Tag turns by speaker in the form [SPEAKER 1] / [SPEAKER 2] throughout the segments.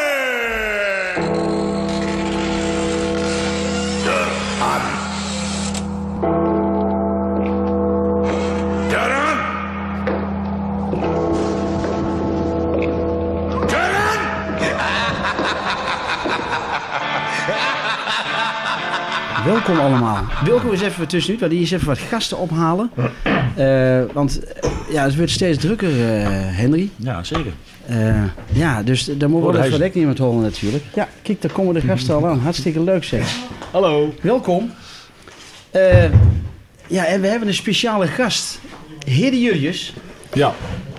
[SPEAKER 1] attenzione! Tören! Tören!
[SPEAKER 2] Welkom allemaal. Wilco is even tussenuit, want die is even wat gasten ophalen. Eh, want eh, ja, het wordt steeds drukker, eh, Henry.
[SPEAKER 3] Ja, zeker.
[SPEAKER 2] Eh, ja, dus daar moeten
[SPEAKER 3] Oh,
[SPEAKER 2] we
[SPEAKER 3] daar
[SPEAKER 2] wel
[SPEAKER 3] is-
[SPEAKER 2] even wat niemand horen natuurlijk. Ja, kijk, daar komen de gasten al aan. Hartstikke leuk zeg.
[SPEAKER 3] Hallo.
[SPEAKER 2] Welkom. Eh, ja, en we hebben een speciale gast. Hidde Jurjes.
[SPEAKER 3] Ja.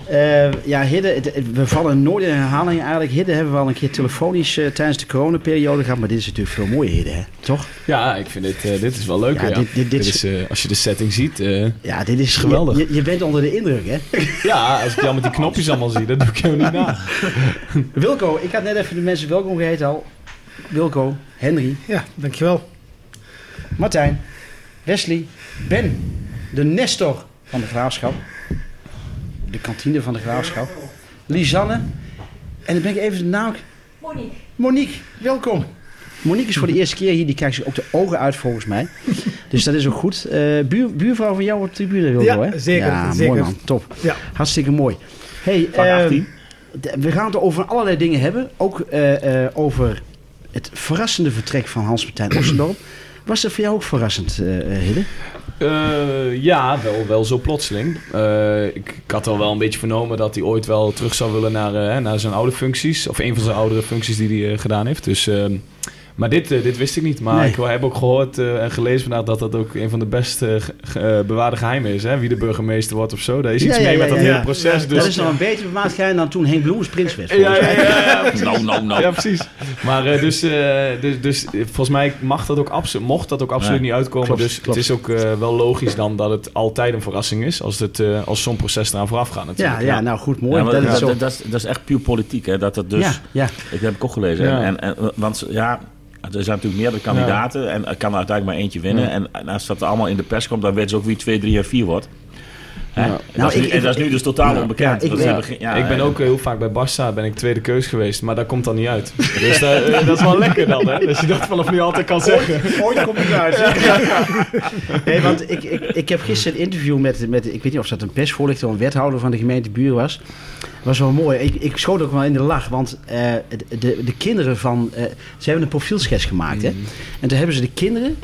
[SPEAKER 2] Eh, ja, Hidde, het- het- we vallen nooit in herhaling eigenlijk. Hidde hebben we al een keer telefonisch eh, tijdens de coronaperiode gehad. Maar dit is natuurlijk veel mooier, Hidde, hè? Toch?
[SPEAKER 4] Ja, ik vind dit, eh, dit is wel leuk.
[SPEAKER 2] Ja,
[SPEAKER 4] Ja,
[SPEAKER 2] dit- dit- dit is-
[SPEAKER 4] is, eh, als je de setting ziet. eh,
[SPEAKER 2] Ja, dit is
[SPEAKER 4] Geweldig.
[SPEAKER 2] Je, je- je bent onder de indruk, hè?
[SPEAKER 4] ja, als ik jou met die knopjes allemaal zie, dat doe ik helemaal niet na.
[SPEAKER 2] Wilco, ik had net even de mensen welkom geheten al. Wilco, Henry,
[SPEAKER 5] Ja, dankjewel.
[SPEAKER 2] Martijn, Wesley, Ben, de Nestor van de Graafschap. De kantine van de Graafschap. Lisanne. En dan ben ik even de naam...
[SPEAKER 6] Monique.
[SPEAKER 2] Monique, welkom. Monique is voor de eerste keer hier. Die kijkt zich ook de ogen uit volgens mij. Dus dat is ook goed. Eh, buur, buurvrouw van jou op de tribune, Wilco,
[SPEAKER 5] Ja,
[SPEAKER 2] hè?
[SPEAKER 5] zeker,
[SPEAKER 2] Ja,
[SPEAKER 5] zeker.
[SPEAKER 2] mooi man. Top.
[SPEAKER 5] Ja.
[SPEAKER 2] Hartstikke mooi. Hey,
[SPEAKER 3] Van
[SPEAKER 2] eh,
[SPEAKER 3] 18.
[SPEAKER 2] D- We gaan het over allerlei dingen hebben. Ook eh, eh, over het verrassende vertrek van Hans-Martijn Ossendorp. Was dat voor jou ook verrassend, eh eh, Hidde?
[SPEAKER 4] Eh, ja, wel, wel zo plotseling. Eh, ik, ik had al wel een beetje vernomen dat hij ooit wel terug zou willen naar, eh, naar zijn oude functies. Of een van zijn oudere functies die hij eh, gedaan heeft. Dus, ehm, maar dit, eh, dit wist ik niet. Maar
[SPEAKER 2] Nee.
[SPEAKER 4] ik heb ook gehoord eh, en gelezen vandaag dat dat ook een van de best eh, ge- ge- eh, bewaarde geheimen is. Hè? Wie de burgemeester wordt of zo. Daar is
[SPEAKER 2] Ja,
[SPEAKER 4] iets
[SPEAKER 2] ja,
[SPEAKER 4] mee
[SPEAKER 2] ja,
[SPEAKER 4] met dat
[SPEAKER 2] ja,
[SPEAKER 4] hele
[SPEAKER 5] ja.
[SPEAKER 4] proces. Dus,
[SPEAKER 2] dat is nog een betere maatgein dan toen Henk Bloemens prins werd.
[SPEAKER 4] ja,
[SPEAKER 2] volgens
[SPEAKER 4] ja,
[SPEAKER 2] mij. Nou,
[SPEAKER 4] ja, ja.
[SPEAKER 3] No, no, no.
[SPEAKER 4] Ja, precies. Maar eh, dus, eh, dus, dus eh, volgens mij mag dat ook absolu- mocht dat ook absoluut
[SPEAKER 3] Nee,
[SPEAKER 4] niet uitkomen.
[SPEAKER 3] klopt,
[SPEAKER 4] dus
[SPEAKER 3] klopt.
[SPEAKER 4] het is ook eh, wel logisch dan dat het altijd een verrassing is als, het, eh, als zo'n proces eraan vooraf gaat
[SPEAKER 2] Ja,
[SPEAKER 4] natuurlijk.
[SPEAKER 2] ja, nou goed, mooi.
[SPEAKER 3] Ja, maar
[SPEAKER 2] dat
[SPEAKER 3] dat,
[SPEAKER 2] is zo.
[SPEAKER 3] dat, dat is, dat is echt puur politiek, hè? Dat dat dus,
[SPEAKER 2] ja, ja.
[SPEAKER 3] ik heb ik ook gelezen.
[SPEAKER 4] Ja.
[SPEAKER 3] En, en, want ze- ja, er zijn natuurlijk meerdere kandidaten en er kan uiteindelijk maar eentje winnen.
[SPEAKER 4] Ja.
[SPEAKER 3] En, en als dat allemaal in de pers komt, dan weten ze ook wie 2, 3 en 4 wordt. Hè? En dat is
[SPEAKER 2] Nou, ik-
[SPEAKER 3] nu- en
[SPEAKER 2] ik-
[SPEAKER 3] dat is nu dus totaal
[SPEAKER 2] ja,
[SPEAKER 3] onbekend.
[SPEAKER 2] ja, ik
[SPEAKER 3] Dat is
[SPEAKER 2] ben-
[SPEAKER 3] in het begin- ja,
[SPEAKER 4] ik ben
[SPEAKER 3] en-
[SPEAKER 4] ook eh, heel vaak bij Barça ben ik tweede keus geweest, maar dat komt dan niet uit. Dus dat, eh, dat is wel lekker dan, hè? Dat je dat vanaf nu altijd kan zeggen.
[SPEAKER 2] Ooit komt het uit. Nee, want ik, ik, ik heb gisteren een interview met, met, ik weet niet of dat een persvoorlichter of een wethouder van de gemeente Buur was. was wel mooi. Ik, ik schoot ook wel in de lach, want eh, de, de kinderen van, eh, ze hebben een profielschets gemaakt. Hè? En toen hebben ze de kinderen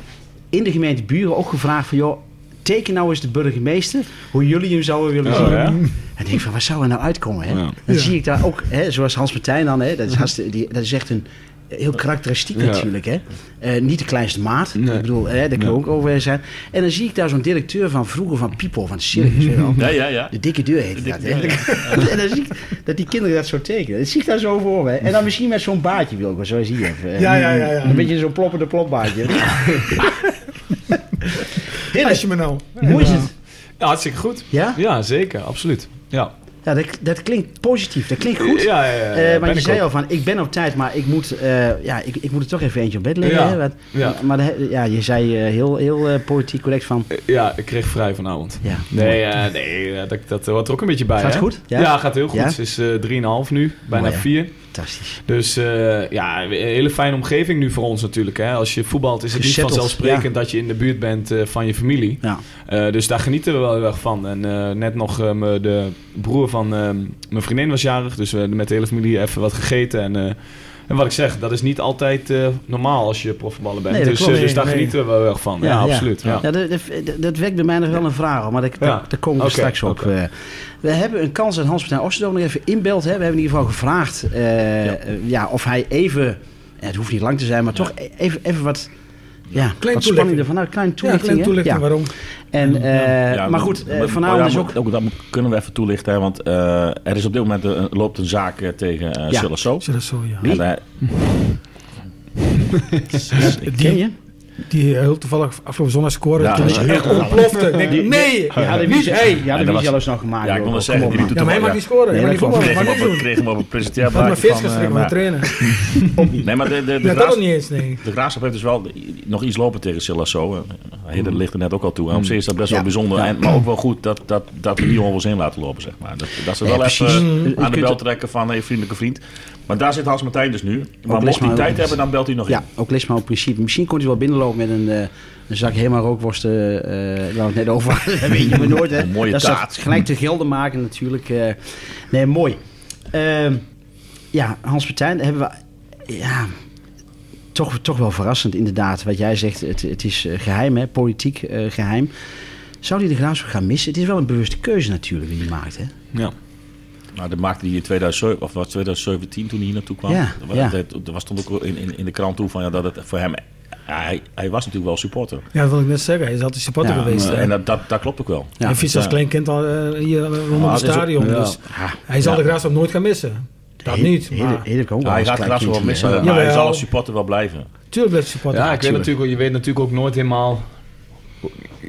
[SPEAKER 2] in de gemeente Buren ook gevraagd van, joh, teken nou eens de burgemeester hoe jullie hem zouden willen zien.
[SPEAKER 4] ja.
[SPEAKER 2] En ik denk van, wat zou er nou uitkomen? Hè?
[SPEAKER 4] Ja.
[SPEAKER 2] Dan zie ik daar ook, hè, zoals Hans Martijn dan, hè, dat, is hartstikke- die, dat is echt een heel karakteristiek
[SPEAKER 4] Ja.
[SPEAKER 2] natuurlijk. Hè? Eh, niet de kleinste maat,
[SPEAKER 4] Nee.
[SPEAKER 2] ik bedoel, hè, daar kunnen we ook over zijn. En dan zie ik daar zo'n directeur van vroeger van People, van de circus, weet je wel.
[SPEAKER 3] Ja, ja, ja.
[SPEAKER 2] De dikke deur heet dat, hè? en dan zie ik dat die kinderen dat zo tekenen. Dat zie ik daar zo voor me. En dan misschien met zo'n baardje, Wilco, zoals hier. even. Eh,
[SPEAKER 5] Ja, ja, ja, ja.
[SPEAKER 2] Een beetje zo'n ploppende plopbaardje.
[SPEAKER 5] Als
[SPEAKER 2] Dennis,
[SPEAKER 5] je me nou.
[SPEAKER 2] hoe is het?
[SPEAKER 4] Ja, hartstikke goed.
[SPEAKER 2] Ja?
[SPEAKER 4] Ja, zeker. Absoluut. Ja,
[SPEAKER 2] Ja, dat, dat klinkt positief. Dat klinkt goed.
[SPEAKER 4] Ja, ja, ja, ja.
[SPEAKER 2] Eh,
[SPEAKER 4] Ben
[SPEAKER 2] want je
[SPEAKER 4] ik
[SPEAKER 2] zei
[SPEAKER 4] ook.
[SPEAKER 2] al van, ik ben op tijd, maar ik moet, eh, ja, ik, ik moet er toch even eentje op bed leggen.
[SPEAKER 4] Ja.
[SPEAKER 2] Hè? Want-
[SPEAKER 4] Ja.
[SPEAKER 2] Maar de- ja, je zei eh, heel, heel eh, politiek correct van,
[SPEAKER 4] Ja, ik kreeg vrij vanavond.
[SPEAKER 2] ja,
[SPEAKER 4] Nee, eh, nee eh, dat, dat hoort er ook een beetje bij.
[SPEAKER 2] Gaat
[SPEAKER 4] hè?
[SPEAKER 2] goed? Ja?
[SPEAKER 4] Ja? gaat heel goed.
[SPEAKER 2] Ja?
[SPEAKER 4] Het is eh, 3,5 nu, bijna
[SPEAKER 2] Mooi, hè?
[SPEAKER 4] 4.
[SPEAKER 2] fantastisch.
[SPEAKER 4] Dus eh, ja, een hele fijne omgeving nu voor ons natuurlijk. Hè. Als je voetbalt is het niet
[SPEAKER 2] Gezetteld,
[SPEAKER 4] vanzelfsprekend
[SPEAKER 2] ja.
[SPEAKER 4] dat je in de buurt bent eh, van je familie.
[SPEAKER 2] Ja.
[SPEAKER 4] Eh, dus daar genieten we wel heel erg van. En eh, net nog eh, me- de broer van eh, mijn vriendin was jarig. Dus we hebben met de hele familie even wat gegeten. En, eh, en wat ik zeg, dat is niet altijd eh, normaal als je profvoetballer bent.
[SPEAKER 2] Nee, dat
[SPEAKER 4] dus,
[SPEAKER 2] klopt.
[SPEAKER 4] eh, dus daar
[SPEAKER 5] Nee, nee.
[SPEAKER 4] genieten we wel heel erg van. Ja, absoluut. Ja.
[SPEAKER 2] Ja, dat, dat, dat wekt bij mij nog wel een vraag, om, maar dat, dat- daar komen we
[SPEAKER 4] Oké,
[SPEAKER 2] straks op.
[SPEAKER 4] oké.
[SPEAKER 2] eh. we hebben een kans dat Hans-Martijn Osterdom nog even inbelt. Hè. We hebben in ieder geval gevraagd eh,
[SPEAKER 3] Ja.
[SPEAKER 2] eh, ja, of hij even, en het hoeft niet lang te zijn, maar toch e- even, even wat, ja, wat spanning
[SPEAKER 5] toelichting.
[SPEAKER 2] ervan uit. Klein
[SPEAKER 5] Ja,
[SPEAKER 2] toelichting.
[SPEAKER 5] klein
[SPEAKER 2] hè?
[SPEAKER 5] toelichting
[SPEAKER 2] Ja.
[SPEAKER 5] waarom.
[SPEAKER 2] En, eh,
[SPEAKER 3] Ja,
[SPEAKER 2] maar
[SPEAKER 3] dat-
[SPEAKER 2] goed, eh,
[SPEAKER 3] dat-
[SPEAKER 2] vanavond
[SPEAKER 3] ja,
[SPEAKER 2] is
[SPEAKER 3] maar
[SPEAKER 2] ook...
[SPEAKER 3] Dat moet- kunnen we even toelichten, hè, want eh, er is op dit moment een, loopt een zaak eh, tegen eh
[SPEAKER 2] Ja. Oh,
[SPEAKER 3] Curaçao.
[SPEAKER 5] Is dat zo, ja.
[SPEAKER 2] Wie?
[SPEAKER 3] En, eh,
[SPEAKER 2] Ken je?
[SPEAKER 5] Die eh, heel toevallig afgelopen zondag scoorde.
[SPEAKER 3] Ja,
[SPEAKER 5] toen
[SPEAKER 3] dat
[SPEAKER 5] ik
[SPEAKER 3] is
[SPEAKER 5] echt
[SPEAKER 3] heel
[SPEAKER 5] ontplofte. Ik denk, nee!
[SPEAKER 2] Ja, de Wiesel hey, ja, de
[SPEAKER 3] dat
[SPEAKER 2] Wiesel
[SPEAKER 3] was-
[SPEAKER 2] is nog nou gemaakt.
[SPEAKER 3] ja, ik
[SPEAKER 2] joh.
[SPEAKER 3] wil wel
[SPEAKER 2] Kom
[SPEAKER 3] zeggen,
[SPEAKER 2] op,
[SPEAKER 3] die
[SPEAKER 2] man.
[SPEAKER 3] doet het
[SPEAKER 5] Ja, maar hij
[SPEAKER 3] wel,
[SPEAKER 5] mag
[SPEAKER 3] ja.
[SPEAKER 5] niet scoren.
[SPEAKER 2] Nee,
[SPEAKER 5] Hij mag niet
[SPEAKER 2] dat klopt.
[SPEAKER 5] voetballen.
[SPEAKER 3] Kregen
[SPEAKER 5] Mag niet
[SPEAKER 3] we op,
[SPEAKER 5] doen.
[SPEAKER 3] kregen we op een
[SPEAKER 5] Had maar
[SPEAKER 3] presenteerblaadje
[SPEAKER 5] vis
[SPEAKER 3] van, eh,
[SPEAKER 5] gestrikt
[SPEAKER 3] maar-
[SPEAKER 5] met trainen.
[SPEAKER 3] Nee, maar de, de, de,
[SPEAKER 5] Ja, dat
[SPEAKER 3] graas,
[SPEAKER 5] nog niet eens, nee.
[SPEAKER 3] de Graafschap heeft dus wel i- nog iets lopen tegen Silasso. Hidden ligt er net ook al toe. En op zich is dat best wel
[SPEAKER 2] Mhm. Ja.
[SPEAKER 3] bijzonder. En, maar ook wel goed dat, dat, dat we die jongens in laten lopen, zeg maar. Dat, dat ze
[SPEAKER 2] Ja,
[SPEAKER 3] wel
[SPEAKER 2] precies.
[SPEAKER 3] even eh,
[SPEAKER 2] Je
[SPEAKER 3] aan
[SPEAKER 2] kunt
[SPEAKER 3] de bel
[SPEAKER 2] het-
[SPEAKER 3] trekken van hey, vriendelijke vriend. Maar daar zit Hans Martijn dus nu. Maar
[SPEAKER 2] Ook
[SPEAKER 3] mocht hij
[SPEAKER 2] Lisma-
[SPEAKER 3] tijd hebben, dan belt hij nog
[SPEAKER 2] Ja, ook Lisma op principe. Misschien komt hij wel binnenlopen met een, eh, een zak helemaal rookworsten. eh waar we het net over hadden. Dat weet je maar nooit, hè.
[SPEAKER 3] Een mooie
[SPEAKER 2] dat zou
[SPEAKER 3] taart.
[SPEAKER 2] gelijk te gelden maken natuurlijk. eh. nee, mooi. Ehm, ja, Hans Partijn hebben we... Ja, toch, toch wel verrassend inderdaad. Wat jij zegt, het, het is eh, geheim, hè. Politiek eh, geheim. Zou hij de graafschap gaan missen? Het is wel een bewuste keuze natuurlijk die hij maakt, hè.
[SPEAKER 4] Ja.
[SPEAKER 3] in. Nou, dat maakte hij in 2007, of was het 2017 toen hij hier naartoe kwam.
[SPEAKER 2] Ja,
[SPEAKER 3] Er wa-
[SPEAKER 2] ja.
[SPEAKER 3] dat- Er was stond ook in, in, in de krant toe van ja, dat het voor hem... Hij, hij was natuurlijk wel supporter.
[SPEAKER 5] Ja, dat wil ik net zeggen. Hij is altijd supporter
[SPEAKER 2] Ja,
[SPEAKER 5] geweest. eh,
[SPEAKER 3] En
[SPEAKER 5] En,
[SPEAKER 3] dat, dat, dat klopt ook wel.
[SPEAKER 5] hij fietst als
[SPEAKER 3] ja.
[SPEAKER 5] klein kind al eh, hier rondom
[SPEAKER 3] Ah,
[SPEAKER 5] het
[SPEAKER 3] het is ook-
[SPEAKER 5] stadion.
[SPEAKER 4] ja.
[SPEAKER 5] Dus
[SPEAKER 2] ah.
[SPEAKER 5] hij zal
[SPEAKER 3] Ja.
[SPEAKER 5] de graafschap nooit gaan missen. Dat niet.
[SPEAKER 2] Hele,
[SPEAKER 5] Maar
[SPEAKER 2] hele,
[SPEAKER 3] Ja, hij gaat Gras wel missen, maar hij
[SPEAKER 5] Jawel.
[SPEAKER 3] zal als supporter wel blijven.
[SPEAKER 5] tuurlijk blijft hij supporter.
[SPEAKER 4] Ja, ik weet natuurlijk, ook- je weet natuurlijk ook nooit helemaal.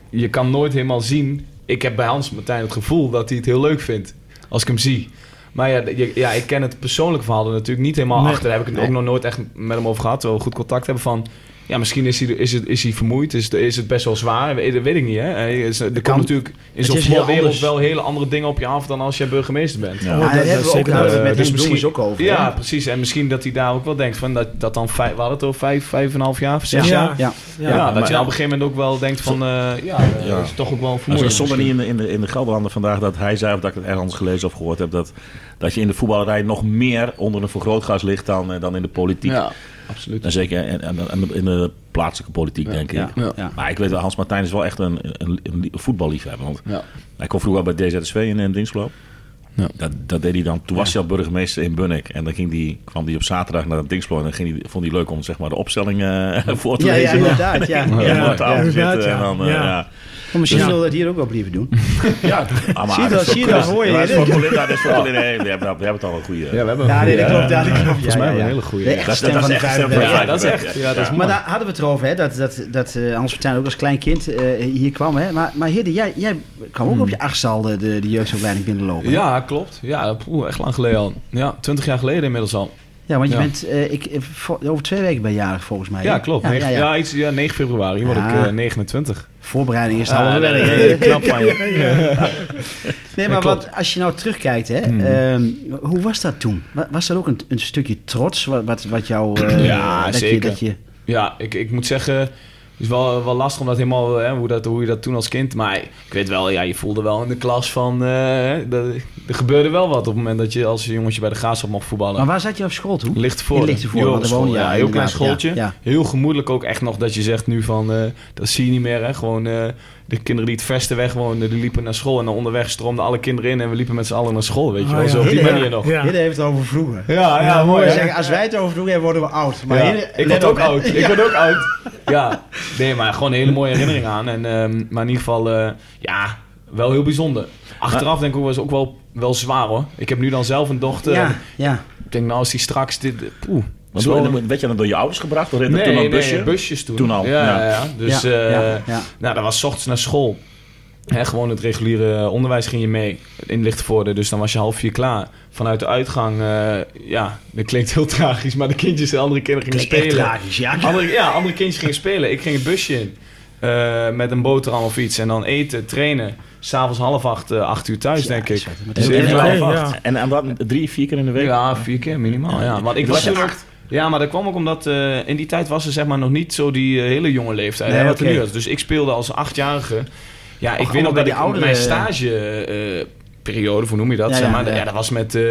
[SPEAKER 4] Je kan nooit helemaal zien. Ik heb bij Hans Martijn het gevoel dat hij het heel leuk vindt als ik hem zie. Maar ja, je- ja ik ken het persoonlijke verhaal er natuurlijk niet helemaal
[SPEAKER 5] Nee.
[SPEAKER 4] achter. Daar heb ik het ook nog nooit echt met hem over gehad. Terwijl we goed contact hebben van. Ja, misschien is hij, is het, is hij vermoeid. Is, is het best wel zwaar? Dat weet ik niet. Hè? Hij is- Er
[SPEAKER 2] kan.
[SPEAKER 4] komt natuurlijk in
[SPEAKER 2] Het
[SPEAKER 4] zo'n
[SPEAKER 2] is heel
[SPEAKER 4] voetbalwereld
[SPEAKER 2] anders.
[SPEAKER 4] wel hele andere dingen op je af dan als je burgemeester bent.
[SPEAKER 3] Ja.
[SPEAKER 5] Oh,
[SPEAKER 2] Ja,
[SPEAKER 5] dat-
[SPEAKER 2] daar
[SPEAKER 5] dat
[SPEAKER 2] hebben we
[SPEAKER 5] is
[SPEAKER 2] ook
[SPEAKER 5] zeker-
[SPEAKER 2] daar hebben we
[SPEAKER 4] Eh,
[SPEAKER 2] het met
[SPEAKER 4] dus
[SPEAKER 2] hem misschien...
[SPEAKER 4] misschien-
[SPEAKER 2] ook over.
[SPEAKER 4] Ja,
[SPEAKER 2] hè.
[SPEAKER 4] precies. En misschien dat hij daar ook wel denkt van dat, dat dan vijf, we hadden het over vijf, vijf en een half jaar, zes
[SPEAKER 5] Ja.
[SPEAKER 4] jaar.
[SPEAKER 2] ja.
[SPEAKER 4] Ja,
[SPEAKER 5] Ja.
[SPEAKER 4] dat
[SPEAKER 3] maar-
[SPEAKER 4] je dan op een gegeven moment ook wel denkt van, eh, ja, eh,
[SPEAKER 3] Ja.
[SPEAKER 4] dat is toch ook wel
[SPEAKER 3] Maar
[SPEAKER 4] vermoeiend.
[SPEAKER 3] stond er niet in de, in, de, in de Gelderlander vandaag dat hij zei, of dat ik het ergens gelezen of gehoord heb, dat, dat je in de voetballerij nog meer onder een vergrootglas ligt dan, eh, dan in de politiek.
[SPEAKER 4] Ja, absoluut.
[SPEAKER 3] En zeker in, in- in de, in de plaatselijke politiek, denk ik.
[SPEAKER 2] ja, ja. Ja.
[SPEAKER 3] Maar ik weet wel, Hans Martijn is wel echt een, een, een lie- voetballiefhebber. Want
[SPEAKER 4] Ja.
[SPEAKER 3] hij kwam vroeger bij DZSV in, in Dinsloop.
[SPEAKER 4] Ja.
[SPEAKER 3] Dat, dat deed hij dan. Toen was hij al burgemeester in Bunnik. En dan ging die, kwam hij op zaterdag naar het Dinsloop. En dan ging die, vond hij leuk om zeg maar, de opstelling eh, voor te
[SPEAKER 2] Ja, ja,
[SPEAKER 3] lezen.
[SPEAKER 2] inderdaad. Ja.
[SPEAKER 3] Ja,
[SPEAKER 2] Ja.
[SPEAKER 3] aan tafel
[SPEAKER 5] Ja.
[SPEAKER 3] zitten en dan, eh,
[SPEAKER 5] Ja.
[SPEAKER 3] ja.
[SPEAKER 2] Maar misschien zullen we dat hier ook wel blijven doen.
[SPEAKER 3] Ja, ah, maar
[SPEAKER 2] Zie je dat,
[SPEAKER 3] is
[SPEAKER 2] zie je
[SPEAKER 3] voor-
[SPEAKER 2] dat, hoor je
[SPEAKER 3] dat is
[SPEAKER 2] dit?
[SPEAKER 3] voor Colinda, dat is voor Colinda. Nee, we hebben, we hebben het al een goede.
[SPEAKER 4] Ja, we hebben
[SPEAKER 2] Ja, nee, dat klopt. Ja, dat klopt.
[SPEAKER 4] Volgens mij wel een hele goede,
[SPEAKER 2] De
[SPEAKER 4] ja.
[SPEAKER 2] echte
[SPEAKER 3] Dat-
[SPEAKER 2] stem
[SPEAKER 3] dat
[SPEAKER 2] van
[SPEAKER 3] is
[SPEAKER 2] de
[SPEAKER 3] echt stem van
[SPEAKER 2] vijfde.
[SPEAKER 3] de
[SPEAKER 4] Ja,
[SPEAKER 2] Ja.
[SPEAKER 3] vijfde.
[SPEAKER 4] dat is echt. Ja, dat is
[SPEAKER 2] Maar daar hadden we het erover, hè, dat, dat, dat eh, Hans Vertuin ook als klein kind eh, hier kwam. Hè. Maar, maar Hidde, jij, jij kwam ook op je achtzaal de, de, de jeugdopleiding binnenlopen.
[SPEAKER 4] Ja, klopt. Ja, poeh, echt lang geleden al. Ja, twintig jaar geleden inmiddels al.
[SPEAKER 2] ja want je
[SPEAKER 4] Ja.
[SPEAKER 2] bent eh, ik, eh, vo- over twee weken ben je jarig volgens mij. hè?
[SPEAKER 4] Ja, klopt.
[SPEAKER 2] Ja,
[SPEAKER 4] Negen-
[SPEAKER 2] ja,
[SPEAKER 4] Ja,
[SPEAKER 2] ja.
[SPEAKER 4] iets, ja 9 februari word ik
[SPEAKER 2] Ja.
[SPEAKER 4] eh, 29.
[SPEAKER 2] Voorbereiding is het
[SPEAKER 4] Ah,
[SPEAKER 2] halve
[SPEAKER 4] nee,
[SPEAKER 2] werk.
[SPEAKER 4] nee,
[SPEAKER 2] hè.
[SPEAKER 4] nee, knap van je.
[SPEAKER 2] Nee, maar
[SPEAKER 4] Ja, klopt. Hmm.
[SPEAKER 2] wat, als je nou terugkijkt, hè, ehm, hoe was dat toen? Wa- Was dat ook een, een stukje trots wat, wat, wat jou... eh,
[SPEAKER 4] Ja,
[SPEAKER 2] dat Je,
[SPEAKER 4] zeker.
[SPEAKER 2] dat je,
[SPEAKER 4] Ja, ik, ik moet zeggen, het is wel, wel lastig om dat helemaal, hè, hoe, dat, hoe je dat toen als kind. Maar ik weet wel, ja, je voelde wel in de klas van, eh, hè, dat- er gebeurde wel wat op het moment dat je als jongetje bij de graafschap mocht voetballen.
[SPEAKER 2] maar waar zat je op school toen?
[SPEAKER 4] Ligt voor.
[SPEAKER 2] In Lichtenvoorde, want daar woon je, ja,
[SPEAKER 4] ja, heel klein
[SPEAKER 2] inderdaad,
[SPEAKER 4] schooltje.
[SPEAKER 2] ja, ja.
[SPEAKER 4] Heel gemoedelijk ook echt nog dat je zegt nu van, eh, dat zie je niet meer. Hè? Gewoon eh, de kinderen die het vesten weg woonden, die liepen naar school. En dan onderweg stroomden alle kinderen in en we liepen met z'n allen naar school. Weet
[SPEAKER 2] Oh,
[SPEAKER 4] je
[SPEAKER 5] Ah,
[SPEAKER 4] wel,
[SPEAKER 5] ja.
[SPEAKER 4] zo op die
[SPEAKER 2] Hele-
[SPEAKER 4] manier nog. Ja,
[SPEAKER 5] Ja.
[SPEAKER 2] Hidde heeft het over vroeger.
[SPEAKER 4] ja,
[SPEAKER 5] Ja,
[SPEAKER 4] mooi.
[SPEAKER 2] Wij
[SPEAKER 4] hè?
[SPEAKER 2] zeggen, als wij het over doen, worden we oud. Maar
[SPEAKER 4] Ja,
[SPEAKER 2] hier-
[SPEAKER 4] ik
[SPEAKER 2] let
[SPEAKER 4] word
[SPEAKER 2] op,
[SPEAKER 4] ook
[SPEAKER 2] hè.
[SPEAKER 4] oud. Ik word ook oud. Ja, nee, maar gewoon een hele mooie herinnering aan. En, ehm, maar in ieder geval, eh, ja, wel heel bijzonder. Achteraf denk ik ook, was ook wel, wel zwaar hoor. Ik heb nu dan zelf eh, een dochter.
[SPEAKER 2] Ja, ja.
[SPEAKER 4] Ik denk, nou, als die straks dit. Poeh.
[SPEAKER 3] Want
[SPEAKER 4] zo-
[SPEAKER 3] toen- werd je dan door je ouders gebracht? Of reed er toen een busje?
[SPEAKER 4] busjes toen.
[SPEAKER 3] Toen al,
[SPEAKER 4] Ja,
[SPEAKER 3] ja.
[SPEAKER 4] ja. ja. Dus
[SPEAKER 2] ja,
[SPEAKER 4] eh,
[SPEAKER 2] ja, ja.
[SPEAKER 4] Nou, dat was 's ochtends naar school. Hè, gewoon het reguliere onderwijs ging je mee in Lichtenvoorde. Dus dan was je half vier klaar. Vanuit de uitgang, eh, ja, dat klinkt heel tragisch. Maar de kindjes, de andere kinderen gingen
[SPEAKER 2] Klinkt echt
[SPEAKER 4] spelen.
[SPEAKER 2] tragisch, ja.
[SPEAKER 4] Andere, ja, andere kindjes gingen spelen. Ik ging het busje in. eh, met een boterham of iets. En dan eten, trainen. S'avonds half acht, eh, acht uur thuis,
[SPEAKER 2] Ja,
[SPEAKER 4] denk
[SPEAKER 2] is
[SPEAKER 4] ik.
[SPEAKER 2] wat. Maar
[SPEAKER 4] Dus
[SPEAKER 2] dat
[SPEAKER 3] is
[SPEAKER 4] ik
[SPEAKER 3] wel
[SPEAKER 4] half
[SPEAKER 5] heel
[SPEAKER 4] acht.
[SPEAKER 5] Ja.
[SPEAKER 3] En, en wat, drie, vier keer in de week?
[SPEAKER 4] Ja, vier keer minimaal. Ja. Want ik was
[SPEAKER 3] Ja.
[SPEAKER 4] toen ook. Ja, maar dat kwam ook omdat eh, in die tijd was er zeg maar nog niet zo die eh, hele jonge leeftijd.
[SPEAKER 2] Nee,
[SPEAKER 4] hè, wat er
[SPEAKER 2] oké.
[SPEAKER 4] nu is. Dus ik speelde als achtjarige. Ja, ik
[SPEAKER 2] allemaal
[SPEAKER 4] weet nog
[SPEAKER 2] bij
[SPEAKER 4] dat
[SPEAKER 2] die
[SPEAKER 4] ik
[SPEAKER 2] oudere-
[SPEAKER 4] mijn stage. eh periode, hoe noem je dat?
[SPEAKER 2] Ja,
[SPEAKER 4] Ja,
[SPEAKER 2] ja,
[SPEAKER 4] zeg maar.
[SPEAKER 2] ja.
[SPEAKER 4] Ja. dat was met, eh,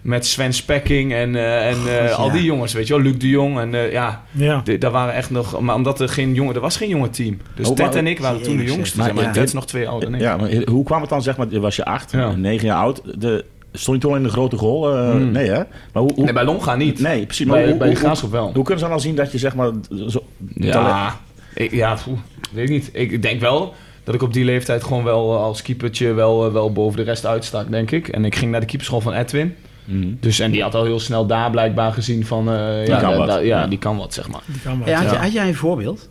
[SPEAKER 4] met Sven Spekking en, eh, en eh,
[SPEAKER 2] God,
[SPEAKER 4] al
[SPEAKER 2] ja.
[SPEAKER 4] die jongens, weet je wel. Luc de Jong en eh, ja,
[SPEAKER 5] Ja.
[SPEAKER 4] de- daar waren echt nog... Maar omdat er geen jongen... Er was geen jonge team. Dus
[SPEAKER 3] Oh,
[SPEAKER 4] Ted
[SPEAKER 3] maar-
[SPEAKER 4] en ik waren toen de
[SPEAKER 2] Jezus,
[SPEAKER 4] jongsten.
[SPEAKER 2] maar
[SPEAKER 4] zeg maar
[SPEAKER 2] ja.
[SPEAKER 4] Ted is nog twee ouder. Nee.
[SPEAKER 3] Ja, maar hoe kwam het dan? Zeg maar, je was je acht,
[SPEAKER 4] Ja.
[SPEAKER 3] negen jaar oud. De, stond je toen al in de grote goal? Eh,
[SPEAKER 4] Hmm.
[SPEAKER 3] Nee, hè? Maar hoe, hoe,
[SPEAKER 4] Nee, bij Longa niet.
[SPEAKER 3] nee, precies. Maar
[SPEAKER 4] bij,
[SPEAKER 3] hoe,
[SPEAKER 4] bij de
[SPEAKER 3] hoe, hoe,
[SPEAKER 4] Graafschap wel.
[SPEAKER 3] hoe kunnen ze dan al zien dat je zeg maar... Zo, talent-
[SPEAKER 4] Ja, ik, ja poeh, weet ik niet. Ik denk wel dat ik op die leeftijd gewoon wel eh, als keepertje wel, eh, wel boven de rest uitstak, denk ik. En ik ging naar de keeperschool van Edwin.
[SPEAKER 3] Mhm.
[SPEAKER 4] Dus, en die had al heel snel daar blijkbaar gezien van... eh, ja,
[SPEAKER 3] kan
[SPEAKER 4] da-
[SPEAKER 3] wat.
[SPEAKER 4] da- ja,
[SPEAKER 3] Ja.
[SPEAKER 4] die kan wat, zeg maar.
[SPEAKER 5] Die kan wel.
[SPEAKER 2] Hey, had,
[SPEAKER 4] Ja.
[SPEAKER 2] je- had jij een voorbeeld?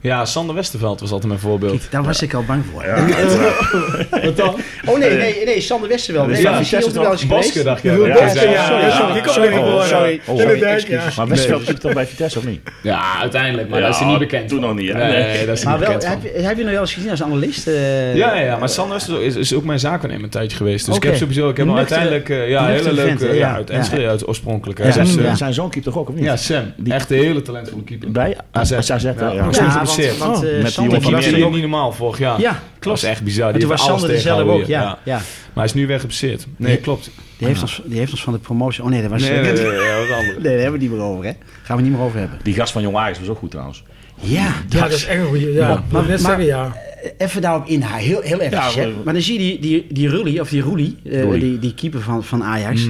[SPEAKER 4] Ja, Sander Westerveld was altijd mijn voorbeeld.
[SPEAKER 2] Daar was ik al bang voor.
[SPEAKER 4] Wat dan?
[SPEAKER 2] Oh nee, nee, nee, Sander Westerveld. Nee,
[SPEAKER 4] Ja,
[SPEAKER 2] ja,
[SPEAKER 4] Vitesse
[SPEAKER 2] Vitesse
[SPEAKER 4] toch?
[SPEAKER 2] wel eens
[SPEAKER 4] Basker,
[SPEAKER 2] geweest.
[SPEAKER 4] dacht je.
[SPEAKER 2] Ja,
[SPEAKER 4] Ja,
[SPEAKER 2] Basker,
[SPEAKER 4] ja,
[SPEAKER 2] ja,
[SPEAKER 4] ja, ja.
[SPEAKER 2] sorry,
[SPEAKER 5] Die kon
[SPEAKER 2] sorry,
[SPEAKER 5] er niet
[SPEAKER 2] sorry,
[SPEAKER 5] worden.
[SPEAKER 2] sorry,
[SPEAKER 3] Oh,
[SPEAKER 2] sorry,
[SPEAKER 5] ja.
[SPEAKER 2] excuses.
[SPEAKER 3] Maar Westerveld liep toch bij Vitesse of niet?
[SPEAKER 4] Ja, uiteindelijk, maar
[SPEAKER 3] Ja,
[SPEAKER 4] dat is hij niet bekend.
[SPEAKER 3] toen
[SPEAKER 4] van.
[SPEAKER 3] nog niet, hè?
[SPEAKER 4] Nee,
[SPEAKER 3] Nee.
[SPEAKER 4] dat is hij
[SPEAKER 2] Maar
[SPEAKER 4] niet
[SPEAKER 2] wel,
[SPEAKER 4] bekend.
[SPEAKER 2] heb,
[SPEAKER 4] van.
[SPEAKER 2] je- heb je nog wel eens gezien als analist? eh,
[SPEAKER 4] Ja, ja, ja, maar Sander is, is, is ook mijn zaakwaarnemer een tijdje geweest. Dus
[SPEAKER 2] Oké.
[SPEAKER 4] ik heb sowieso, ik heb hem
[SPEAKER 2] Nuchtere-
[SPEAKER 4] uiteindelijk, eh, ja, hele
[SPEAKER 2] nuchtere vent,
[SPEAKER 4] leuke,
[SPEAKER 2] hè? Ja.
[SPEAKER 4] ja, uit Enschede, uit oorspronkelijk. hè.
[SPEAKER 2] Ja,
[SPEAKER 4] Dus, eh,
[SPEAKER 2] ja.
[SPEAKER 3] Zijn zoon keept toch ook of niet?
[SPEAKER 4] Ja, Sam. Echt een hele talentvolle keeper.
[SPEAKER 3] Bij AZ.
[SPEAKER 2] Ah,
[SPEAKER 4] AZ.
[SPEAKER 3] AZ, hè?
[SPEAKER 4] Ja.
[SPEAKER 3] ja.
[SPEAKER 4] Soms
[SPEAKER 2] Ja, want,
[SPEAKER 4] geblesseerd.
[SPEAKER 2] want eh,
[SPEAKER 3] Met die
[SPEAKER 2] Sander
[SPEAKER 3] jongen
[SPEAKER 4] Want die
[SPEAKER 3] van
[SPEAKER 4] was
[SPEAKER 2] was
[SPEAKER 3] Meer.
[SPEAKER 2] er
[SPEAKER 4] hier
[SPEAKER 2] ook.
[SPEAKER 4] niet normaal vorig jaar.
[SPEAKER 2] Ja,
[SPEAKER 4] Dat
[SPEAKER 2] klopt.
[SPEAKER 4] was echt bizar.
[SPEAKER 2] En
[SPEAKER 4] Die
[SPEAKER 2] toen was
[SPEAKER 4] heeft alles
[SPEAKER 2] Sander er zelf
[SPEAKER 4] tegenhouden
[SPEAKER 2] ook,
[SPEAKER 4] hier.
[SPEAKER 2] ja. ja.
[SPEAKER 4] Maar hij is nu weer geblesseerd. Nee, klopt.
[SPEAKER 2] Die heeft ons- Die heeft ons van de promotie... Oh nee, dat was...
[SPEAKER 4] Nee,
[SPEAKER 2] Nee,
[SPEAKER 4] nee,
[SPEAKER 2] daar
[SPEAKER 4] nee, nee, wat anders.
[SPEAKER 2] hebben we het niet meer over, hè. Gaan we niet meer over hebben.
[SPEAKER 3] Die gast van Jong Ajax was ook goed trouwens.
[SPEAKER 2] Ja,
[SPEAKER 5] Ja, dat is echt een goede. Ja, maar,
[SPEAKER 2] Maar-
[SPEAKER 5] net
[SPEAKER 2] maar- eh,
[SPEAKER 5] zeggen, ja.
[SPEAKER 2] Even daarop inhaal, heel, heel even.
[SPEAKER 3] Ja,
[SPEAKER 2] hè.
[SPEAKER 3] we-
[SPEAKER 2] maar dan zie je die, die, die Rulli, of die Roelie, eh,
[SPEAKER 3] Roelie.
[SPEAKER 2] die, die keeper van, van Ajax.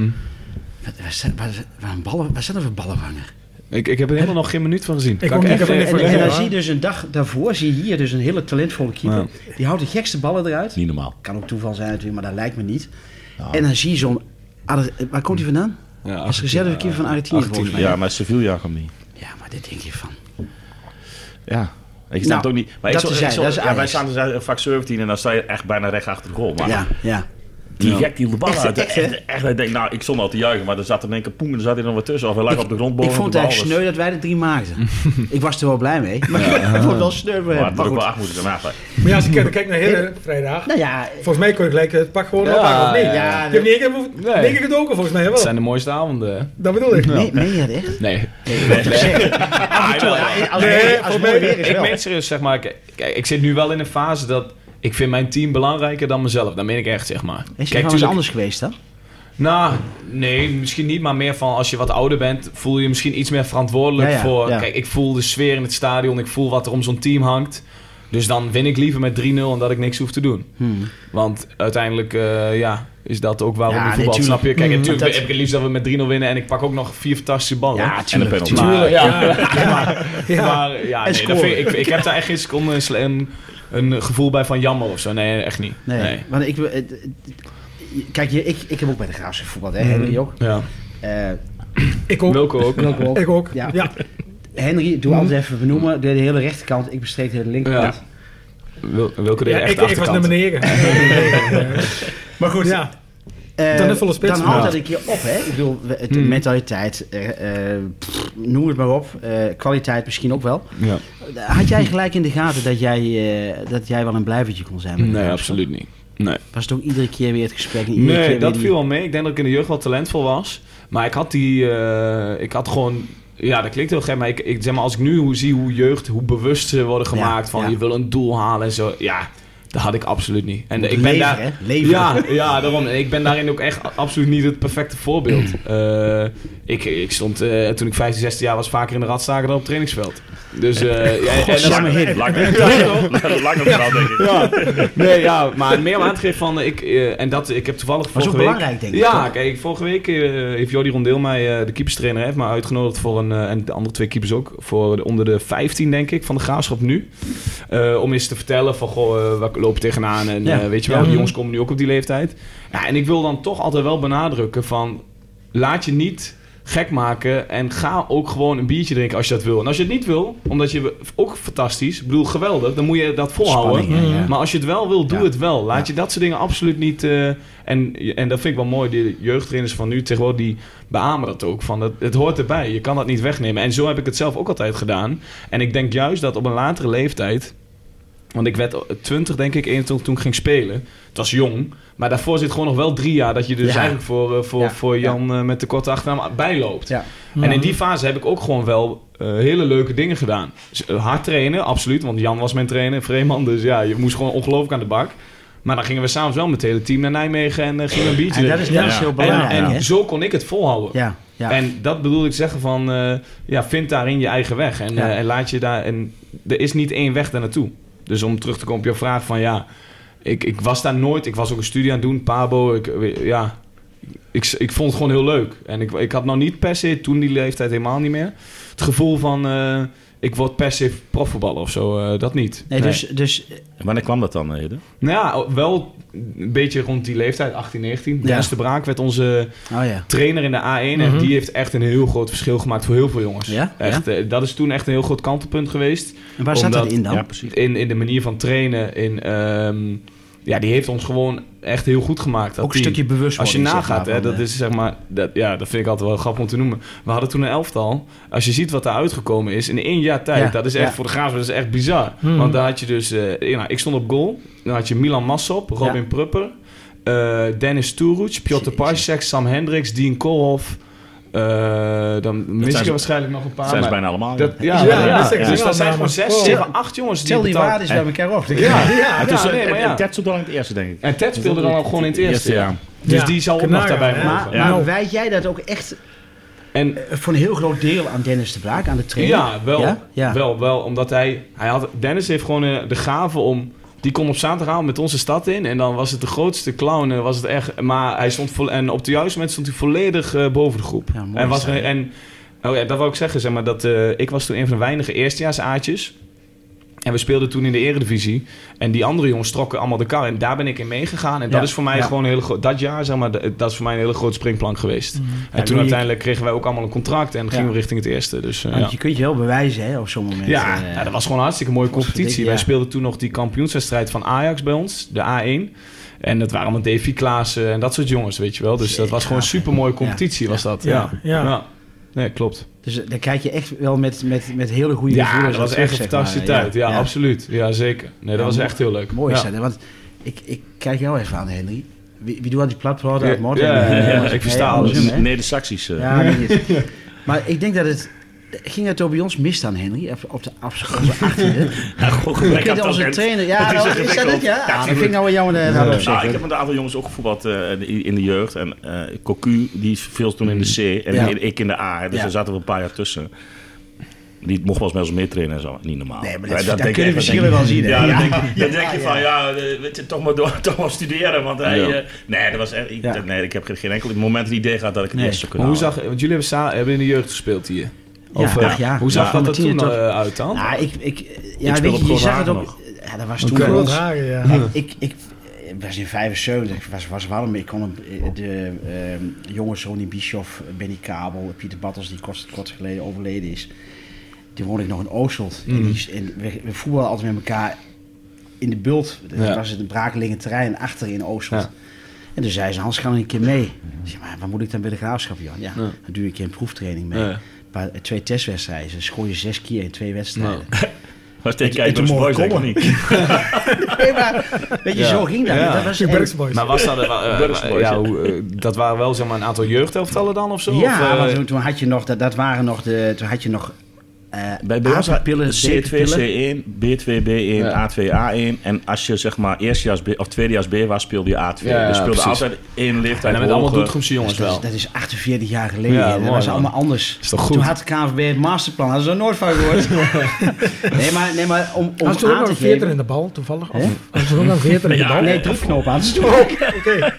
[SPEAKER 2] Wat- Waar, zijn- waar, waar, een ballen, waar zijn er voor ballenvanger?
[SPEAKER 4] Ik, ik heb er helemaal nog geen minuut van gezien.
[SPEAKER 5] Ik
[SPEAKER 4] Kan
[SPEAKER 5] ook niet,
[SPEAKER 4] echt
[SPEAKER 5] ik heb
[SPEAKER 4] geen-
[SPEAKER 5] er
[SPEAKER 2] En,
[SPEAKER 5] Even
[SPEAKER 2] en dan
[SPEAKER 5] leggen,
[SPEAKER 2] zie je dus een dag daarvoor, zie je hier dus een hele talentvolle keeper. Die houdt de gekste ballen eruit.
[SPEAKER 3] Niet normaal.
[SPEAKER 2] Kan ook toeval zijn natuurlijk, maar dat lijkt me niet. En dan zie je zo'n... Ar- Waar komt hij vandaan?
[SPEAKER 4] Ja,
[SPEAKER 2] Als reserve keeper van Argentinië volgens mij.
[SPEAKER 3] Ja, maar Sevilla kwam niet.
[SPEAKER 2] Ja, maar dit denk je van.
[SPEAKER 3] Ja. Ik snap het
[SPEAKER 2] Nou,
[SPEAKER 3] ook niet. Maar ik
[SPEAKER 2] dat
[SPEAKER 3] zal-
[SPEAKER 2] is
[SPEAKER 3] ik
[SPEAKER 2] hij,
[SPEAKER 3] zal-
[SPEAKER 2] dat is
[SPEAKER 3] ja, wij
[SPEAKER 2] Ajax.
[SPEAKER 3] staan dus uit vak 17 en dan sta je echt bijna recht achter de goal. Maar
[SPEAKER 2] Ja, ja.
[SPEAKER 3] die gek die de bal
[SPEAKER 2] Echt,
[SPEAKER 3] uit.
[SPEAKER 2] echt,
[SPEAKER 3] Echt,
[SPEAKER 2] hè?
[SPEAKER 3] echt, ik denk, nou, ik stond al te juichen, maar er zat in één keer poem en er zat hij nog wat tussen. Of hij lag op de grond
[SPEAKER 2] Ik
[SPEAKER 3] boven
[SPEAKER 2] vond het
[SPEAKER 3] de bal.
[SPEAKER 2] eigenlijk
[SPEAKER 3] Dus-
[SPEAKER 2] sneu dat wij de drie maakten. ik was er wel blij mee. Maar ik vond het wel sneu. voor hem.
[SPEAKER 3] Maar het
[SPEAKER 2] Maar
[SPEAKER 3] moet ook
[SPEAKER 2] goed.
[SPEAKER 3] wel acht moeten zijn. maar ja, fijn.
[SPEAKER 5] Maar ja, als ik kijk- kijk naar hele vrijdag.
[SPEAKER 2] Nou ja,
[SPEAKER 5] Volgens mij kon ik gelijk het pak gewoon
[SPEAKER 4] Ja,
[SPEAKER 5] ophangen, of niet?
[SPEAKER 4] ja,
[SPEAKER 2] ja.
[SPEAKER 5] Je hebt niet één keer behoef-
[SPEAKER 4] Nee.
[SPEAKER 5] één keer gedoken, volgens mij. hè,
[SPEAKER 4] Het
[SPEAKER 5] Wel.
[SPEAKER 4] zijn de mooiste avonden. hè?
[SPEAKER 5] Dat bedoel ik.
[SPEAKER 2] nee, meen je dat echt?
[SPEAKER 4] Nee.
[SPEAKER 2] Af en toe, ja, als
[SPEAKER 5] Nee,
[SPEAKER 2] nee, als
[SPEAKER 5] volgens
[SPEAKER 2] mooi
[SPEAKER 5] mij-
[SPEAKER 2] weer is
[SPEAKER 4] Ik
[SPEAKER 2] wel.
[SPEAKER 4] meen serieus, zeg maar. Kijk, kijk, ik zit nu wel in een fase dat... Ik vind mijn team belangrijker dan mezelf. Dat meen ik echt, zeg maar.
[SPEAKER 2] Is het wel eens
[SPEAKER 4] tuurlijk-
[SPEAKER 2] anders geweest dan?
[SPEAKER 4] Nou, nee, misschien niet. Maar meer van als je wat ouder bent, voel je misschien iets meer verantwoordelijk
[SPEAKER 2] Ja, ja,
[SPEAKER 4] voor.
[SPEAKER 2] ja.
[SPEAKER 4] Kijk, ik voel de sfeer in het stadion. Ik voel wat er om zo'n team hangt. Dus dan win ik liever met 3-0 en dat ik niks hoef te doen. Want uiteindelijk, eh, ja, is dat ook waarom
[SPEAKER 2] Hmm. Ja,
[SPEAKER 4] ik voetbal.
[SPEAKER 2] nee, tuurlijk.
[SPEAKER 4] snap je? Kijk,
[SPEAKER 2] Mm,
[SPEAKER 4] natuurlijk
[SPEAKER 2] dat-
[SPEAKER 4] heb ik het liefst dat we met 3-0 winnen en ik pak ook nog vier fantastische ballen.
[SPEAKER 2] Ja,
[SPEAKER 4] Maar-
[SPEAKER 2] tuurlijk.
[SPEAKER 3] penalty.
[SPEAKER 2] tuurlijk.
[SPEAKER 4] ja, maar, maar ja,
[SPEAKER 2] En
[SPEAKER 4] nee, dat
[SPEAKER 2] scoren.
[SPEAKER 4] vind ik, ik, ik heb daar echt geen seconde sle- een, een gevoel bij van jammer of zo. Nee, echt niet.
[SPEAKER 2] Nee,
[SPEAKER 4] Nee.
[SPEAKER 2] want ik... eh, eh, Kijk, je- ik, ik heb ook bij de Graafschap voetbal, hè, Henry ook.
[SPEAKER 4] Ja.
[SPEAKER 2] Eh,
[SPEAKER 5] Ik ook.
[SPEAKER 4] Wilco ook.
[SPEAKER 2] Wilco ook.
[SPEAKER 5] Ik ook.
[SPEAKER 2] Ja.
[SPEAKER 5] Ja.
[SPEAKER 2] Henry, doe altijd even benoemen, de hele rechterkant, ik bestreek de hele linkerkant.
[SPEAKER 4] Ja. Wil, Wilco deed
[SPEAKER 5] Ja,
[SPEAKER 4] echt
[SPEAKER 5] ik,
[SPEAKER 4] de
[SPEAKER 5] ik was
[SPEAKER 4] achterkant.
[SPEAKER 5] nummer 9.
[SPEAKER 2] Maar goed,
[SPEAKER 5] Ja.
[SPEAKER 2] Eh,
[SPEAKER 5] Dan een volle spits.
[SPEAKER 2] Dan haalt
[SPEAKER 5] Ja.
[SPEAKER 2] dat een keer op, hè? Ik bedoel, we- het,
[SPEAKER 4] Mhm.
[SPEAKER 2] mentaliteit, eh, eh, pff, noem het maar op. eh, kwaliteit misschien ook wel.
[SPEAKER 4] Ja.
[SPEAKER 2] Had jij gelijk in de gaten dat jij, eh, dat jij wel een blijvertje kon zijn? met de
[SPEAKER 4] Nee,
[SPEAKER 2] Graafschap?
[SPEAKER 4] absoluut niet. Nee,
[SPEAKER 2] Was het ook iedere keer weer het gesprek? en Iedere keer
[SPEAKER 4] nee
[SPEAKER 2] weer
[SPEAKER 4] dat
[SPEAKER 2] die-
[SPEAKER 4] viel wel mee. Ik denk dat ik in de jeugd wel talentvol was. Maar ik had die... eh, ik had gewoon... Ja, dat klinkt heel gek, maar, ik, ik, zeg maar als ik nu hoe zie hoe jeugd, hoe bewust ze worden gemaakt
[SPEAKER 2] Ja,
[SPEAKER 4] van
[SPEAKER 2] ja.
[SPEAKER 4] je wil een doel halen en zo. Ja, dat had ik absoluut niet. En ik ben
[SPEAKER 2] Leven,
[SPEAKER 4] daar,
[SPEAKER 2] hè? Leven.
[SPEAKER 4] Ja, ja, daarom. En Ik ben daarin ook echt a- absoluut niet het perfecte voorbeeld. Eh, ik, ik stond eh, toen ik 15, 16 jaar was vaker in de radstaken dan op het trainingsveld. Dus eh, ja, en dat is-
[SPEAKER 2] Lange hit.
[SPEAKER 3] Langer Langer verhaal, denk ik.
[SPEAKER 4] ja. Nee, ja, maar meer om aan te geven van... eh, Ik, eh, en dat, ik heb toevallig
[SPEAKER 2] ook
[SPEAKER 4] vorige week...
[SPEAKER 2] belangrijk, denk ik,
[SPEAKER 4] Ja,
[SPEAKER 2] toch?
[SPEAKER 4] kijk, vorige week eh, heeft Jordi Rondeel mij, eh, de keeperstrainer, heeft mij uitgenodigd voor een... eh, en de andere twee keepers ook, voor de- onder de 15, denk ik, van de Graafschap nu. Eh, om eens te vertellen van, goh, eh, waar loop je tegenaan? En
[SPEAKER 2] Ja. Mhm.
[SPEAKER 4] eh, weet je wel, die jongens komen nu ook op die leeftijd. Ja, en ik wil dan toch altijd wel benadrukken van... Laat je niet gek maken en ga ook gewoon een biertje drinken als je dat wil. En als je het niet wil, omdat je ook fantastisch, ik bedoel geweldig, dan moet je dat volhouden.
[SPEAKER 2] Spanning, hè, ja.
[SPEAKER 4] Maar als je het wel wil, doe
[SPEAKER 2] Ja.
[SPEAKER 4] het wel. Laat je dat soort dingen absoluut niet. eh, en, en dat vind ik wel mooi. De jeugdtrainers van nu tegenwoordig die beamen dat ook. Van dat, het hoort erbij. Je kan dat niet wegnemen. En zo heb ik het zelf ook altijd gedaan. En ik denk juist dat op een latere leeftijd. Want ik werd 20, denk ik, 21 toen ik ging spelen. Het was jong. Maar daarvoor zit gewoon nog wel drie jaar dat je dus
[SPEAKER 2] Ja.
[SPEAKER 4] eigenlijk voor, eh, voor,
[SPEAKER 2] Ja.
[SPEAKER 4] voor Jan eh, met de korte achternaam bijloopt.
[SPEAKER 2] Ja.
[SPEAKER 4] En in die fase heb ik ook gewoon wel eh, hele leuke dingen gedaan. Dus, eh, hard trainen, absoluut. Want Jan was mijn trainer, Vreeman. Dus ja, je moest gewoon ongelooflijk aan de bak. Maar dan gingen we s'avonds wel met het hele team naar Nijmegen en eh, gingen we een biertje
[SPEAKER 2] En dat is,
[SPEAKER 4] drinken.
[SPEAKER 2] dat is heel belangrijk,
[SPEAKER 4] en,
[SPEAKER 2] hè?
[SPEAKER 4] en zo kon ik het volhouden.
[SPEAKER 2] Ja, ja.
[SPEAKER 4] En dat bedoel ik zeggen van, eh, ja, vind daarin je eigen weg. En,
[SPEAKER 2] Ja.
[SPEAKER 4] eh, en laat je daar, en er is niet één weg daar naartoe. Dus om terug te komen op jouw vraag van, ja, ik, ik was daar nooit. Ik was ook een studie aan het doen, Pabo. Ik, eh, ja, ik, ik vond het gewoon heel leuk. En ik, ik had nou niet per se, toen die leeftijd helemaal niet meer, het gevoel van, eh, ik word per se profvoetballer of zo. eh, dat niet.
[SPEAKER 2] Nee, Dus, dus eh,
[SPEAKER 3] En wanneer kwam dat dan, Ede?
[SPEAKER 4] Nou ja, wel een beetje rond die leeftijd, 18, 19.
[SPEAKER 2] Ja.
[SPEAKER 4] Dennis de Braak werd onze
[SPEAKER 2] oh ja.
[SPEAKER 4] trainer in de A1. En
[SPEAKER 5] Mhm.
[SPEAKER 4] die heeft echt een heel groot verschil gemaakt voor heel veel jongens.
[SPEAKER 2] Ja?
[SPEAKER 4] Echt, eh, dat is toen echt een heel groot kantelpunt geweest.
[SPEAKER 2] En waar zat
[SPEAKER 4] Omdat-
[SPEAKER 2] dat in dan?
[SPEAKER 3] Ja, precies.
[SPEAKER 4] In, in de manier van trainen. In, ehm, ja, die heeft ons gewoon echt heel goed gemaakt. dat
[SPEAKER 2] Ook een
[SPEAKER 4] team.
[SPEAKER 2] stukje
[SPEAKER 4] Als je
[SPEAKER 2] bewustwording. zeg
[SPEAKER 4] nagaat,
[SPEAKER 2] maar,
[SPEAKER 4] hè,
[SPEAKER 2] van,
[SPEAKER 4] dat
[SPEAKER 2] eh,
[SPEAKER 4] is zeg maar, dat, ja, dat vind ik altijd wel grappig om te noemen. We hadden toen een elftal. Als je ziet wat daar uitgekomen is in één jaar tijd,
[SPEAKER 2] Ja,
[SPEAKER 4] dat is echt
[SPEAKER 2] ja.
[SPEAKER 4] voor de graafschap, dat is echt bizar.
[SPEAKER 5] Hmm.
[SPEAKER 4] Want daar had je dus, eh, ja, nou, ik stond op goal. Dan had je Milan Massop, Robin
[SPEAKER 2] Ja.
[SPEAKER 4] Prupper, eh, Dennis Turuc, Piotr
[SPEAKER 2] Jezus.
[SPEAKER 4] Pajsek, Sam Hendricks, Dean Koolhof. eh, dan mis ik
[SPEAKER 3] zijn
[SPEAKER 4] er
[SPEAKER 3] ze-
[SPEAKER 4] waarschijnlijk nog een paar.
[SPEAKER 3] Dat zijn ze
[SPEAKER 4] maar
[SPEAKER 3] bijna allemaal.
[SPEAKER 4] dat, ja,
[SPEAKER 5] Ja,
[SPEAKER 4] ja,
[SPEAKER 5] ja, dat is echt
[SPEAKER 4] Dus
[SPEAKER 5] een
[SPEAKER 4] dat zijn gewoon
[SPEAKER 5] namen.
[SPEAKER 4] zes,
[SPEAKER 5] Oh.
[SPEAKER 4] zeven, acht jongens die
[SPEAKER 2] Tel die
[SPEAKER 4] betaald-
[SPEAKER 2] waardes bij elkaar op.
[SPEAKER 4] Ja,
[SPEAKER 5] Ja,
[SPEAKER 4] ja,
[SPEAKER 3] het is,
[SPEAKER 4] nee, maar ja.
[SPEAKER 3] en Ted stond al in het eerste, denk ik.
[SPEAKER 4] En Ted speelde dan ook gewoon in het eerste.
[SPEAKER 3] ja.
[SPEAKER 4] ja. Dus
[SPEAKER 5] Ja,
[SPEAKER 4] die zal ook nog
[SPEAKER 5] knager,
[SPEAKER 4] daarbij
[SPEAKER 5] hè?
[SPEAKER 4] mogen.
[SPEAKER 2] Ah, Maar,
[SPEAKER 5] Ja.
[SPEAKER 2] maar wijd jij dat ook echt
[SPEAKER 4] En
[SPEAKER 2] eh, voor een heel groot deel aan Dennis de Braak, aan de trainer?
[SPEAKER 4] Ja, wel,
[SPEAKER 2] Ja? Ja.
[SPEAKER 4] wel, wel. Omdat hij, hij had, Dennis heeft gewoon eh, de gave om, die kon op zaterdagavond met onze stad in en dan was het de grootste clown en was het echt, maar hij stond vol, en op de juiste moment stond hij volledig eh, boven de groep.
[SPEAKER 2] Ja, mooi
[SPEAKER 4] en was
[SPEAKER 2] is dat,
[SPEAKER 4] er-
[SPEAKER 2] hè?
[SPEAKER 4] en oh ja, dat wil ik zeggen, zeg maar dat eh, ik was toen een van de weinige eerstejaars aatjes. En we speelden toen in de eredivisie. En die andere jongens trokken allemaal de kar. En daar ben ik in meegegaan. En dat
[SPEAKER 2] Ja,
[SPEAKER 4] is voor mij
[SPEAKER 2] ja.
[SPEAKER 4] gewoon een hele groot... Dat jaar, zeg maar, dat dat is voor mij een hele grote springplank geweest. En
[SPEAKER 2] doe
[SPEAKER 4] toen
[SPEAKER 2] je-
[SPEAKER 4] uiteindelijk kregen wij ook allemaal een contract. En gingen we richting het eerste. Dus, eh, ja.
[SPEAKER 2] Want je kunt je wel bewijzen hè, op zo'n moment.
[SPEAKER 4] Ja,
[SPEAKER 2] eh,
[SPEAKER 4] ja, Nou, dat was gewoon een hartstikke mooie competitie.
[SPEAKER 2] ja.
[SPEAKER 4] Wij speelden toen nog die kampioenswedstrijd van Ajax bij ons, de A1. En dat waren allemaal Davy Klaassen en dat soort jongens, weet je wel. Dus dat was gewoon een supermooie competitie, was dat.
[SPEAKER 5] Ja, ja.
[SPEAKER 4] Nee, klopt.
[SPEAKER 2] Dus eh, daar kijk je echt wel met, met, met hele goede
[SPEAKER 4] Ja,
[SPEAKER 2] gevoelens
[SPEAKER 4] dat was
[SPEAKER 2] op
[SPEAKER 4] echt een
[SPEAKER 2] terug, zeg maar.
[SPEAKER 4] fantastische tijd. Ja, absoluut. Ja, zeker. Nee, dat
[SPEAKER 2] Ja,
[SPEAKER 4] was
[SPEAKER 2] mooi.
[SPEAKER 4] echt heel leuk.
[SPEAKER 2] Mooi is
[SPEAKER 4] ja.
[SPEAKER 2] dat, hè, want ik, ik kijk jou even aan, Henry. Wie, wie doet aan die platform?
[SPEAKER 4] Ja,
[SPEAKER 2] uit Morten?
[SPEAKER 4] ja, ja,
[SPEAKER 2] Eh,
[SPEAKER 4] ja,
[SPEAKER 2] was-
[SPEAKER 4] ik versta
[SPEAKER 2] nee,
[SPEAKER 4] alles.
[SPEAKER 2] andersom, hè?
[SPEAKER 3] Nee, de Saxies. eh.
[SPEAKER 2] Ja, weet niet. Maar ik denk dat het... Ging het ook bij ons mis dan, Henry? Op- Op de afscheid.
[SPEAKER 3] Ja, gewoon gebrek
[SPEAKER 2] Ik
[SPEAKER 3] aan
[SPEAKER 2] denk dat onze
[SPEAKER 3] talent.
[SPEAKER 2] trainer... Ja,
[SPEAKER 3] Dat is
[SPEAKER 2] nou,
[SPEAKER 3] echt
[SPEAKER 2] is dat het?
[SPEAKER 3] ingewikkeld.
[SPEAKER 2] Ja,
[SPEAKER 3] Ja,
[SPEAKER 2] Ah, dat
[SPEAKER 3] tuurlijk.
[SPEAKER 2] vind ik nou wel jammer eh, daarop
[SPEAKER 3] Nou, ik
[SPEAKER 4] Ah,
[SPEAKER 2] zeggen.
[SPEAKER 3] heb met een aantal jongens ook gevoetbald eh, in in de jeugd. En eh Cocu, die viel toen in de C en
[SPEAKER 2] Mhm. Ja.
[SPEAKER 3] ik- ik in de A. hè. Dus
[SPEAKER 2] Ja.
[SPEAKER 3] daar zaten we een paar jaar tussen. Die mocht wel eens met ons meetrainen en zo. Niet normaal.
[SPEAKER 2] Nee, maar
[SPEAKER 3] Ja,
[SPEAKER 2] dat, dat,
[SPEAKER 3] denk
[SPEAKER 2] kunnen we
[SPEAKER 3] ik echt,
[SPEAKER 2] verschillen wel zien. hè?
[SPEAKER 3] Ja,
[SPEAKER 2] Ja.
[SPEAKER 3] dan denk, je- dan denk je van, ja, eh, weet je, toch maar, door, toch maar studeren. Want hij,
[SPEAKER 4] Ja.
[SPEAKER 3] eh, nee, dat was echt, ik,
[SPEAKER 2] Ja.
[SPEAKER 3] nee, ik heb geen- geen enkel moment het idee gehad dat ik het
[SPEAKER 2] Nee.
[SPEAKER 3] eerst zou
[SPEAKER 4] Maar
[SPEAKER 3] kunnen
[SPEAKER 4] hoe
[SPEAKER 3] halen.
[SPEAKER 4] zag... Want jullie hebben, sa- hebben in de jeugd gespeeld hier. Of,
[SPEAKER 2] Ja,
[SPEAKER 4] eh,
[SPEAKER 2] ach ja.
[SPEAKER 4] Hoe
[SPEAKER 2] Ja.
[SPEAKER 4] zag dat er
[SPEAKER 2] Tien
[SPEAKER 4] toen
[SPEAKER 2] toch?
[SPEAKER 4] eh, uit dan?
[SPEAKER 2] Nou, ik, ik, ja,
[SPEAKER 3] speelde
[SPEAKER 2] weet
[SPEAKER 3] op
[SPEAKER 2] je, je zag het
[SPEAKER 3] Groningen
[SPEAKER 2] ook.
[SPEAKER 3] nog.
[SPEAKER 2] Ja, dat was toen
[SPEAKER 4] Oké.
[SPEAKER 2] voor ons.
[SPEAKER 5] Dragen, ja.
[SPEAKER 2] Ik,
[SPEAKER 4] Hm.
[SPEAKER 2] ik, ik eh, was in 75, was, was warm. Ik kon hem, eh, de ehm jonge Sonny Bischoff, Benny Kabel, Pieter Battels, die kort, kort geleden overleden is. Toen woonde ik nog in Oosteld.
[SPEAKER 4] Hm.
[SPEAKER 2] En, die is- en we, we voetbalden altijd met elkaar in de bult. Dat
[SPEAKER 4] Ja.
[SPEAKER 2] was het een brakelingen terrein achter in Oosteld.
[SPEAKER 4] Ja.
[SPEAKER 2] En toen zei ze, Hans, ga dan een keer mee. Ik zeg, maar waar moet ik dan bij de graafschap, Jan? Ja,
[SPEAKER 4] Ja.
[SPEAKER 2] dan doe ik een proeftraining mee.
[SPEAKER 4] Ja.
[SPEAKER 2] Maar twee testwedstrijden. Ze gooien zes keer in twee wedstrijden.
[SPEAKER 3] Was tegen
[SPEAKER 2] en toen
[SPEAKER 3] Kijkers
[SPEAKER 2] mogen
[SPEAKER 3] Boys denk ik
[SPEAKER 2] komen.
[SPEAKER 3] niet.
[SPEAKER 2] Nee, maar weet je,
[SPEAKER 4] Ja.
[SPEAKER 2] zo ging dat.
[SPEAKER 4] Ja.
[SPEAKER 2] Dat was
[SPEAKER 5] De
[SPEAKER 2] en-
[SPEAKER 5] Berks Boys.
[SPEAKER 4] Maar was dat... eh, eh,
[SPEAKER 3] Burgers Boys,
[SPEAKER 4] ja,
[SPEAKER 3] ja.
[SPEAKER 4] hoe, eh, dat waren wel zeg maar, een aantal jeugdhelftallen dan of zo?
[SPEAKER 2] ja,
[SPEAKER 4] of, eh,
[SPEAKER 2] want toen, toen had je nog, dat, dat waren nog de, toen had je nog eh
[SPEAKER 3] Bij bij ons
[SPEAKER 2] apenpillen,
[SPEAKER 3] C2,
[SPEAKER 2] zeepillen.
[SPEAKER 3] C1, B2, B1,
[SPEAKER 4] Ja.
[SPEAKER 3] A2, A1. En als je zeg maar eerstejaars B of tweedejaars B was, speelde je A2.
[SPEAKER 4] Ja, ja,
[SPEAKER 3] dus speelde
[SPEAKER 4] precies.
[SPEAKER 3] altijd één
[SPEAKER 4] en
[SPEAKER 3] leeftijd
[SPEAKER 4] dan met allemaal
[SPEAKER 3] hoger.
[SPEAKER 4] Doetinchemse jongens
[SPEAKER 2] Dus dat,
[SPEAKER 4] wel.
[SPEAKER 2] is, dat is 48 jaar geleden.
[SPEAKER 4] Ja,
[SPEAKER 2] dat
[SPEAKER 4] mooi,
[SPEAKER 2] was
[SPEAKER 4] man.
[SPEAKER 2] allemaal anders.
[SPEAKER 4] Is toch goed?
[SPEAKER 2] Toen had de KNVB het masterplan. Hadden ze er nooit van gehoord. nee, maar, nee, maar om, om
[SPEAKER 5] Had ze ook
[SPEAKER 2] aan
[SPEAKER 5] nog
[SPEAKER 2] te
[SPEAKER 5] een veerder
[SPEAKER 2] geven...
[SPEAKER 5] in de bal, toevallig?
[SPEAKER 2] Hè?
[SPEAKER 5] Of had ze ook nog een veerder in de
[SPEAKER 3] Nou,
[SPEAKER 5] bal?
[SPEAKER 2] nee, druknop aan.
[SPEAKER 3] Oh,
[SPEAKER 5] Oké.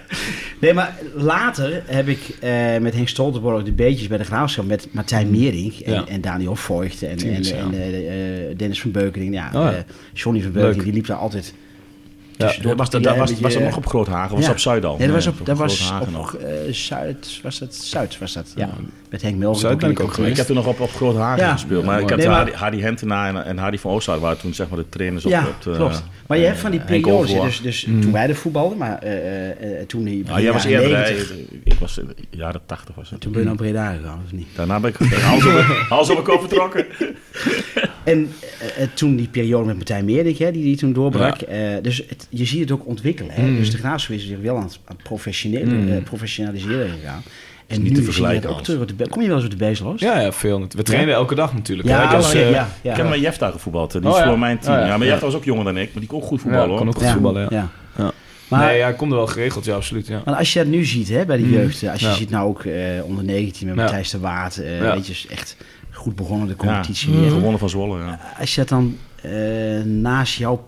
[SPEAKER 2] Nee, maar later heb ik eh, met Henk Stoltenborg de beetjes bij de graafschap met
[SPEAKER 3] Mm.
[SPEAKER 2] Martijn Mierink en,
[SPEAKER 4] Ja.
[SPEAKER 2] en Daniel Voigt en, en,
[SPEAKER 4] Tuurlijk, ja.
[SPEAKER 2] en, eh, eh, Dennis van Beukering.
[SPEAKER 3] Oh
[SPEAKER 2] Ja,
[SPEAKER 4] ja.
[SPEAKER 2] eh, Johnny van Beukering,
[SPEAKER 4] Leuk.
[SPEAKER 2] die liep daar altijd
[SPEAKER 4] Ja.
[SPEAKER 2] tussendoor.
[SPEAKER 3] was, dat,
[SPEAKER 2] Die,
[SPEAKER 3] dat
[SPEAKER 2] eh,
[SPEAKER 3] was,
[SPEAKER 2] beetje,
[SPEAKER 3] was dat
[SPEAKER 2] eh,
[SPEAKER 3] nog op Groothagen? Of was
[SPEAKER 2] ja.
[SPEAKER 3] dat op Zuid al?
[SPEAKER 2] Nee, dat was op,
[SPEAKER 3] Nee,
[SPEAKER 2] dat was
[SPEAKER 3] Groothagen
[SPEAKER 2] op
[SPEAKER 3] nog.
[SPEAKER 2] eh, Zuid, was dat Zuid, was dat? Ja,
[SPEAKER 4] Ja.
[SPEAKER 2] met Henk Melvin.
[SPEAKER 4] Zuid ben ik ook
[SPEAKER 3] Ik heb toen nog op, op Groothagen
[SPEAKER 2] Ja.
[SPEAKER 3] gespeeld. Maar ik
[SPEAKER 4] mooi.
[SPEAKER 3] had
[SPEAKER 2] Nee, maar-
[SPEAKER 3] Hardy, Hardy Hentena en, en Hardy van Oostzaal waren toen zeg maar de trainers op... eh,
[SPEAKER 2] Ja,
[SPEAKER 3] op de,
[SPEAKER 2] klopt. Maar je hebt van die
[SPEAKER 3] Henk
[SPEAKER 2] periodes, hè,
[SPEAKER 3] Overhoor.
[SPEAKER 2] dus, dus toen wij de voetbalden, maar eh, eh, eh, toen die
[SPEAKER 3] Ah, jij was
[SPEAKER 2] jaren
[SPEAKER 3] eerder, hè?
[SPEAKER 2] 90,
[SPEAKER 3] Ik was in de jaren tachtig was het.
[SPEAKER 2] Toen ben je naar Breda gegaan, of niet?
[SPEAKER 3] Daarna ben ik hals op, hals op mijn kop vertrokken.
[SPEAKER 2] En eh, eh, toen die periode met Martijn Meerdink, hè, die, die toen doorbrak. eh, dus het, je ziet het ook ontwikkelen. Hè?
[SPEAKER 4] Hmm.
[SPEAKER 2] Dus de graafschap is zich wel aan het, aan het professionele, eh, professionaliseren gegaan. En
[SPEAKER 3] niet
[SPEAKER 2] nu zie
[SPEAKER 3] te
[SPEAKER 2] je
[SPEAKER 3] vergelijken
[SPEAKER 2] dat ook
[SPEAKER 3] als-
[SPEAKER 2] terug op de be- Kom je wel eens op de bezigloos?
[SPEAKER 4] Ja, ja, veel. nat- We trainen elke dag natuurlijk.
[SPEAKER 2] Ja,
[SPEAKER 4] hè. Dus,
[SPEAKER 2] ja,
[SPEAKER 4] eh,
[SPEAKER 2] ja, ja.
[SPEAKER 3] Ik heb met Jefta gevoetbald. hè. Die
[SPEAKER 4] Oh,
[SPEAKER 3] is
[SPEAKER 4] ja.
[SPEAKER 3] voor mijn team.
[SPEAKER 4] Oh,
[SPEAKER 3] ja.
[SPEAKER 4] ja.
[SPEAKER 3] maar
[SPEAKER 4] Ja.
[SPEAKER 3] Jefta was ook jonger dan ik. Maar die kon ook goed
[SPEAKER 4] ja,
[SPEAKER 3] voetballen hoor.
[SPEAKER 4] kan ook goed voetballen, ja.
[SPEAKER 2] ja.
[SPEAKER 4] Ja.
[SPEAKER 2] Maar,
[SPEAKER 4] nee, ja, komt er wel geregeld, ja, absoluut. Ja.
[SPEAKER 2] maar als je dat nu ziet hè, bij de jeugd, eh, als je
[SPEAKER 4] Ja.
[SPEAKER 2] ziet nou ook eh, onder 19 met
[SPEAKER 4] Ja.
[SPEAKER 2] Matthijs de Waard, eh,
[SPEAKER 4] Ja. Hmm.
[SPEAKER 2] weet je, is echt goed begonnen de
[SPEAKER 3] Ja.
[SPEAKER 5] Mhm.
[SPEAKER 2] competitie weer.
[SPEAKER 3] Gewonnen van Zwolle, ja.
[SPEAKER 2] Als je dat dan eh, naast jouw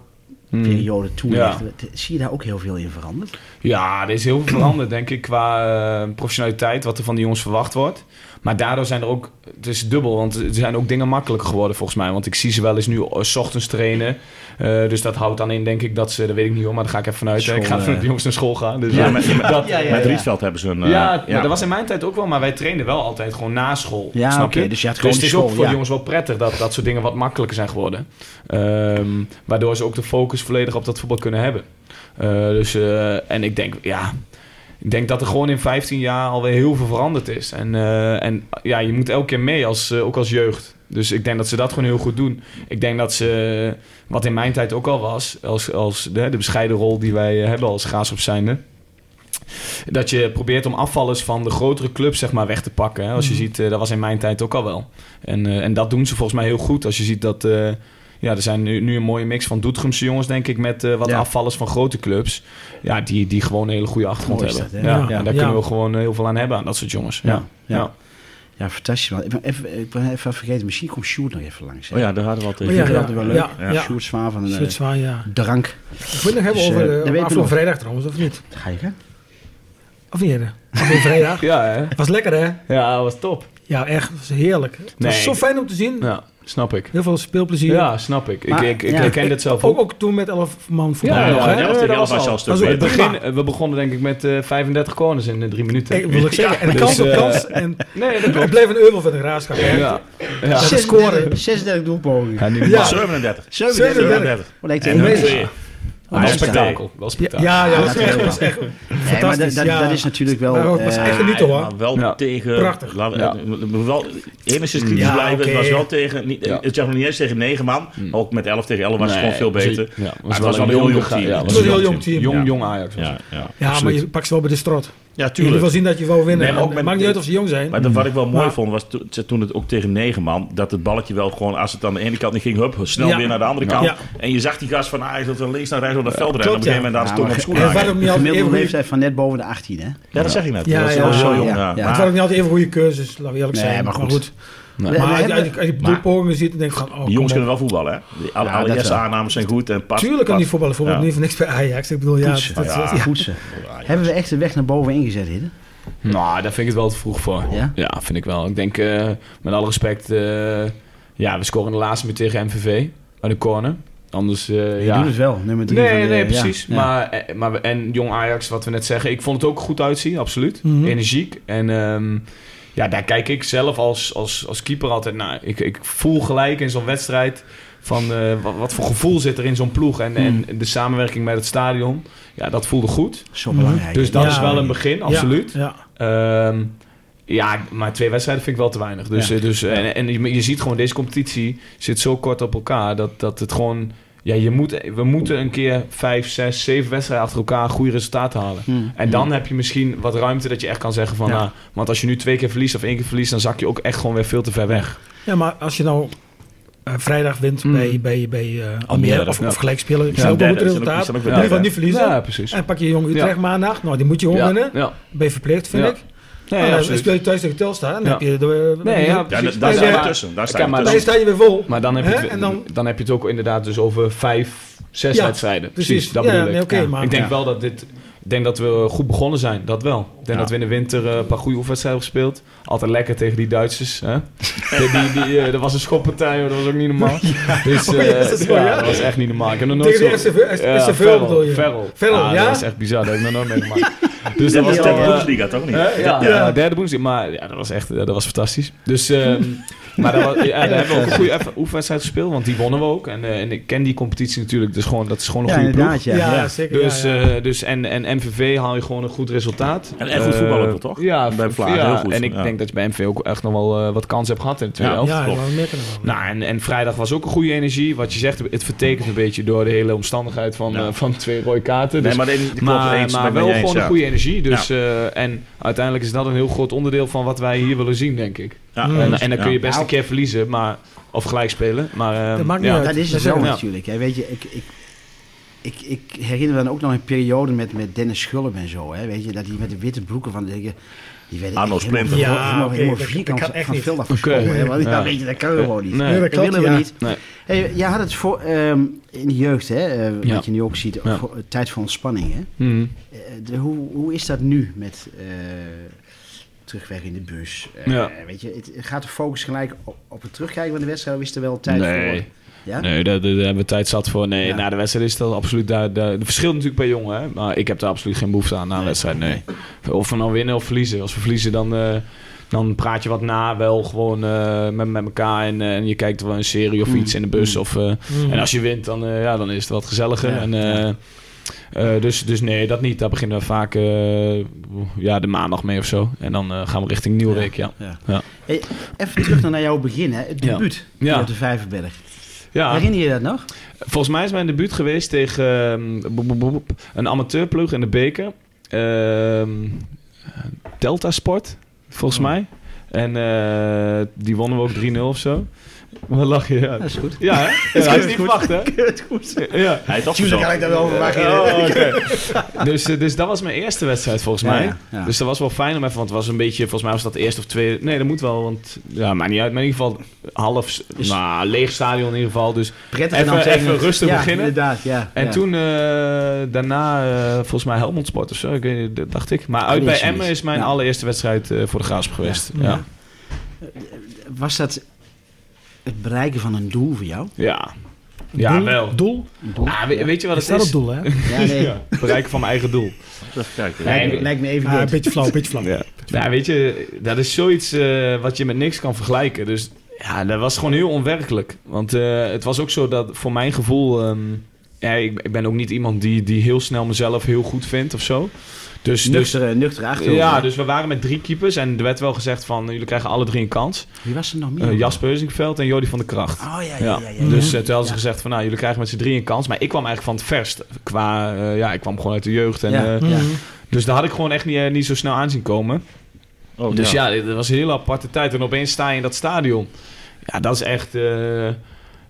[SPEAKER 2] periode toen.
[SPEAKER 4] Hmm. Ja.
[SPEAKER 2] ligt. Zie je daar ook heel veel in veranderd?
[SPEAKER 4] Ja, er is heel veel veranderd, denk ik, qua eh, professionaliteit, wat er van de jongens verwacht wordt. Maar daardoor zijn er ook, het is dubbel, want er zijn ook dingen makkelijker geworden volgens mij. Want ik zie ze wel eens nu eh, 's ochtends trainen. Eh, dus dat houdt dan in, denk ik, dat ze, dat weet ik niet hoor, maar daar ga ik even vanuit. hè. ik ga
[SPEAKER 3] School,
[SPEAKER 4] vanuit
[SPEAKER 3] eh.
[SPEAKER 4] de jongens naar school gaan. Dus
[SPEAKER 3] Ja,
[SPEAKER 4] eh,
[SPEAKER 3] met, met,
[SPEAKER 4] dat,
[SPEAKER 2] ja, ja,
[SPEAKER 3] met
[SPEAKER 2] ja.
[SPEAKER 3] Rietveld hebben ze een... eh,
[SPEAKER 4] ja, maar dat was in mijn tijd ook wel, maar wij trainden wel altijd gewoon na school.
[SPEAKER 2] Ja,
[SPEAKER 4] snap
[SPEAKER 2] oké,
[SPEAKER 4] je?
[SPEAKER 2] dus je had gewoon
[SPEAKER 4] het
[SPEAKER 2] die
[SPEAKER 4] is ook
[SPEAKER 2] school,
[SPEAKER 4] voor de
[SPEAKER 2] ja.
[SPEAKER 4] jongens wel prettig dat dat soort dingen wat makkelijker zijn geworden. Ehm, waardoor ze ook de focus volledig op dat voetbal kunnen hebben. Eh, dus, eh, en ik denk, ja. Ik denk dat er gewoon in 15 jaar alweer heel veel veranderd is. En, eh, en ja, je moet elke keer mee, als, eh, ook als jeugd. Dus ik denk dat ze dat gewoon heel goed doen. Ik denk dat ze, wat in mijn tijd ook al was, als, als de, de bescheiden rol die wij eh, hebben als graafschap zijnde, dat je probeert om afvallers van de grotere clubs zeg maar, weg te pakken. Hè. Als je ziet, eh, dat was in mijn tijd ook al wel. En, eh, en dat doen ze volgens mij heel goed. Als je ziet dat... eh, ja, er zijn nu, nu een mooie mix van Doetrumse jongens, denk ik... met eh, wat
[SPEAKER 2] Ja.
[SPEAKER 4] afvallers van grote clubs. Ja, die, die gewoon een hele goede achtergrond
[SPEAKER 2] Mooi is
[SPEAKER 4] hebben.
[SPEAKER 2] dat, hè?
[SPEAKER 4] ja,
[SPEAKER 5] Ja.
[SPEAKER 4] ja, daar
[SPEAKER 5] Ja.
[SPEAKER 4] kunnen we gewoon eh, heel veel aan hebben, aan dat soort jongens. Ja,
[SPEAKER 2] ja.
[SPEAKER 4] ja.
[SPEAKER 2] Ja, fantastisch. Man. Ik, ben even, ik ben even vergeten, misschien komt Sjoerd nog even langs. hè?
[SPEAKER 3] Oh ja, daar hadden we al
[SPEAKER 5] Oh,
[SPEAKER 3] tegen.
[SPEAKER 5] ja,
[SPEAKER 2] vind
[SPEAKER 5] ja,
[SPEAKER 2] dat wel leuk.
[SPEAKER 5] Ja, ja.
[SPEAKER 2] Sjoerd Zwaar van
[SPEAKER 5] Zoiets
[SPEAKER 2] de
[SPEAKER 5] van, ja.
[SPEAKER 2] Drank.
[SPEAKER 5] Ik moet het nog hebben
[SPEAKER 2] Dus, eh,
[SPEAKER 5] over
[SPEAKER 2] dat weet
[SPEAKER 5] de
[SPEAKER 2] ik nog.
[SPEAKER 5] afgelopen vrijdag trouwens, of niet?
[SPEAKER 2] Ga je, hè?
[SPEAKER 5] Of niet? hè? Afgelopen vrijdag.
[SPEAKER 4] ja hè?
[SPEAKER 5] Was lekker hè?
[SPEAKER 4] Ja, dat was top.
[SPEAKER 5] Ja, echt. Was heerlijk. Het was
[SPEAKER 4] Nee.
[SPEAKER 5] zo fijn om te zien.
[SPEAKER 4] Ja, snap ik.
[SPEAKER 5] Heel veel speelplezier.
[SPEAKER 4] Ja, snap ik. Ik,
[SPEAKER 2] Maar-
[SPEAKER 4] ik, ik
[SPEAKER 2] ja.
[SPEAKER 4] herken dit zelf
[SPEAKER 5] Ook,
[SPEAKER 4] ook.
[SPEAKER 5] ook toen met 11 man voetbal
[SPEAKER 4] Ja,
[SPEAKER 3] Ja,
[SPEAKER 5] nog,
[SPEAKER 3] ja,
[SPEAKER 5] hè?
[SPEAKER 4] ja,
[SPEAKER 3] ja,
[SPEAKER 4] dat was
[SPEAKER 3] was
[SPEAKER 4] al.
[SPEAKER 3] al een
[SPEAKER 5] Dat
[SPEAKER 3] stuk
[SPEAKER 5] is ook
[SPEAKER 4] Het
[SPEAKER 3] beter.
[SPEAKER 4] begin, eh, we begonnen denk ik met eh, 35 corners in eh, drie minuten.
[SPEAKER 5] Ik wil ik zeggen. En de
[SPEAKER 4] Dus,
[SPEAKER 5] kans op
[SPEAKER 4] eh,
[SPEAKER 5] kans. En
[SPEAKER 4] Nee, dat
[SPEAKER 5] het
[SPEAKER 4] klopt.
[SPEAKER 5] bleef een euvel van de graafschap. hè?
[SPEAKER 4] Ja. Ja.
[SPEAKER 2] 36, 36 doelpogingen.
[SPEAKER 4] Ja, nu
[SPEAKER 5] Ja.
[SPEAKER 4] mag.
[SPEAKER 3] 37.
[SPEAKER 2] 37.
[SPEAKER 3] 37.
[SPEAKER 2] Wat lijkt
[SPEAKER 3] En
[SPEAKER 2] het?
[SPEAKER 3] dan-
[SPEAKER 5] Amazing.
[SPEAKER 4] Wel
[SPEAKER 3] Ja,
[SPEAKER 4] spektakel. Wel spektakel.
[SPEAKER 5] Ja, ja,
[SPEAKER 2] Ja,
[SPEAKER 5] dat is
[SPEAKER 2] dat
[SPEAKER 5] echt,
[SPEAKER 2] is
[SPEAKER 5] dat is echt
[SPEAKER 2] Nee, maar dat,
[SPEAKER 5] fantastisch.
[SPEAKER 2] dat,
[SPEAKER 5] ja.
[SPEAKER 2] dat is natuurlijk wel...
[SPEAKER 5] Maar ook was
[SPEAKER 2] eh,
[SPEAKER 5] echt genieten hoor.
[SPEAKER 3] Maar wel
[SPEAKER 4] Ja.
[SPEAKER 3] tegen...
[SPEAKER 5] Prachtig.
[SPEAKER 3] Laten we-
[SPEAKER 4] Ja.
[SPEAKER 3] we moeten wel enigszins kritisch
[SPEAKER 5] Ja,
[SPEAKER 3] blijven.
[SPEAKER 5] oké.
[SPEAKER 3] Het was wel tegen... Niet,
[SPEAKER 4] Ja. Hmm.
[SPEAKER 3] Het was nog niet eens tegen 9 man. Maar ook met 11 tegen 11 was het
[SPEAKER 4] Nee,
[SPEAKER 3] gewoon veel beter.
[SPEAKER 4] Ja,
[SPEAKER 3] Maar het was wel een heel jong team.
[SPEAKER 4] Ja,
[SPEAKER 3] Het
[SPEAKER 5] was een heel jong team.
[SPEAKER 4] Jong,
[SPEAKER 3] Ja.
[SPEAKER 4] jong Ajax. was
[SPEAKER 3] Ja,
[SPEAKER 4] het.
[SPEAKER 3] ja.
[SPEAKER 5] Ja, maar
[SPEAKER 4] Absoluut.
[SPEAKER 5] je pakt ze wel bij de strot.
[SPEAKER 3] Ja,
[SPEAKER 5] Je wil wel zien dat je wou winnen.
[SPEAKER 3] Nee, maar ook
[SPEAKER 5] En
[SPEAKER 3] met-
[SPEAKER 5] Maakt niet uit of ze jong zijn.
[SPEAKER 3] Maar dat, wat ik wel mooi
[SPEAKER 5] Maar-
[SPEAKER 3] vond, was to- ze- toen het ook tegen negen man, dat het balletje wel gewoon, als het aan de ene kant niet ging, hup, snel
[SPEAKER 5] Ja.
[SPEAKER 3] weer naar de andere kant.
[SPEAKER 5] Ja.
[SPEAKER 3] En je zag die gast van ah, Ajax dat van links naar rechts op dat veld rennen.
[SPEAKER 5] klopt,
[SPEAKER 3] op een gegeven moment
[SPEAKER 2] ja. Ja,
[SPEAKER 3] hadden ze toch op
[SPEAKER 5] En
[SPEAKER 3] schoenen.
[SPEAKER 5] het waren ook
[SPEAKER 2] De
[SPEAKER 5] niet altijd
[SPEAKER 2] gemiddelde
[SPEAKER 5] even goeie-
[SPEAKER 2] leeftijd van net boven de 18, hè?
[SPEAKER 3] Ja, dat zeg ik net.
[SPEAKER 5] Ja,
[SPEAKER 3] dat was
[SPEAKER 5] ja,
[SPEAKER 3] wel zo
[SPEAKER 5] ja.
[SPEAKER 3] jong.
[SPEAKER 2] Ja,
[SPEAKER 3] Ja,
[SPEAKER 2] ja.
[SPEAKER 5] het
[SPEAKER 3] Maar-
[SPEAKER 5] waren ook niet altijd even goede keuzes, laten we eerlijk
[SPEAKER 2] Nee,
[SPEAKER 5] zijn.
[SPEAKER 2] maar goed.
[SPEAKER 5] Maar als je- als
[SPEAKER 2] hebben-
[SPEAKER 5] je, als je doelpogingen ziet, dan denk je van... Oh,
[SPEAKER 3] die jongens
[SPEAKER 5] kom op.
[SPEAKER 3] kunnen wel voetballen, hè? Die alle
[SPEAKER 2] Ja,
[SPEAKER 3] alle
[SPEAKER 2] dat
[SPEAKER 3] eerste
[SPEAKER 2] wel.
[SPEAKER 3] aannames zijn goed en pas.
[SPEAKER 5] Tuurlijk kan die voetballen. Bijvoorbeeld
[SPEAKER 3] Ja.
[SPEAKER 5] niet voor niks bij Ajax. Ik bedoel, ja...
[SPEAKER 2] Poetsen.
[SPEAKER 5] dat-
[SPEAKER 3] Ja.
[SPEAKER 5] ja.
[SPEAKER 2] Goed ze. Hebben we echt de weg naar boven ingezet, Hidde?
[SPEAKER 4] Nou, daar vind ik het wel te vroeg voor.
[SPEAKER 2] Ja?
[SPEAKER 4] vind ik wel. Ik denk, eh, met alle respect, eh, ja, we scoren de laatste minuut tegen MVV. Uit de corner. Anders, eh,
[SPEAKER 2] Je
[SPEAKER 4] ja.
[SPEAKER 2] doet het wel, nummer drie.
[SPEAKER 4] Nee,
[SPEAKER 2] van de-
[SPEAKER 4] nee,
[SPEAKER 2] ja,
[SPEAKER 4] precies.
[SPEAKER 2] ja.
[SPEAKER 4] Maar, eh, maar, we- en jong Ajax, wat we net zeggen. Ik vond het ook goed uitzien, absoluut.
[SPEAKER 5] Mhm.
[SPEAKER 4] Energiek. En ehm, ja, daar kijk ik zelf als, als, als keeper altijd naar. Ik, ik voel gelijk in zo'n wedstrijd van eh, wat, wat voor gevoel zit er in zo'n ploeg. En,
[SPEAKER 5] Mhm.
[SPEAKER 4] en de samenwerking met het stadion. Ja, dat voelde goed.
[SPEAKER 2] Zo belangrijk.
[SPEAKER 4] Dus dat
[SPEAKER 5] Ja.
[SPEAKER 4] is wel een begin, absoluut.
[SPEAKER 5] Ja.
[SPEAKER 4] Ehm, ja, maar twee wedstrijden vind ik wel te weinig. Dus,
[SPEAKER 2] Ja.
[SPEAKER 4] eh, dus, en en je, je ziet gewoon, deze competitie zit zo kort op elkaar dat, dat het gewoon. Ja, je moet, we moeten een keer vijf, zes, zeven wedstrijden achter elkaar goede resultaten halen.
[SPEAKER 2] Hmm.
[SPEAKER 4] En dan heb je misschien wat ruimte dat je echt kan zeggen van...
[SPEAKER 2] Ja.
[SPEAKER 4] nou, want als je nu twee keer verliest of één keer verliest... dan zak je ook echt gewoon weer veel te ver weg.
[SPEAKER 5] Ja, maar als je nou eh, vrijdag wint
[SPEAKER 2] Hmm.
[SPEAKER 4] Mm.
[SPEAKER 5] bij, bij, bij eh, Almere
[SPEAKER 3] Almere,
[SPEAKER 5] of,
[SPEAKER 4] ja.
[SPEAKER 5] of gelijk spelen, is
[SPEAKER 3] Ja,
[SPEAKER 5] ook een goed
[SPEAKER 3] derde, is dan ook-
[SPEAKER 5] resultaat.
[SPEAKER 3] is dan ook
[SPEAKER 5] In
[SPEAKER 3] weer
[SPEAKER 5] ieder
[SPEAKER 3] derde.
[SPEAKER 5] geval niet verliezen.
[SPEAKER 4] Ja, precies.
[SPEAKER 5] En pak je Jong Utrecht
[SPEAKER 4] Dus- Ja.
[SPEAKER 5] maandag. Nou, die moet je gewoon
[SPEAKER 4] ja,
[SPEAKER 5] winnen.
[SPEAKER 4] ja.
[SPEAKER 5] Ben je verplicht, vind
[SPEAKER 4] Ja.
[SPEAKER 5] ik.
[SPEAKER 4] Nee,
[SPEAKER 5] en dan
[SPEAKER 4] absoluut.
[SPEAKER 5] speel je thuis tegen Telstar. Dan
[SPEAKER 4] Ja.
[SPEAKER 5] heb je de, eh,
[SPEAKER 4] Nee, ja,
[SPEAKER 3] Ja,
[SPEAKER 4] precies.
[SPEAKER 3] da- daar
[SPEAKER 5] Ja,
[SPEAKER 3] sta je
[SPEAKER 5] maar-
[SPEAKER 3] tussen. Daar sta
[SPEAKER 4] Kijk,
[SPEAKER 3] je
[SPEAKER 4] maar
[SPEAKER 5] dan
[SPEAKER 3] tussen.
[SPEAKER 5] sta je weer vol.
[SPEAKER 4] Maar dan heb, je
[SPEAKER 5] Hè?
[SPEAKER 4] het,
[SPEAKER 5] En dan-
[SPEAKER 4] dan heb je het ook inderdaad dus over vijf, zes
[SPEAKER 5] Ja,
[SPEAKER 4] wedstrijden. Precies,
[SPEAKER 5] precies.
[SPEAKER 4] dat
[SPEAKER 5] Ja,
[SPEAKER 4] bedoel ik.
[SPEAKER 5] nee, oké,
[SPEAKER 4] Ja.
[SPEAKER 5] maar-
[SPEAKER 4] ik denk
[SPEAKER 5] Ja.
[SPEAKER 4] wel dat dit... Ik denk dat we goed begonnen zijn, dat wel. Ik denk
[SPEAKER 3] Ja.
[SPEAKER 4] dat we in de winter eh, een paar goede oefenwedstrijden hebben gespeeld. Altijd lekker tegen die Duitsers. Hè? die, die, die, eh, dat was een schoppartij, hoor, dat was ook niet normaal. Dus,
[SPEAKER 5] Oh, ja, is dat
[SPEAKER 4] eh,
[SPEAKER 5] zo,
[SPEAKER 4] ja,
[SPEAKER 5] ja?
[SPEAKER 4] dat was echt niet normaal. Ik heb nog nooit
[SPEAKER 5] Tegen de
[SPEAKER 4] zo-
[SPEAKER 5] SV
[SPEAKER 4] Ja,
[SPEAKER 5] SV
[SPEAKER 4] Ferrel,
[SPEAKER 5] bedoel je?
[SPEAKER 4] Ferrel.
[SPEAKER 5] Ferrel,
[SPEAKER 4] Ah,
[SPEAKER 5] ja?
[SPEAKER 4] Dat is echt bizar, dat heb ik nog nooit meegemaakt. Dus
[SPEAKER 3] Dat was
[SPEAKER 4] wel,
[SPEAKER 3] de
[SPEAKER 4] eh,
[SPEAKER 3] Bundesliga, toch niet?
[SPEAKER 4] Hè? Ja,
[SPEAKER 5] Ja.
[SPEAKER 4] ja, derde woensdag. Maar ja, dat was echt eh, dat was fantastisch. Dus, ehm, maar daar, was, ja, daar hebben we ook een goede eff- oefenwedstrijd gespeeld. Want die wonnen we ook. En, eh, en ik ken die competitie natuurlijk. Dus gewoon, dat is gewoon een
[SPEAKER 2] Ja,
[SPEAKER 4] goede ploeg.
[SPEAKER 2] inderdaad, ja.
[SPEAKER 5] ja,
[SPEAKER 2] ja.
[SPEAKER 5] zeker.
[SPEAKER 4] Dus,
[SPEAKER 5] ja, ja.
[SPEAKER 4] eh, dus en, en MVV haal je gewoon een goed resultaat.
[SPEAKER 3] En echt goed
[SPEAKER 4] Eh,
[SPEAKER 3] voetballen ook, toch?
[SPEAKER 4] Ja,
[SPEAKER 3] Bij Vlaag,
[SPEAKER 4] ja,
[SPEAKER 3] heel goed.
[SPEAKER 4] En ik
[SPEAKER 3] Ja.
[SPEAKER 4] denk dat je bij MVV ook echt nog wel eh, wat kans hebt gehad in de tweede
[SPEAKER 3] Ja.
[SPEAKER 4] helft.
[SPEAKER 5] ja,
[SPEAKER 3] klopt.
[SPEAKER 5] maar we merken het wel.
[SPEAKER 4] Nou, en, en vrijdag was ook een goede energie. Wat je zegt, het vertekent een beetje door de hele omstandigheid van,
[SPEAKER 3] Ja.
[SPEAKER 4] eh, van twee rode kaarten.
[SPEAKER 3] Nee,
[SPEAKER 4] Dus-
[SPEAKER 3] maar nee, klopt,
[SPEAKER 4] maar,
[SPEAKER 3] eens,
[SPEAKER 4] maar
[SPEAKER 3] ben ik
[SPEAKER 4] wel
[SPEAKER 3] met je
[SPEAKER 4] gewoon
[SPEAKER 3] eens,
[SPEAKER 4] een
[SPEAKER 3] ja.
[SPEAKER 4] goede energie. Dus, eh, en uiteindelijk is dat een heel groot onderdeel van wat wij hier willen zien, denk ik.
[SPEAKER 3] Ja, dus-
[SPEAKER 5] Mm.
[SPEAKER 4] En, en dan kun je
[SPEAKER 3] ja.
[SPEAKER 4] best
[SPEAKER 2] Ja.
[SPEAKER 4] een keer verliezen, maar, of gelijk spelen. Maar, eh,
[SPEAKER 5] Dat maakt niet
[SPEAKER 4] ja.
[SPEAKER 5] uit.
[SPEAKER 2] Dat is het
[SPEAKER 5] Ja.
[SPEAKER 2] wel
[SPEAKER 4] Ja.
[SPEAKER 2] natuurlijk. Hè. Weet je, ik, ik, ik, ik herinner me dan ook nog een periode met, met Dennis Schulp en zo. Hè, weet je, dat die met de witte broeken van... Die, die werden
[SPEAKER 3] Arno
[SPEAKER 2] echt helemaal-
[SPEAKER 3] Splinter.
[SPEAKER 2] helemaal-
[SPEAKER 5] Ja,
[SPEAKER 2] helemaal,
[SPEAKER 5] oké,
[SPEAKER 2] helemaal
[SPEAKER 5] dat- dat
[SPEAKER 2] vierkant
[SPEAKER 5] kan echt
[SPEAKER 2] van
[SPEAKER 5] niet.
[SPEAKER 2] veel afgeschoren,
[SPEAKER 4] Oké,
[SPEAKER 2] hè, want
[SPEAKER 4] ja.
[SPEAKER 2] ja. weet je, dat kan gewoon niet.
[SPEAKER 4] Nee. Nee,
[SPEAKER 5] dat
[SPEAKER 2] dat
[SPEAKER 5] klopt,
[SPEAKER 2] willen we
[SPEAKER 5] ja.
[SPEAKER 2] niet.
[SPEAKER 4] Nee.
[SPEAKER 2] Hey, jij had het voor, ehm, in de jeugd, hè, eh,
[SPEAKER 4] Ja.
[SPEAKER 2] wat je nu ook ziet,
[SPEAKER 4] Ja.
[SPEAKER 2] voor- eh, tijd voor ontspanning. Hè?
[SPEAKER 4] Mhm.
[SPEAKER 2] Eh, de- hoe, hoe is dat nu met eh, terugweg in de bus? Eh,
[SPEAKER 4] Ja.
[SPEAKER 2] Weet je, het, gaat de focus gelijk op, op het terugkijken van de wedstrijd? Of is er wel tijd
[SPEAKER 4] Nee.
[SPEAKER 2] voor? Ja?
[SPEAKER 4] Nee, daar, daar- daar hebben we tijd zat voor. Nee,
[SPEAKER 2] Ja.
[SPEAKER 4] na de wedstrijd is dat absoluut... Daar, daar, het verschilt natuurlijk per jongen, hè. Maar ik heb daar absoluut geen behoefte aan na een wedstrijd, nee. Of we nou winnen of verliezen. Als we verliezen, dan, eh, dan praat je wat na. Wel gewoon eh, met, met elkaar. En, eh, en je kijkt wel een serie of iets in de bus. Of, eh, En als je wint, dan, eh, ja, dan is het wat gezelliger.
[SPEAKER 2] Ja.
[SPEAKER 4] En, eh, eh, dus, dus nee, dat niet. Daar beginnen we vaak eh, ja, de maandag mee of zo. En dan eh, gaan we richting Nieuwweek, ja.
[SPEAKER 2] Ja.
[SPEAKER 4] Ja.
[SPEAKER 2] Hey, even terug naar jouw begin, hè? het
[SPEAKER 4] Ja.
[SPEAKER 2] debuut
[SPEAKER 4] Ja.
[SPEAKER 2] op de Vijverberg.
[SPEAKER 4] ja.
[SPEAKER 2] Herinner je dat nog?
[SPEAKER 4] Volgens mij is mijn debuut geweest tegen ehm, boep, boep, boep, boep, een amateurploeg in de beker. Ehm, Delta Sport, volgens
[SPEAKER 2] Oh.
[SPEAKER 4] mij. En eh, die wonnen we ook 3-0 of zo. Wat lach je? Ja,
[SPEAKER 2] Dat is goed.
[SPEAKER 4] ja hè? Ja, dat is niet verwacht, hè?
[SPEAKER 2] Het goed. Eh,
[SPEAKER 4] Ja.
[SPEAKER 3] Hij had zo.
[SPEAKER 2] kan ik daar wel over maken.
[SPEAKER 4] Oh, oké. dus, eh, dus dat was mijn eerste wedstrijd, volgens
[SPEAKER 2] Ja,
[SPEAKER 4] mij.
[SPEAKER 2] ja, ja.
[SPEAKER 4] Dus dat was wel fijn om even, want het was een beetje, volgens mij was dat de eerste of tweede. Nee, dat moet wel, want ja, maakt niet uit. Maar in ieder geval half,
[SPEAKER 2] Is-
[SPEAKER 4] nou, leeg stadion in ieder geval. Dus
[SPEAKER 2] Prettig
[SPEAKER 4] Even-
[SPEAKER 2] en dan tegen
[SPEAKER 4] even
[SPEAKER 2] het-
[SPEAKER 4] rustig
[SPEAKER 2] ja,
[SPEAKER 4] beginnen.
[SPEAKER 2] inderdaad, ja.
[SPEAKER 4] En
[SPEAKER 2] ja.
[SPEAKER 4] toen eh, daarna, eh, volgens mij Helmond Sport of zo, ik weet, niet, dat dacht ik. Maar uit
[SPEAKER 2] Oh,
[SPEAKER 4] bij
[SPEAKER 2] zoiets.
[SPEAKER 4] Emmen is mijn
[SPEAKER 2] Ja.
[SPEAKER 4] allereerste wedstrijd eh, voor de Graafschap geweest. Ja. Ja.
[SPEAKER 2] Was dat het bereiken van een doel voor jou?
[SPEAKER 4] ja.
[SPEAKER 5] doel,
[SPEAKER 4] wel.
[SPEAKER 5] Doel?
[SPEAKER 2] Een doel?
[SPEAKER 4] Ah, we- weet je wat
[SPEAKER 5] Dat is
[SPEAKER 4] het
[SPEAKER 5] dat
[SPEAKER 4] is?
[SPEAKER 5] het doel, hè?
[SPEAKER 2] Ja, nee.
[SPEAKER 4] Ja, bereiken van mijn eigen doel.
[SPEAKER 3] Even kijken.
[SPEAKER 4] Nee,
[SPEAKER 2] Lijkt,
[SPEAKER 4] nee.
[SPEAKER 2] me, lijkt me even
[SPEAKER 5] Ah, een
[SPEAKER 2] goed.
[SPEAKER 5] beetje flauw, een beetje flauw.
[SPEAKER 4] Ja. Nou, weet je, dat is zoiets eh, wat je met niks kan vergelijken. Dus ja, dat was gewoon heel onwerkelijk. Want eh, het was ook zo dat voor mijn gevoel... ehm, ja, ik, ik ben ook niet iemand die, die heel snel mezelf heel goed vindt of zo. Dus, dus,
[SPEAKER 2] Nuchtere, nuchtere achterhoofd.
[SPEAKER 4] ja,
[SPEAKER 2] hè?
[SPEAKER 4] dus we waren met drie keepers en er werd wel gezegd van... jullie krijgen alle drie een kans.
[SPEAKER 2] Wie was er nog meer?
[SPEAKER 4] Eh, Jasper Heusinkveld en Jordi van der Kracht.
[SPEAKER 2] Oh ja, ja,
[SPEAKER 4] Ja.
[SPEAKER 2] ja. ja, ja.
[SPEAKER 4] Dus eh, toen hadden ze
[SPEAKER 2] Ja.
[SPEAKER 4] gezegd van, nou, jullie krijgen met z'n drieën een kans. Maar ik kwam eigenlijk van het verst. Qua, eh, ja, ik kwam gewoon uit de jeugd. En,
[SPEAKER 2] Ja. Hm.
[SPEAKER 4] eh,
[SPEAKER 5] Mhm.
[SPEAKER 2] Ja.
[SPEAKER 4] dus daar had ik gewoon echt niet, eh, niet zo snel aan zien komen.
[SPEAKER 3] Oh,
[SPEAKER 4] dus
[SPEAKER 3] ja.
[SPEAKER 4] ja. dat was een hele aparte tijd. En opeens sta je in dat stadion. Ja, dat is echt... eh,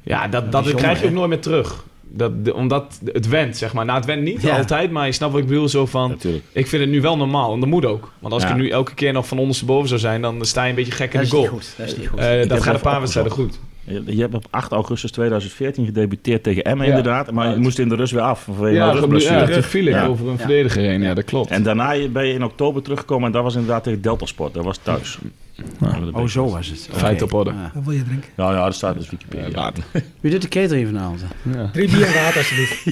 [SPEAKER 4] ja, dat, dat,
[SPEAKER 2] bijzonder,
[SPEAKER 4] krijg je ook
[SPEAKER 2] hè?
[SPEAKER 4] nooit meer terug. Dat, de- omdat het went, zeg maar. Nou, het went niet
[SPEAKER 2] Ja.
[SPEAKER 4] altijd, maar je snapt wat ik bedoel. Zo van,
[SPEAKER 3] Natuurlijk.
[SPEAKER 4] ik vind het nu wel normaal. En dat moet ook. Want als
[SPEAKER 3] Ja.
[SPEAKER 4] ik er nu elke keer nog van ondersteboven zou zijn... dan sta je een beetje gek in
[SPEAKER 2] Dat
[SPEAKER 4] de
[SPEAKER 2] is niet
[SPEAKER 4] goal.
[SPEAKER 2] goed. Dat is niet goed.
[SPEAKER 4] Eh,
[SPEAKER 3] heb
[SPEAKER 4] dat
[SPEAKER 3] even
[SPEAKER 4] gaat een paar
[SPEAKER 3] opgezocht.
[SPEAKER 4] wedstrijden goed.
[SPEAKER 3] Je, je hebt op 8 augustus 2014 gedebuteerd tegen Emmen
[SPEAKER 4] Ja.
[SPEAKER 3] inderdaad. Maar je moest in de rust weer af vanwege
[SPEAKER 4] Ja,
[SPEAKER 3] een
[SPEAKER 4] dat
[SPEAKER 3] rugblessure.
[SPEAKER 4] ja, toen viel ik
[SPEAKER 3] Ja.
[SPEAKER 4] over een
[SPEAKER 2] Ja.
[SPEAKER 4] verdediger heen. Ja, dat klopt.
[SPEAKER 3] En daarna ben je in oktober teruggekomen en dat was inderdaad tegen Deltasport. Dat was thuis.
[SPEAKER 2] Oh, zo was het. Oké.
[SPEAKER 4] Feit op orde.
[SPEAKER 2] Ja.
[SPEAKER 5] Wat wil je drinken?
[SPEAKER 3] Nou ja, dat staat dus Wikipedia.
[SPEAKER 2] Wie doet de catering vanavond?
[SPEAKER 4] Ja.
[SPEAKER 5] Drie bier en water, alsjeblieft.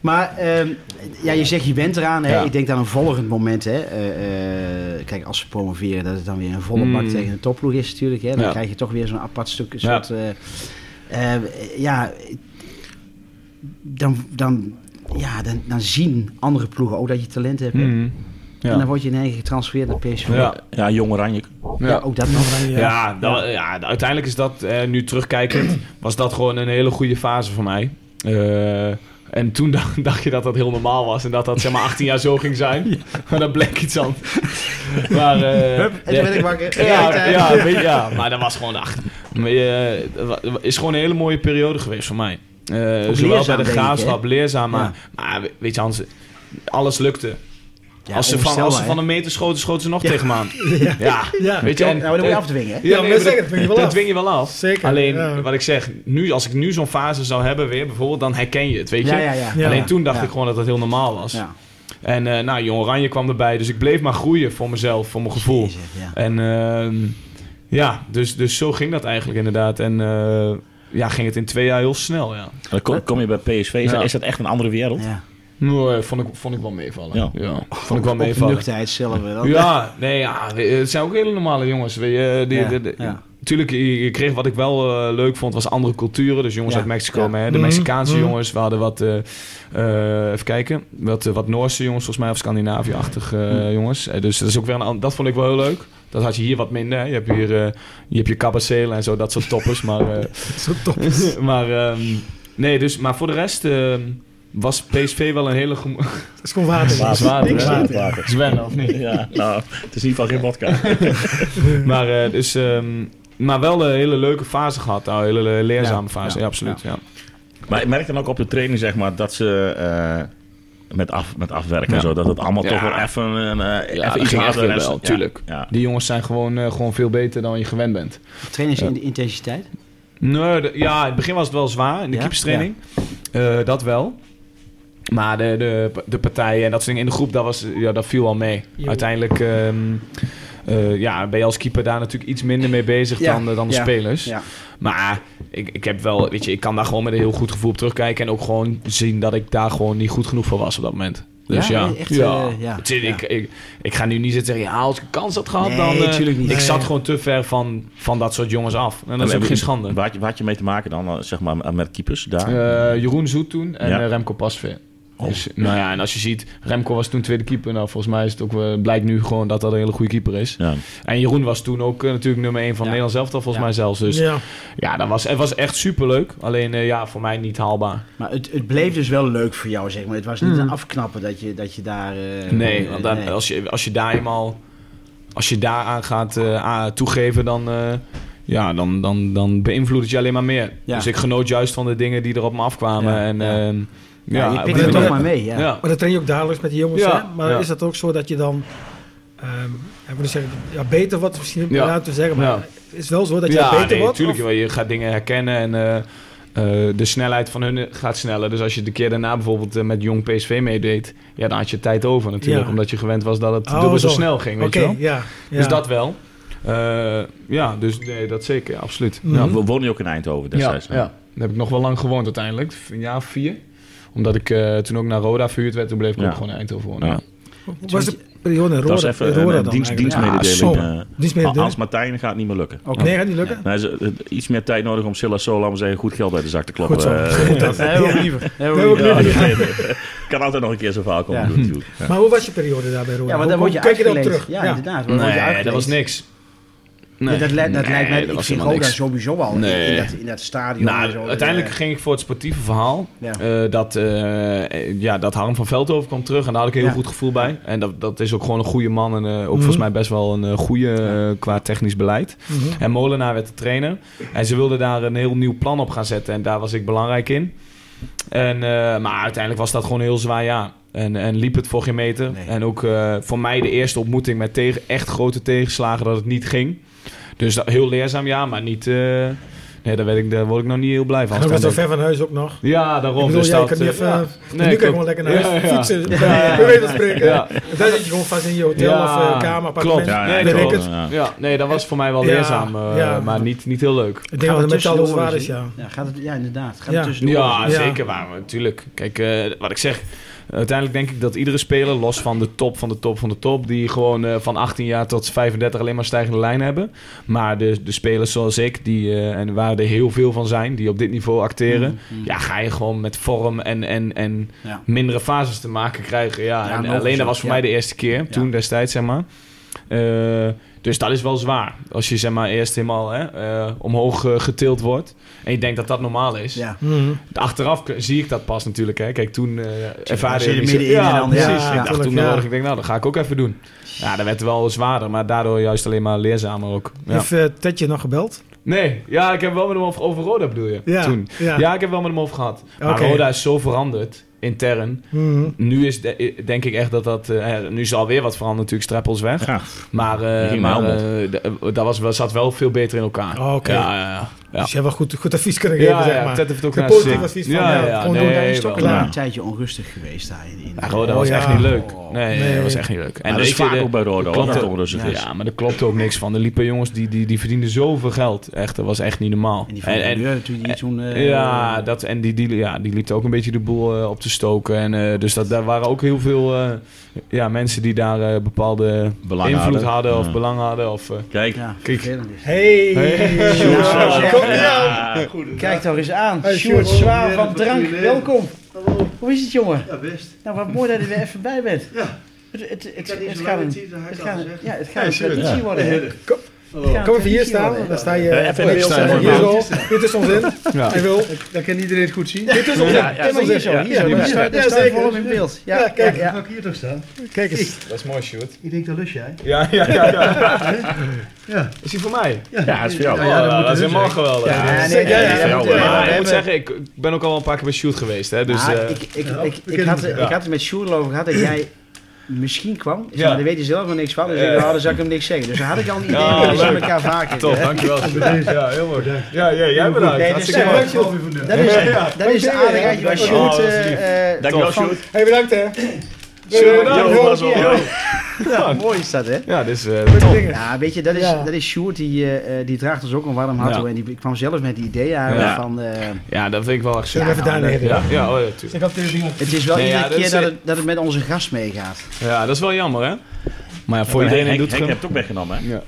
[SPEAKER 2] Maar ehm, ja, je zegt je bent eraan. Hè?
[SPEAKER 4] Ja.
[SPEAKER 2] Ik denk aan een volgend moment. Hè? Eh, eh, kijk, als ze promoveren, dat het dan weer een volle
[SPEAKER 4] Mm.
[SPEAKER 2] bak tegen een topploeg is natuurlijk. Hè? Dan
[SPEAKER 4] Ja.
[SPEAKER 2] krijg je toch weer zo'n apart stuk. Een
[SPEAKER 4] Ja.
[SPEAKER 2] soort, eh, eh, ja, dan, dan, ja dan, dan zien andere ploegen ook dat je talent hebt. hè.
[SPEAKER 4] Mhm.
[SPEAKER 2] En dan
[SPEAKER 4] Ja.
[SPEAKER 2] word je in één keer getransfereerd naar PSV.
[SPEAKER 4] Ja.
[SPEAKER 3] Ja, Jong Oranje.
[SPEAKER 2] Ja,
[SPEAKER 4] Ja.
[SPEAKER 2] ook dat nog.
[SPEAKER 4] Ja, dat- ja, uiteindelijk is dat, eh, nu terugkijkend, was dat gewoon een hele goede fase voor mij. Eh, en toen dacht, dacht je dat dat heel normaal was en dat dat zeg maar 18 jaar zo ging zijn. Maar dat bleek iets anders. Maar, eh,
[SPEAKER 2] En toen ben ik wakker.
[SPEAKER 4] Ja,
[SPEAKER 2] Rijtijd.
[SPEAKER 4] ja, weet- ja, maar dat was gewoon... Ach, maar, eh, het wa- is gewoon een hele mooie periode geweest voor mij. Eh, zowel
[SPEAKER 2] leerzaam,
[SPEAKER 4] bij de
[SPEAKER 2] denk ik,
[SPEAKER 4] graafschap, leerzaam. Maar,
[SPEAKER 2] Ja.
[SPEAKER 4] maar we- weet je Hans, alles lukte.
[SPEAKER 2] Ja,
[SPEAKER 4] als, ze van, als ze
[SPEAKER 2] onvoorstelbaar,
[SPEAKER 4] van
[SPEAKER 2] hè.
[SPEAKER 4] een meter schoten, schoten ze nog tegen me aan. Ja.
[SPEAKER 5] Ja.
[SPEAKER 4] weet je. En,
[SPEAKER 2] Nou, dat moet je
[SPEAKER 4] eh,
[SPEAKER 2] afdwingen. hè.
[SPEAKER 5] Ja, maar
[SPEAKER 4] nee,
[SPEAKER 5] dat
[SPEAKER 4] maar
[SPEAKER 5] zeg ik, dwing je wel
[SPEAKER 4] dat
[SPEAKER 5] af.
[SPEAKER 4] dwing je wel af.
[SPEAKER 5] Zeker,
[SPEAKER 4] Alleen,
[SPEAKER 5] ja.
[SPEAKER 4] wat ik zeg, nu, als ik nu zo'n fase zou hebben weer bijvoorbeeld, dan herken je het, weet je.
[SPEAKER 2] Ja, ja, ja.
[SPEAKER 5] Ja.
[SPEAKER 4] Alleen toen dacht
[SPEAKER 2] Ja.
[SPEAKER 4] ik gewoon dat dat heel normaal was.
[SPEAKER 2] Ja.
[SPEAKER 4] En eh, nou, Jong Oranje kwam erbij, dus ik bleef maar groeien voor mezelf, voor mijn gevoel.
[SPEAKER 2] Jezus, ja.
[SPEAKER 4] En ehm, ja, dus, dus zo ging dat eigenlijk inderdaad. En eh, ja, ging het in twee jaar heel snel, ja.
[SPEAKER 3] Dan kom, kom je bij PSV. Is,
[SPEAKER 4] Ja.
[SPEAKER 3] dat, is dat echt een andere
[SPEAKER 4] Eh,
[SPEAKER 3] wereld?
[SPEAKER 2] Ja.
[SPEAKER 4] Nee, Nou, vond ik, vond ik wel meevallen.
[SPEAKER 3] Ja.
[SPEAKER 4] Vond ik wel
[SPEAKER 2] Op de
[SPEAKER 4] meevallen.
[SPEAKER 2] nuchterheid zelf. hè, dat-
[SPEAKER 4] Ja, nee, ja, eh, het zijn ook hele normale jongens. Weet je, die,
[SPEAKER 2] Ja,
[SPEAKER 4] die- die-
[SPEAKER 2] ja.
[SPEAKER 4] Tuurlijk, je je kreeg wat ik wel eh, leuk vond, was andere culturen. Dus jongens
[SPEAKER 2] Ja,
[SPEAKER 4] uit Mexico,
[SPEAKER 2] ja.
[SPEAKER 4] maar, hè, de
[SPEAKER 5] Mhm,
[SPEAKER 4] Mexicaanse
[SPEAKER 5] mhm.
[SPEAKER 4] jongens. We hadden wat, eh, eh, even kijken, wat, eh, wat Noorse jongens volgens mij, of Scandinavië-achtige eh,
[SPEAKER 2] Mhm.
[SPEAKER 4] jongens. Eh, dus dat, is ook weer een, an- dat vond ik wel heel leuk. Dat had je hier wat minder. hè. Je hebt hier eh, je, hebt je Cabacela en zo, dat soort toppers. maar eh,
[SPEAKER 5] Zo top.
[SPEAKER 4] maar, ehm, nee, dus, maar voor de rest ehm, was PSV wel een hele... gemo-
[SPEAKER 5] Dat is gewoon water.
[SPEAKER 3] Water,
[SPEAKER 4] Zwaarder,
[SPEAKER 3] hè?
[SPEAKER 4] hè?
[SPEAKER 3] Water.
[SPEAKER 4] Zwen, of niet?
[SPEAKER 3] Ja, nou, het is in ieder geval geen vodka.
[SPEAKER 4] Maar, eh, dus, ehm, maar wel een hele leuke fase gehad. Nou, een hele leerzame fase, ja, absoluut. Ja.
[SPEAKER 3] Maar ik merk dan ook op de training, zeg maar, dat ze... eh, met, af, met afwerken en
[SPEAKER 4] Ja.
[SPEAKER 3] zo, dat het allemaal
[SPEAKER 4] Ja.
[SPEAKER 3] toch wel even, een eh
[SPEAKER 4] Ja,
[SPEAKER 3] even
[SPEAKER 4] dat
[SPEAKER 3] iets
[SPEAKER 4] ging echt
[SPEAKER 3] harder en
[SPEAKER 4] wel,
[SPEAKER 3] zo- ja,
[SPEAKER 4] tuurlijk.
[SPEAKER 3] Ja.
[SPEAKER 4] Die jongens zijn gewoon, eh, gewoon veel beter dan je gewend bent.
[SPEAKER 2] Trainingsintensiteit?
[SPEAKER 4] Nee, de- ja, in het begin was het wel zwaar in de
[SPEAKER 2] Ja?
[SPEAKER 4] keeperstraining. Eh, dat wel. Maar de, de, de partijen en dat soort dingen in de groep, dat, was, ja, dat viel wel mee.
[SPEAKER 5] Jo.
[SPEAKER 4] Uiteindelijk ehm, eh, ja, ben je als keeper daar natuurlijk iets minder mee bezig
[SPEAKER 2] Ja,
[SPEAKER 4] dan, eh, dan de
[SPEAKER 2] ja,
[SPEAKER 4] spelers.
[SPEAKER 2] Ja.
[SPEAKER 4] Maar ik, ik heb wel, weet je, ik kan daar gewoon met een heel goed gevoel op terugkijken. En ook gewoon zien dat ik daar gewoon niet goed genoeg voor was op dat moment. Dus
[SPEAKER 2] Ja,
[SPEAKER 4] ja,
[SPEAKER 2] echt,
[SPEAKER 4] ja.
[SPEAKER 2] eh, ja.
[SPEAKER 4] Het is- Ik, ik, ik ga nu niet zitten zeggen, ja, als ik een kans had gehad,
[SPEAKER 2] Nee,
[SPEAKER 4] dan... eh,
[SPEAKER 2] tuurlijk niet.
[SPEAKER 4] Ik
[SPEAKER 5] Nee.
[SPEAKER 4] zat gewoon te ver van, van dat soort jongens af. En dat
[SPEAKER 3] En
[SPEAKER 4] is ook
[SPEAKER 3] heb-
[SPEAKER 4] geen schande.
[SPEAKER 3] Waar had je, waar had je mee te maken dan, eh, zeg maar, met keepers daar?
[SPEAKER 4] Eh, Jeroen Zoet toen en
[SPEAKER 3] Ja. Oh.
[SPEAKER 4] eh, Remco Pasveer. Dus, nou ja, en als je ziet, Remco was toen tweede keeper. Nou, volgens mij is het ook, eh, blijkt nu gewoon dat dat een hele goede keeper is.
[SPEAKER 3] ja.
[SPEAKER 4] En Jeroen was toen ook eh, natuurlijk nummer 1 van
[SPEAKER 2] Ja.
[SPEAKER 4] Nederland zelf, volgens
[SPEAKER 2] Ja.
[SPEAKER 4] mij zelfs. Dus
[SPEAKER 5] Ja.
[SPEAKER 4] ja, dat was, het was echt superleuk. Alleen eh, ja, voor mij niet haalbaar.
[SPEAKER 2] Maar het, het bleef dus wel leuk voor jou, zeg maar. Het was niet een afknappen dat je, dat je daar... eh,
[SPEAKER 4] Nee,
[SPEAKER 2] eh,
[SPEAKER 4] want dan,
[SPEAKER 2] nee.
[SPEAKER 4] Als, je, als je daar eenmaal... Als je daar aan gaat eh, aan- toegeven, dan, eh, ja, dan, dan, dan beïnvloedt het je alleen maar meer.
[SPEAKER 2] Ja.
[SPEAKER 4] Dus ik genoot juist van de dingen die er op me afkwamen.
[SPEAKER 2] Ja,
[SPEAKER 4] en,
[SPEAKER 2] ja.
[SPEAKER 4] ehm,
[SPEAKER 2] Ja,
[SPEAKER 4] ja,
[SPEAKER 2] je pikt het
[SPEAKER 5] maar-
[SPEAKER 2] toch maar mee, ja.
[SPEAKER 4] ja.
[SPEAKER 5] Maar dat train je ook dagelijks met die jongens.
[SPEAKER 4] Ja,
[SPEAKER 5] Hè? Maar
[SPEAKER 4] ja.
[SPEAKER 5] is dat ook zo dat je dan... ehm ja, ik moet niet zeggen, ja, beter wordt misschien
[SPEAKER 4] Ja.
[SPEAKER 5] ja. te zeggen, maar
[SPEAKER 4] Ja.
[SPEAKER 5] het is wel zo dat je
[SPEAKER 4] ja,
[SPEAKER 5] beter
[SPEAKER 4] nee,
[SPEAKER 5] wordt.
[SPEAKER 4] tuurlijk.
[SPEAKER 5] of-
[SPEAKER 4] wel. Je gaat dingen herkennen en eh, eh, de snelheid van hun gaat sneller. Dus als je de keer daarna bijvoorbeeld eh, met jong PSV meedeed, ja, dan had je tijd over natuurlijk.
[SPEAKER 5] Ja.
[SPEAKER 4] Omdat je gewend was dat het
[SPEAKER 5] Oh,
[SPEAKER 4] dubbel zo
[SPEAKER 5] zo.
[SPEAKER 4] snel ging, weet
[SPEAKER 5] Oké,
[SPEAKER 4] je wel.
[SPEAKER 5] ja, ja.
[SPEAKER 4] Dus dat wel. Eh, ja, dus nee, dat zeker, absoluut.
[SPEAKER 5] Mhm.
[SPEAKER 4] Ja.
[SPEAKER 3] Nou, We wonen je ook in Eindhoven
[SPEAKER 4] Ja,
[SPEAKER 3] destijds. hè?
[SPEAKER 4] ja, daar heb ik nog wel lang gewoond uiteindelijk. V- Een jaar of vier. Omdat ik eh, toen ook naar Roda verhuurd werd, toen bleef ik
[SPEAKER 3] Ja.
[SPEAKER 4] ook gewoon in Eindhoven wonen.
[SPEAKER 3] Ja.
[SPEAKER 4] Ja.
[SPEAKER 5] was de periode in Roda.
[SPEAKER 3] Dat was even
[SPEAKER 5] in
[SPEAKER 3] een,
[SPEAKER 5] Roda
[SPEAKER 3] een
[SPEAKER 5] dan
[SPEAKER 3] dienst,
[SPEAKER 5] eigenlijk.
[SPEAKER 3] dienstmededeling.
[SPEAKER 5] Ja,
[SPEAKER 3] eh.
[SPEAKER 5] zo. Dienstmededeling.
[SPEAKER 3] Als Martijn gaat het niet meer lukken.
[SPEAKER 2] Oké.
[SPEAKER 5] Nee, gaat niet lukken.
[SPEAKER 3] Nee, ze- het- iets meer tijd nodig om Silla Sol, laten we zeggen, goed geld uit de zak te kloppen.
[SPEAKER 5] Goed zo.
[SPEAKER 3] Eh, dat-
[SPEAKER 2] Nee, we ook liever. Nee, we
[SPEAKER 5] Nee, we
[SPEAKER 2] ook
[SPEAKER 5] ook
[SPEAKER 2] liever.
[SPEAKER 5] liever.
[SPEAKER 3] kan altijd nog een keer zo'n verhaal komen
[SPEAKER 2] Ja.
[SPEAKER 3] doen natuurlijk.
[SPEAKER 5] Maar hoe was je periode daar bij Roda?
[SPEAKER 2] Ja, maar
[SPEAKER 5] Hoe-
[SPEAKER 2] dan
[SPEAKER 5] hoe
[SPEAKER 2] word je
[SPEAKER 5] kijk je dan
[SPEAKER 2] uitgeleend.
[SPEAKER 5] terug?
[SPEAKER 2] Ja,
[SPEAKER 5] Ja.
[SPEAKER 2] inderdaad. dan word je
[SPEAKER 4] Nee, dat was
[SPEAKER 2] uitgeleend.
[SPEAKER 4] niks.
[SPEAKER 2] Ja, dat lijkt, dat
[SPEAKER 4] Nee,
[SPEAKER 2] lijkt mij,
[SPEAKER 4] dat
[SPEAKER 2] ik
[SPEAKER 4] was
[SPEAKER 2] vind
[SPEAKER 4] helemaal
[SPEAKER 2] Roda
[SPEAKER 4] niks.
[SPEAKER 2] sowieso al in- in,
[SPEAKER 4] Nee.
[SPEAKER 2] dat, in dat stadion. en zo,
[SPEAKER 4] Nou,
[SPEAKER 2] dat,
[SPEAKER 4] uiteindelijk
[SPEAKER 2] eh,
[SPEAKER 4] ging ik voor het sportieve verhaal.
[SPEAKER 2] Ja.
[SPEAKER 4] Eh, dat, eh, ja, dat Harm van Veldhoven kwam terug en daar had ik een heel
[SPEAKER 2] Ja. Mhm.
[SPEAKER 4] goed gevoel bij. En dat, dat is ook gewoon een goede man en eh, ook volgens mij best wel een eh, goede eh, qua technisch beleid.
[SPEAKER 5] Mhm.
[SPEAKER 4] En Molenaar werd de trainer. En ze wilden daar een heel nieuw plan op gaan zetten en daar was ik belangrijk in. En, eh, maar uiteindelijk was dat gewoon een heel zwaar jaar. En, en liep het voor geen meter.
[SPEAKER 2] Nee.
[SPEAKER 4] En ook eh, voor mij de eerste ontmoeting met tegen, echt grote tegenslagen dat het niet ging. Dus dat, heel leerzaam, ja, maar niet... eh, nee, daar, werd ik, daar word ik nog niet heel blij van.
[SPEAKER 5] Hij was zo ver van huis ook nog. Ik
[SPEAKER 4] Ja, daarom.
[SPEAKER 5] bedoel,
[SPEAKER 4] dus
[SPEAKER 5] jij
[SPEAKER 4] dat,
[SPEAKER 5] kan niet
[SPEAKER 4] eh,
[SPEAKER 5] even...
[SPEAKER 4] ja.
[SPEAKER 5] eh,
[SPEAKER 4] Nee, klopt.
[SPEAKER 5] nu kan je gewoon lekker naar huis
[SPEAKER 4] Ja, ja.
[SPEAKER 5] fietsen.
[SPEAKER 4] Ja.
[SPEAKER 5] We weten spreken.
[SPEAKER 4] Ja.
[SPEAKER 5] En Daar zit je gewoon vast in je hotel
[SPEAKER 4] Ja.
[SPEAKER 5] of eh, kamer, appartement.
[SPEAKER 4] Klopt. Ja,
[SPEAKER 5] Weet
[SPEAKER 4] klopt.
[SPEAKER 5] ik het.
[SPEAKER 3] Ja.
[SPEAKER 4] Ja, nee, dat was voor mij wel
[SPEAKER 5] Ja,
[SPEAKER 4] leerzaam, eh,
[SPEAKER 5] ja.
[SPEAKER 4] maar niet, niet heel leuk.
[SPEAKER 5] Ik
[SPEAKER 2] gaat
[SPEAKER 5] denk dat
[SPEAKER 2] er
[SPEAKER 5] het met alles
[SPEAKER 2] tussendoor
[SPEAKER 5] waar is,
[SPEAKER 2] dus in?
[SPEAKER 5] ja.
[SPEAKER 2] Ja, gaat het, ja inderdaad. Gaat
[SPEAKER 5] Ja.
[SPEAKER 2] het tussendoor
[SPEAKER 4] Ja,
[SPEAKER 2] dus in?
[SPEAKER 5] Ja.
[SPEAKER 4] zeker waar, maar natuurlijk. Kijk, eh, wat ik zeg, uiteindelijk denk ik dat iedere speler, los van de top van de top van de top, die gewoon eh, van 18 jaar tot 35 alleen maar stijgende lijn hebben. Maar de, de spelers zoals ik, die, eh, en waar er heel veel van zijn, die op dit niveau acteren,
[SPEAKER 2] Mm,
[SPEAKER 4] ja, ga je gewoon met vorm en, en, en
[SPEAKER 2] Ja.
[SPEAKER 4] mindere fases te maken krijgen. Ja,
[SPEAKER 2] Ja,
[SPEAKER 4] en
[SPEAKER 2] logisch
[SPEAKER 4] alleen dat
[SPEAKER 2] ook,
[SPEAKER 4] was voor
[SPEAKER 2] ja.
[SPEAKER 4] mij de eerste keer, toen destijds, zeg maar. Eh, dus dat is wel zwaar. Als je zeg maar eerst helemaal hè, eh, omhoog eh, getild wordt. En je denkt dat dat normaal is.
[SPEAKER 2] Ja.
[SPEAKER 5] Mhm.
[SPEAKER 4] Achteraf k- zie ik dat pas natuurlijk. Hè. Kijk, toen eh ervaarde
[SPEAKER 2] zit je
[SPEAKER 4] ik niet zo-
[SPEAKER 2] middenin
[SPEAKER 4] Ja,
[SPEAKER 2] en dan-
[SPEAKER 4] precies.
[SPEAKER 5] ja,
[SPEAKER 4] ik dacht
[SPEAKER 5] tuurlijk,
[SPEAKER 4] toen
[SPEAKER 5] ja.
[SPEAKER 4] nodig. Ik denk, nou, dat ga ik ook even doen. Ja, dat werd wel zwaarder, maar daardoor juist alleen maar leerzamer ook. Ja.
[SPEAKER 5] Heeft eh, Ted je nog gebeld?
[SPEAKER 4] Nee, ja, ik heb wel met hem over, over Roda bedoel je?
[SPEAKER 5] Ja,
[SPEAKER 4] Toen.
[SPEAKER 5] ja.
[SPEAKER 4] Ja. ik heb wel met hem over gehad. Maar
[SPEAKER 5] Oké.
[SPEAKER 4] Roda is zo veranderd intern.
[SPEAKER 5] Mhm.
[SPEAKER 4] Nu is de- denk ik echt dat dat... eh, nu is er alweer wat veranderd natuurlijk, Streppels weg.
[SPEAKER 3] Ja.
[SPEAKER 4] Maar, eh,
[SPEAKER 3] ging
[SPEAKER 4] maar
[SPEAKER 3] naar
[SPEAKER 4] eh, d- eh, dat was, wel- zat wel veel beter in elkaar.
[SPEAKER 5] Oh, oké.
[SPEAKER 4] Ja, ja, ja. ja.
[SPEAKER 5] Dus je hebt wel goed, goed advies kunnen geven,
[SPEAKER 4] Ja,
[SPEAKER 5] zeg
[SPEAKER 4] ja,
[SPEAKER 5] maar.
[SPEAKER 4] Ted heeft het ook
[SPEAKER 5] De
[SPEAKER 4] naar
[SPEAKER 5] politiek
[SPEAKER 4] zin.
[SPEAKER 5] was iets van, ja, gewoon
[SPEAKER 2] Roda
[SPEAKER 5] doen,
[SPEAKER 2] is toch
[SPEAKER 4] wel.
[SPEAKER 2] wel
[SPEAKER 3] Ja.
[SPEAKER 2] een tijdje onrustig geweest daar in. in
[SPEAKER 4] Ja, Roda
[SPEAKER 5] Oh,
[SPEAKER 4] was
[SPEAKER 5] ja.
[SPEAKER 4] echt niet leuk.
[SPEAKER 2] Oh.
[SPEAKER 4] Nee,
[SPEAKER 5] Nee.
[SPEAKER 4] dat was echt niet leuk.
[SPEAKER 3] En dat
[SPEAKER 4] weet
[SPEAKER 3] is
[SPEAKER 4] je,
[SPEAKER 3] vaak
[SPEAKER 4] de-
[SPEAKER 3] ook bij Roda, hoor,
[SPEAKER 4] klopt
[SPEAKER 3] dat dus- het
[SPEAKER 4] ook.
[SPEAKER 3] onrustig is.
[SPEAKER 4] Ja, maar er klopte ook niks van. Er liepen jongens die, die, die verdienden zoveel geld. Echt, dat was echt niet normaal.
[SPEAKER 2] En die van
[SPEAKER 4] En, en,
[SPEAKER 2] natuurlijk die toen... eh,
[SPEAKER 4] ja, dat, en die, die, ja, die liep ook een beetje de boel eh, op te stoken. En, eh, dus dat, daar waren ook heel veel eh, ja, mensen die daar eh, bepaalde
[SPEAKER 3] Belang
[SPEAKER 4] invloed hadden,
[SPEAKER 3] hadden.
[SPEAKER 4] of
[SPEAKER 3] Ja.
[SPEAKER 4] belang hadden. Of, eh,
[SPEAKER 3] Kijk,
[SPEAKER 2] Ja,
[SPEAKER 4] Kijk.
[SPEAKER 2] vervelend is.
[SPEAKER 5] Hey!
[SPEAKER 2] Sjoerd,
[SPEAKER 5] Ja,
[SPEAKER 2] zeg.
[SPEAKER 5] kom nou!
[SPEAKER 2] Kijk toch eens aan.
[SPEAKER 5] Hey,
[SPEAKER 2] Sjoerd
[SPEAKER 5] Sjoerd.
[SPEAKER 2] Zwaar van Drank, welkom. Hoe is het, jongen?
[SPEAKER 6] Ja, best.
[SPEAKER 2] Nou, wat mooi dat je er even bij bent.
[SPEAKER 6] Ja.
[SPEAKER 2] Het, het, het,
[SPEAKER 6] heb niet
[SPEAKER 2] het
[SPEAKER 6] zo
[SPEAKER 2] gaat
[SPEAKER 6] lang
[SPEAKER 2] een,
[SPEAKER 6] met Tietze, hij
[SPEAKER 2] het
[SPEAKER 6] kan
[SPEAKER 2] gaat
[SPEAKER 6] het
[SPEAKER 2] een-
[SPEAKER 6] zeggen.
[SPEAKER 2] ja, het gaat een
[SPEAKER 6] Hey, Sjoerd.
[SPEAKER 2] traditie worden. hè?
[SPEAKER 6] Heerlijk.
[SPEAKER 5] Kom even hier staan, dan sta je
[SPEAKER 3] Eh, even in beeld
[SPEAKER 5] zeg maar,
[SPEAKER 3] staan,
[SPEAKER 5] hier
[SPEAKER 3] man.
[SPEAKER 5] zo. Dit is ons in.
[SPEAKER 4] Ja.
[SPEAKER 5] Ik wil,
[SPEAKER 6] Dan kan iedereen het goed zien.
[SPEAKER 5] dit is ons in. Dit is ons
[SPEAKER 2] hier
[SPEAKER 5] in.
[SPEAKER 2] zo, hier zo.
[SPEAKER 5] Ja,
[SPEAKER 2] Daar staat- daar staat
[SPEAKER 5] zeker.
[SPEAKER 2] volop in beeld. Ja,
[SPEAKER 5] Ja, kijk.
[SPEAKER 2] ja, ja.
[SPEAKER 6] Ga ik hier toch staan?
[SPEAKER 5] Kijk eens.
[SPEAKER 4] Dat is mooi, shoot.
[SPEAKER 6] Ik denk, dat lust jij.
[SPEAKER 4] Ja, ja, ja.
[SPEAKER 6] Ja.
[SPEAKER 4] Is die voor mij?
[SPEAKER 3] Ja, dat is voor jou.
[SPEAKER 6] Ja, dat
[SPEAKER 4] Oh,
[SPEAKER 6] moet
[SPEAKER 4] dat is
[SPEAKER 6] dus
[SPEAKER 4] helemaal
[SPEAKER 6] zijn.
[SPEAKER 4] geweldig.
[SPEAKER 2] Ja, nee,
[SPEAKER 5] zeker.
[SPEAKER 2] nee,
[SPEAKER 5] Ja,
[SPEAKER 2] nee,
[SPEAKER 5] ja,
[SPEAKER 2] nee,
[SPEAKER 3] ja,
[SPEAKER 2] nee, we
[SPEAKER 3] ja.
[SPEAKER 4] Maar ik moet
[SPEAKER 2] hebben-
[SPEAKER 4] zeggen, ik, ik ben ook al wel een paar keer bij shoot geweest, hè. Dus,
[SPEAKER 2] Ah,
[SPEAKER 4] eh,
[SPEAKER 2] ik, ik,
[SPEAKER 6] ja,
[SPEAKER 2] ik,
[SPEAKER 6] we
[SPEAKER 2] ik,
[SPEAKER 6] kennen
[SPEAKER 2] had,
[SPEAKER 6] elkaar.
[SPEAKER 2] ik had het met Sjoerd over gehad dat jij misschien kwam. Ik zei,
[SPEAKER 4] Ja.
[SPEAKER 2] maar daar weet je zelf nog niks van. Dus
[SPEAKER 4] Ja.
[SPEAKER 2] ik dacht, oh, dan zou ik hem niks zeggen. Dus dan had ik al een idee.
[SPEAKER 4] Ja,
[SPEAKER 2] maar we zien
[SPEAKER 4] leuk.
[SPEAKER 2] elkaar vaker.
[SPEAKER 4] Top, dankjewel. Ja, heel mooi. Ja, ja, jij
[SPEAKER 2] Nee,
[SPEAKER 4] bedankt.
[SPEAKER 2] dus-
[SPEAKER 4] Hartstikke
[SPEAKER 2] Ja,
[SPEAKER 4] mooi.
[SPEAKER 5] eh,
[SPEAKER 6] Dankjewel voor de
[SPEAKER 2] Dat is, dat is
[SPEAKER 5] Dankjewel,
[SPEAKER 2] de aardigheid waar
[SPEAKER 5] ja.
[SPEAKER 4] Oh,
[SPEAKER 2] Sjoerd...
[SPEAKER 4] dat is
[SPEAKER 2] eh,
[SPEAKER 4] lief.
[SPEAKER 2] eh,
[SPEAKER 3] Dankjewel,
[SPEAKER 2] van-
[SPEAKER 3] Sjoerd.
[SPEAKER 5] Hey, bedankt hè.
[SPEAKER 4] Sjoerd,
[SPEAKER 5] Bedankt.
[SPEAKER 4] yo,
[SPEAKER 5] Yo,
[SPEAKER 4] pas op.
[SPEAKER 5] yo.
[SPEAKER 2] Ja, mooi is dat, hè?
[SPEAKER 4] Ja, dit is eh,
[SPEAKER 5] Leuke
[SPEAKER 4] top.
[SPEAKER 5] dingen.
[SPEAKER 2] Ja, weet je, dat is,
[SPEAKER 5] Ja.
[SPEAKER 2] dat is Sjoerd, die, eh, eh, die draagt ons ook een warm hart
[SPEAKER 4] Ja.
[SPEAKER 2] toe. En die kwam zelf met die ideeën aan
[SPEAKER 4] Ja.
[SPEAKER 2] van... eh,
[SPEAKER 4] Ja, dat vind ik wel echt
[SPEAKER 5] Zullen
[SPEAKER 4] super.
[SPEAKER 5] we even daar neer?
[SPEAKER 4] Ja, ja, oh, ja, tuurlijk.
[SPEAKER 5] Ik had deze ding op.
[SPEAKER 2] het is wel
[SPEAKER 4] Nee, ja,
[SPEAKER 2] iedere
[SPEAKER 4] dat
[SPEAKER 2] keer
[SPEAKER 4] is-
[SPEAKER 2] dat het, dat het met onze gast meegaat.
[SPEAKER 4] Ja, dat is wel jammer, hè? Maar ja, voor
[SPEAKER 3] Maar
[SPEAKER 4] iedereen in
[SPEAKER 3] Henk- Henk
[SPEAKER 4] Doetinchem...
[SPEAKER 3] heeft het ook weggenomen, hè?
[SPEAKER 2] Ja,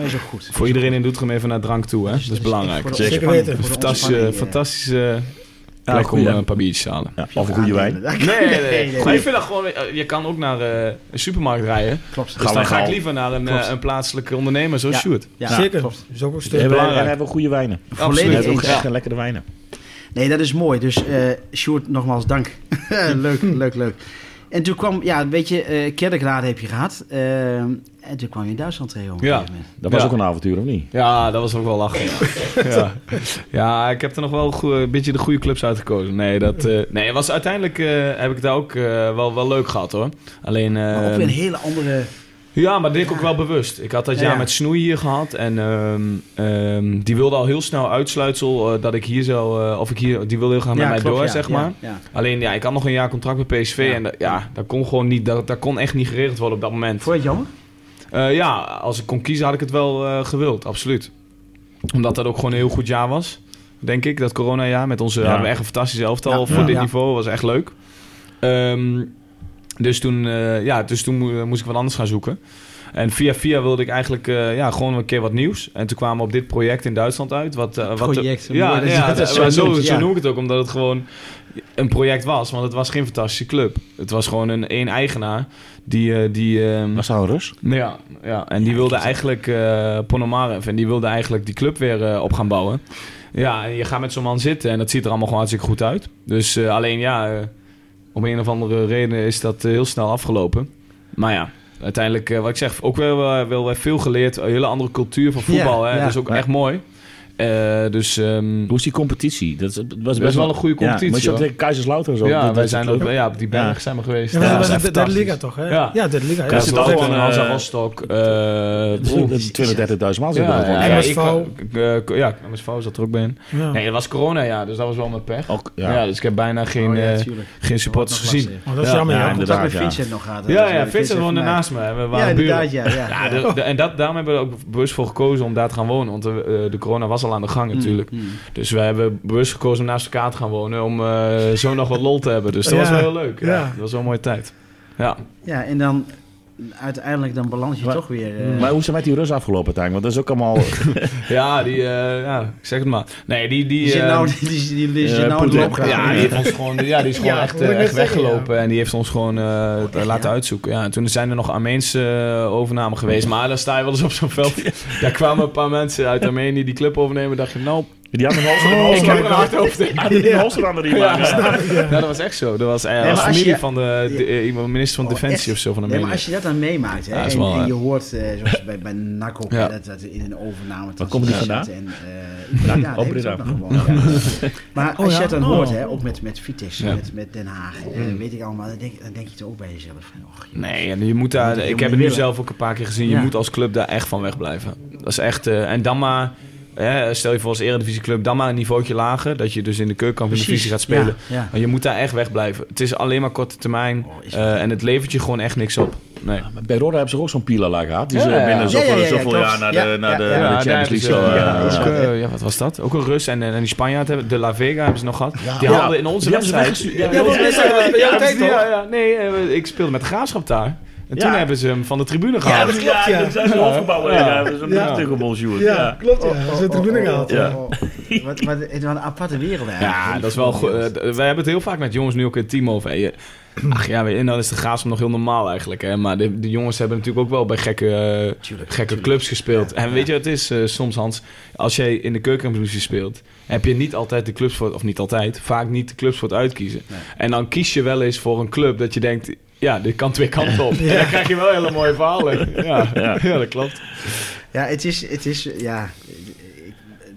[SPEAKER 2] dat is ook goed.
[SPEAKER 4] Voor iedereen in Doetinchem even naar drank toe, hè? Dat is
[SPEAKER 2] echt
[SPEAKER 4] belangrijk.
[SPEAKER 2] voor de
[SPEAKER 3] Zeker.
[SPEAKER 2] ontspanning,
[SPEAKER 5] weten.
[SPEAKER 2] voor de
[SPEAKER 4] Fantastische,
[SPEAKER 2] ontspanning, eh.
[SPEAKER 4] fantastische
[SPEAKER 3] Ja,
[SPEAKER 4] plek om
[SPEAKER 3] goeie.
[SPEAKER 4] eh, een paar biertjes te halen.
[SPEAKER 3] Ja, Of
[SPEAKER 2] eh,
[SPEAKER 3] een goede wijn.
[SPEAKER 2] Nee,
[SPEAKER 4] Nee, nee,
[SPEAKER 2] nee, nee.
[SPEAKER 4] Maar ik vind dat gewoon... eh, Je kan ook naar eh, een supermarkt rijden.
[SPEAKER 2] Klopt.
[SPEAKER 4] Dus
[SPEAKER 3] Gaan
[SPEAKER 4] dan
[SPEAKER 3] we
[SPEAKER 4] ga ik
[SPEAKER 3] al.
[SPEAKER 4] liever naar een,
[SPEAKER 2] Klopt.
[SPEAKER 4] eh, een plaatselijke ondernemer zoals
[SPEAKER 2] Ja.
[SPEAKER 4] Sjoerd.
[SPEAKER 2] Ja,
[SPEAKER 5] Zeker.
[SPEAKER 2] klopt.
[SPEAKER 5] Dat is ook een
[SPEAKER 3] We
[SPEAKER 5] stuk.
[SPEAKER 3] hebben,
[SPEAKER 4] belangrijk.
[SPEAKER 3] en we hebben goede wijnen. We
[SPEAKER 2] Volledig
[SPEAKER 3] hebben ook
[SPEAKER 2] eens.
[SPEAKER 3] echt lekkere wijnen.
[SPEAKER 2] Nee, dat is mooi. Dus eh Sjoerd, nogmaals dank. leuk, leuk, leuk. En toen kwam, ja, weet je, eh Kerkraden heb je gehad. Eh, en toen kwam je in Duitsland terecht. op een
[SPEAKER 4] Ja.
[SPEAKER 2] gegeven moment.
[SPEAKER 3] Dat was
[SPEAKER 4] Ja.
[SPEAKER 3] ook een avontuur, of niet?
[SPEAKER 4] Ja, dat was ook wel lachen. ja. ja. Ja, ik heb er nog wel een goe- een beetje de goede clubs uitgekozen. Nee, dat, eh, nee was, uiteindelijk eh, heb ik het daar ook eh, wel, wel leuk gehad hoor. Alleen, eh,
[SPEAKER 2] Maar ook weer een hele andere...
[SPEAKER 4] ja, maar dit ook wel bewust. Ik had dat
[SPEAKER 2] Ja,
[SPEAKER 4] jaar
[SPEAKER 2] ja.
[SPEAKER 4] met Snoei hier gehad. En ehm, ehm, die wilde al heel snel uitsluitsel eh, dat ik hier zou... eh, of ik hier, die wilde heel graag met mij
[SPEAKER 2] klopt,
[SPEAKER 4] door,
[SPEAKER 2] ja,
[SPEAKER 4] zeg
[SPEAKER 2] ja,
[SPEAKER 4] maar.
[SPEAKER 2] Ja,
[SPEAKER 4] Alleen, ja, ik had nog een jaar contract bij PSV.
[SPEAKER 2] Ja.
[SPEAKER 4] En dat, ja, dat kon gewoon niet... Dat, dat kon echt niet geregeld worden op dat moment.
[SPEAKER 2] Vond je het jammer?
[SPEAKER 4] Eh, ja, als ik kon kiezen had ik het wel eh, gewild, absoluut. Omdat dat ook gewoon een heel goed jaar was, denk ik. Dat coronajaar met onze...
[SPEAKER 3] Ja.
[SPEAKER 4] Hadden we echt een fantastische elftal
[SPEAKER 2] Ja.
[SPEAKER 4] voor
[SPEAKER 2] Ja.
[SPEAKER 4] dit
[SPEAKER 2] Ja.
[SPEAKER 4] niveau. Was echt leuk. Ehm, dus toen, eh, ja, dus toen mo- moest ik wat anders gaan zoeken. En via via wilde ik eigenlijk eh, ja, gewoon een keer wat nieuws. En toen kwamen we op dit project in Duitsland uit. Wat, eh, wat
[SPEAKER 2] Project,
[SPEAKER 4] ja,
[SPEAKER 2] mooi dat je
[SPEAKER 4] ja,
[SPEAKER 2] dat
[SPEAKER 4] maar
[SPEAKER 2] zo
[SPEAKER 4] zo,
[SPEAKER 2] noemt,
[SPEAKER 4] zo
[SPEAKER 2] ja.
[SPEAKER 4] noem ik het ook. Omdat het gewoon een project was. Want het was geen fantastische club. Het was gewoon een één eigenaar. Die, eh, die, ehm,
[SPEAKER 3] Was dat een rust?
[SPEAKER 4] nou Ja, ja, en die wilde eigenlijk eh Ponomarev en die wilde eigenlijk die club weer eh, op gaan bouwen. Ja, en je gaat met zo'n man zitten en dat ziet er allemaal gewoon hartstikke goed uit. Dus eh, alleen ja, eh, om een of andere reden is dat eh, heel snel afgelopen. Maar ja, uiteindelijk, eh, wat ik zeg, ook wel, eh, wel weer veel geleerd. Een hele andere cultuur van voetbal,
[SPEAKER 2] Ja,
[SPEAKER 4] hè?
[SPEAKER 2] ja.
[SPEAKER 4] dat is ook
[SPEAKER 3] Ja.
[SPEAKER 4] echt mooi. Eh, dus ehm,
[SPEAKER 3] Hoe is die competitie? Dat is- dat was
[SPEAKER 4] best wel een goede
[SPEAKER 3] Ja, maar je
[SPEAKER 4] competitie.
[SPEAKER 3] zat
[SPEAKER 4] hoor.
[SPEAKER 3] tegen Kaiserslautern en zo.
[SPEAKER 4] Ja,
[SPEAKER 3] Dat- dat
[SPEAKER 4] wij
[SPEAKER 3] is
[SPEAKER 4] zijn
[SPEAKER 3] het
[SPEAKER 4] ook,
[SPEAKER 3] ook.
[SPEAKER 4] ja, op die berg
[SPEAKER 3] Ja.
[SPEAKER 4] zijn we geweest.
[SPEAKER 5] Ja,
[SPEAKER 4] Ja,
[SPEAKER 5] maar
[SPEAKER 3] dat
[SPEAKER 5] dat
[SPEAKER 3] is
[SPEAKER 5] was de derde
[SPEAKER 3] fantastisch.
[SPEAKER 5] liga toch? Hè?
[SPEAKER 4] Ja.
[SPEAKER 5] Ja, derde liga.
[SPEAKER 4] Ja,
[SPEAKER 3] Daar zit
[SPEAKER 4] zit
[SPEAKER 5] dat
[SPEAKER 3] altijd
[SPEAKER 5] is
[SPEAKER 4] ook
[SPEAKER 3] een,
[SPEAKER 4] een
[SPEAKER 5] echt-
[SPEAKER 4] Hansa
[SPEAKER 3] eh,
[SPEAKER 4] Rostock. eh, oeh.
[SPEAKER 3] 32.000 man zitten er
[SPEAKER 4] Ja,
[SPEAKER 3] gewoon.
[SPEAKER 4] ja,
[SPEAKER 3] Ja,
[SPEAKER 5] MSV.
[SPEAKER 4] ik- ik, eh, ja, MSV zat er ook bij in.
[SPEAKER 5] Ja.
[SPEAKER 4] Nee, dat was corona, ja, dus dat was wel mijn pech.
[SPEAKER 3] Ook,
[SPEAKER 4] Ja.
[SPEAKER 3] Oh, ja.
[SPEAKER 4] dus ik heb bijna geen,
[SPEAKER 2] Oh, ja,
[SPEAKER 4] eh,
[SPEAKER 2] tuurlijk.
[SPEAKER 4] geen supporters
[SPEAKER 2] Nog lastig.
[SPEAKER 4] gezien.
[SPEAKER 5] Oh, dat is
[SPEAKER 4] Ja,
[SPEAKER 5] jammer,
[SPEAKER 3] ja,
[SPEAKER 5] ja.
[SPEAKER 3] inderdaad.
[SPEAKER 2] Contact met
[SPEAKER 3] ja.
[SPEAKER 2] Vincent nog gehad. hè.
[SPEAKER 4] Ja,
[SPEAKER 2] Dat is
[SPEAKER 4] ja,
[SPEAKER 2] leuk.
[SPEAKER 4] Vincent woonde
[SPEAKER 2] heeft mij-
[SPEAKER 4] naast me. hè, We waren
[SPEAKER 2] Ja,
[SPEAKER 4] buren.
[SPEAKER 2] inderdaad, ja. ja,
[SPEAKER 4] Ja,
[SPEAKER 2] ja.
[SPEAKER 4] de- de- en dat, daarom hebben we er ook bewust voor gekozen om daar te gaan wonen. Want de, eh, de corona was al aan de gang natuurlijk.
[SPEAKER 2] Mm, mm.
[SPEAKER 4] Dus we hebben bewust gekozen om naast elkaar te gaan wonen. Om eh, zo nog wat lol te hebben. Dus dat
[SPEAKER 5] Ja.
[SPEAKER 4] was wel heel leuk. Ja.
[SPEAKER 5] Ja.
[SPEAKER 4] Dat was wel een mooie tijd. Ja.
[SPEAKER 2] Ja, en dan uiteindelijk dan beland je
[SPEAKER 3] Maar-
[SPEAKER 2] toch weer...
[SPEAKER 4] Hmm.
[SPEAKER 2] eh,
[SPEAKER 3] Maar hoe is het met die Rus afgelopen tijd? Want dat is ook allemaal...
[SPEAKER 4] Ja, die, eh, ja, ik zeg het maar. Nee, die... die,
[SPEAKER 2] die zit
[SPEAKER 4] eh,
[SPEAKER 2] nou, die, die, die, die zit
[SPEAKER 3] eh,
[SPEAKER 2] nou in de
[SPEAKER 3] Poetin.
[SPEAKER 2] loopgraaf.
[SPEAKER 4] Ja, die, heeft ons gewoon, ja, die is gewoon
[SPEAKER 5] Ja,
[SPEAKER 4] echt,
[SPEAKER 5] dat wil ik
[SPEAKER 4] eh,
[SPEAKER 5] net
[SPEAKER 4] echt
[SPEAKER 5] zeggen,
[SPEAKER 4] weggelopen. En die heeft ons gewoon eh, laten uitzoeken. Ja, en toen zijn er nog Armeense eh, overnamen geweest. Maar dan sta je wel eens op zo'n veld. Daar kwamen een paar mensen uit Armenië die club overnemen. dacht je, nou,
[SPEAKER 3] Die hadden een
[SPEAKER 4] ik heb er
[SPEAKER 3] Holster-
[SPEAKER 4] een hard hoofd in.
[SPEAKER 3] hadden een Holster aan de riem.
[SPEAKER 4] Ja.
[SPEAKER 3] hangen.
[SPEAKER 4] Nou, dat was echt zo. Dat was eh,
[SPEAKER 2] maar
[SPEAKER 4] als
[SPEAKER 2] als
[SPEAKER 4] familie
[SPEAKER 2] je-
[SPEAKER 4] van de, de- eh, iemand- minister van
[SPEAKER 2] Oh,
[SPEAKER 4] Defensie
[SPEAKER 2] echt?
[SPEAKER 4] of zo van
[SPEAKER 2] Nee,
[SPEAKER 4] Armenië.
[SPEAKER 2] maar als je dat dan meemaakt, hè,
[SPEAKER 4] Ja, dat is
[SPEAKER 2] en,
[SPEAKER 4] wel,
[SPEAKER 2] en
[SPEAKER 4] hè.
[SPEAKER 2] je hoort, eh, zoals bij, bij NAC ook,
[SPEAKER 4] Ja.
[SPEAKER 2] hè, dat, dat in een overname...
[SPEAKER 3] Waar komt die vandaan?
[SPEAKER 2] En, eh, ja, dat
[SPEAKER 3] op
[SPEAKER 2] heeft
[SPEAKER 3] Breda.
[SPEAKER 2] ook nog gewoon. ja. Maar als je dat dan
[SPEAKER 5] Oh.
[SPEAKER 2] hoort, hè, ook met, met Vitesse,
[SPEAKER 4] Ja. Hmm.
[SPEAKER 2] met, met Den Haag, eh, weet ik allemaal, dan denk, dan denk je toch ook bij jezelf. van, Och, joh.
[SPEAKER 4] Nee, en je moet daar,
[SPEAKER 2] Je
[SPEAKER 4] ik
[SPEAKER 2] moet
[SPEAKER 4] heb het nu
[SPEAKER 2] willen.
[SPEAKER 4] zelf ook een paar keer gezien. Je
[SPEAKER 2] Ja.
[SPEAKER 4] moet als club daar echt van wegblijven. Dat is echt. eh, en dan maar, hè, stel je voor als eredivisieclub, dan maar een niveautje lager. Dat je dus in de keukenkamp in de divisie gaat spelen.
[SPEAKER 2] Ja, ja.
[SPEAKER 4] Maar je moet daar echt wegblijven. Het is alleen maar korte termijn.
[SPEAKER 2] Oh, is-
[SPEAKER 4] eh, en het levert je gewoon echt niks op. Nee.
[SPEAKER 3] Bij Roda hebben ze ook zo'n Pilala gehad. Die
[SPEAKER 4] Ja,
[SPEAKER 3] zijn
[SPEAKER 4] ja, ja.
[SPEAKER 3] binnen
[SPEAKER 2] Ja,
[SPEAKER 3] zoveel,
[SPEAKER 2] ja, ja,
[SPEAKER 3] zoveel
[SPEAKER 2] klopt.
[SPEAKER 3] jaar naar de,
[SPEAKER 2] Ja,
[SPEAKER 3] naar de,
[SPEAKER 2] ja, ja.
[SPEAKER 3] naar de
[SPEAKER 4] daar
[SPEAKER 3] Champions
[SPEAKER 4] hebben ze-
[SPEAKER 3] League. Zo,
[SPEAKER 4] ja,
[SPEAKER 3] eh,
[SPEAKER 4] ook,
[SPEAKER 3] eh,
[SPEAKER 4] eh, ja, wat was dat? Ook een Rus en, en die Spanjaard hebben, de La Vega hebben ze nog gehad. die
[SPEAKER 3] ja.
[SPEAKER 4] hadden in onze
[SPEAKER 3] Die hebben ze
[SPEAKER 4] wedstrijd.
[SPEAKER 3] weggestuurd.
[SPEAKER 4] Ja,
[SPEAKER 5] Ja,
[SPEAKER 4] ja,
[SPEAKER 5] want mensen hebben dat bij
[SPEAKER 4] ja,
[SPEAKER 5] jouw tijd
[SPEAKER 4] precies,
[SPEAKER 5] toch?
[SPEAKER 4] ja, ja. nee, eh, ik speelde met Graafschap daar. En
[SPEAKER 3] Ja.
[SPEAKER 4] toen hebben ze hem van de tribune gehaald.
[SPEAKER 5] dat klopt, ja.
[SPEAKER 3] dat zijn ze hoofdgebouwen.
[SPEAKER 4] Ja.
[SPEAKER 3] Ja, dat is een
[SPEAKER 5] Ja.
[SPEAKER 3] natuurlijk een bonjour.
[SPEAKER 5] Ja, Oh,
[SPEAKER 3] Ja.
[SPEAKER 5] klopt. Ja. Ze hebben tribune
[SPEAKER 2] Oh,
[SPEAKER 5] gehaald.
[SPEAKER 3] Ja.
[SPEAKER 2] Wat, wat, het was een aparte wereld eigenlijk.
[SPEAKER 4] Ja, dat is wel goed. Eh, d- wij hebben het heel vaak met jongens nu ook in het team over. Hey, eh, Ach ja, weet je, en dan is de Graafschap nog heel normaal eigenlijk. Hè? Maar de, de jongens hebben natuurlijk ook wel bij gekke, eh,
[SPEAKER 2] Tuurlijk,
[SPEAKER 4] gekke
[SPEAKER 2] tuurlijk.
[SPEAKER 4] clubs gespeeld.
[SPEAKER 2] Ja,
[SPEAKER 4] en
[SPEAKER 2] ja.
[SPEAKER 4] weet je wat het is eh, soms, Hans? Als jij in de keukenkampioenschap speelt, heb je niet altijd de clubs voor... Of niet altijd, vaak niet de clubs voor het uitkiezen.
[SPEAKER 2] Nee.
[SPEAKER 4] En dan kies je wel eens voor een club dat je denkt... Ja, dit kan twee kanten op. En dan krijg je wel hele mooie verhalen. Ja, ja. dat klopt.
[SPEAKER 2] Ja, het is, het is, ja,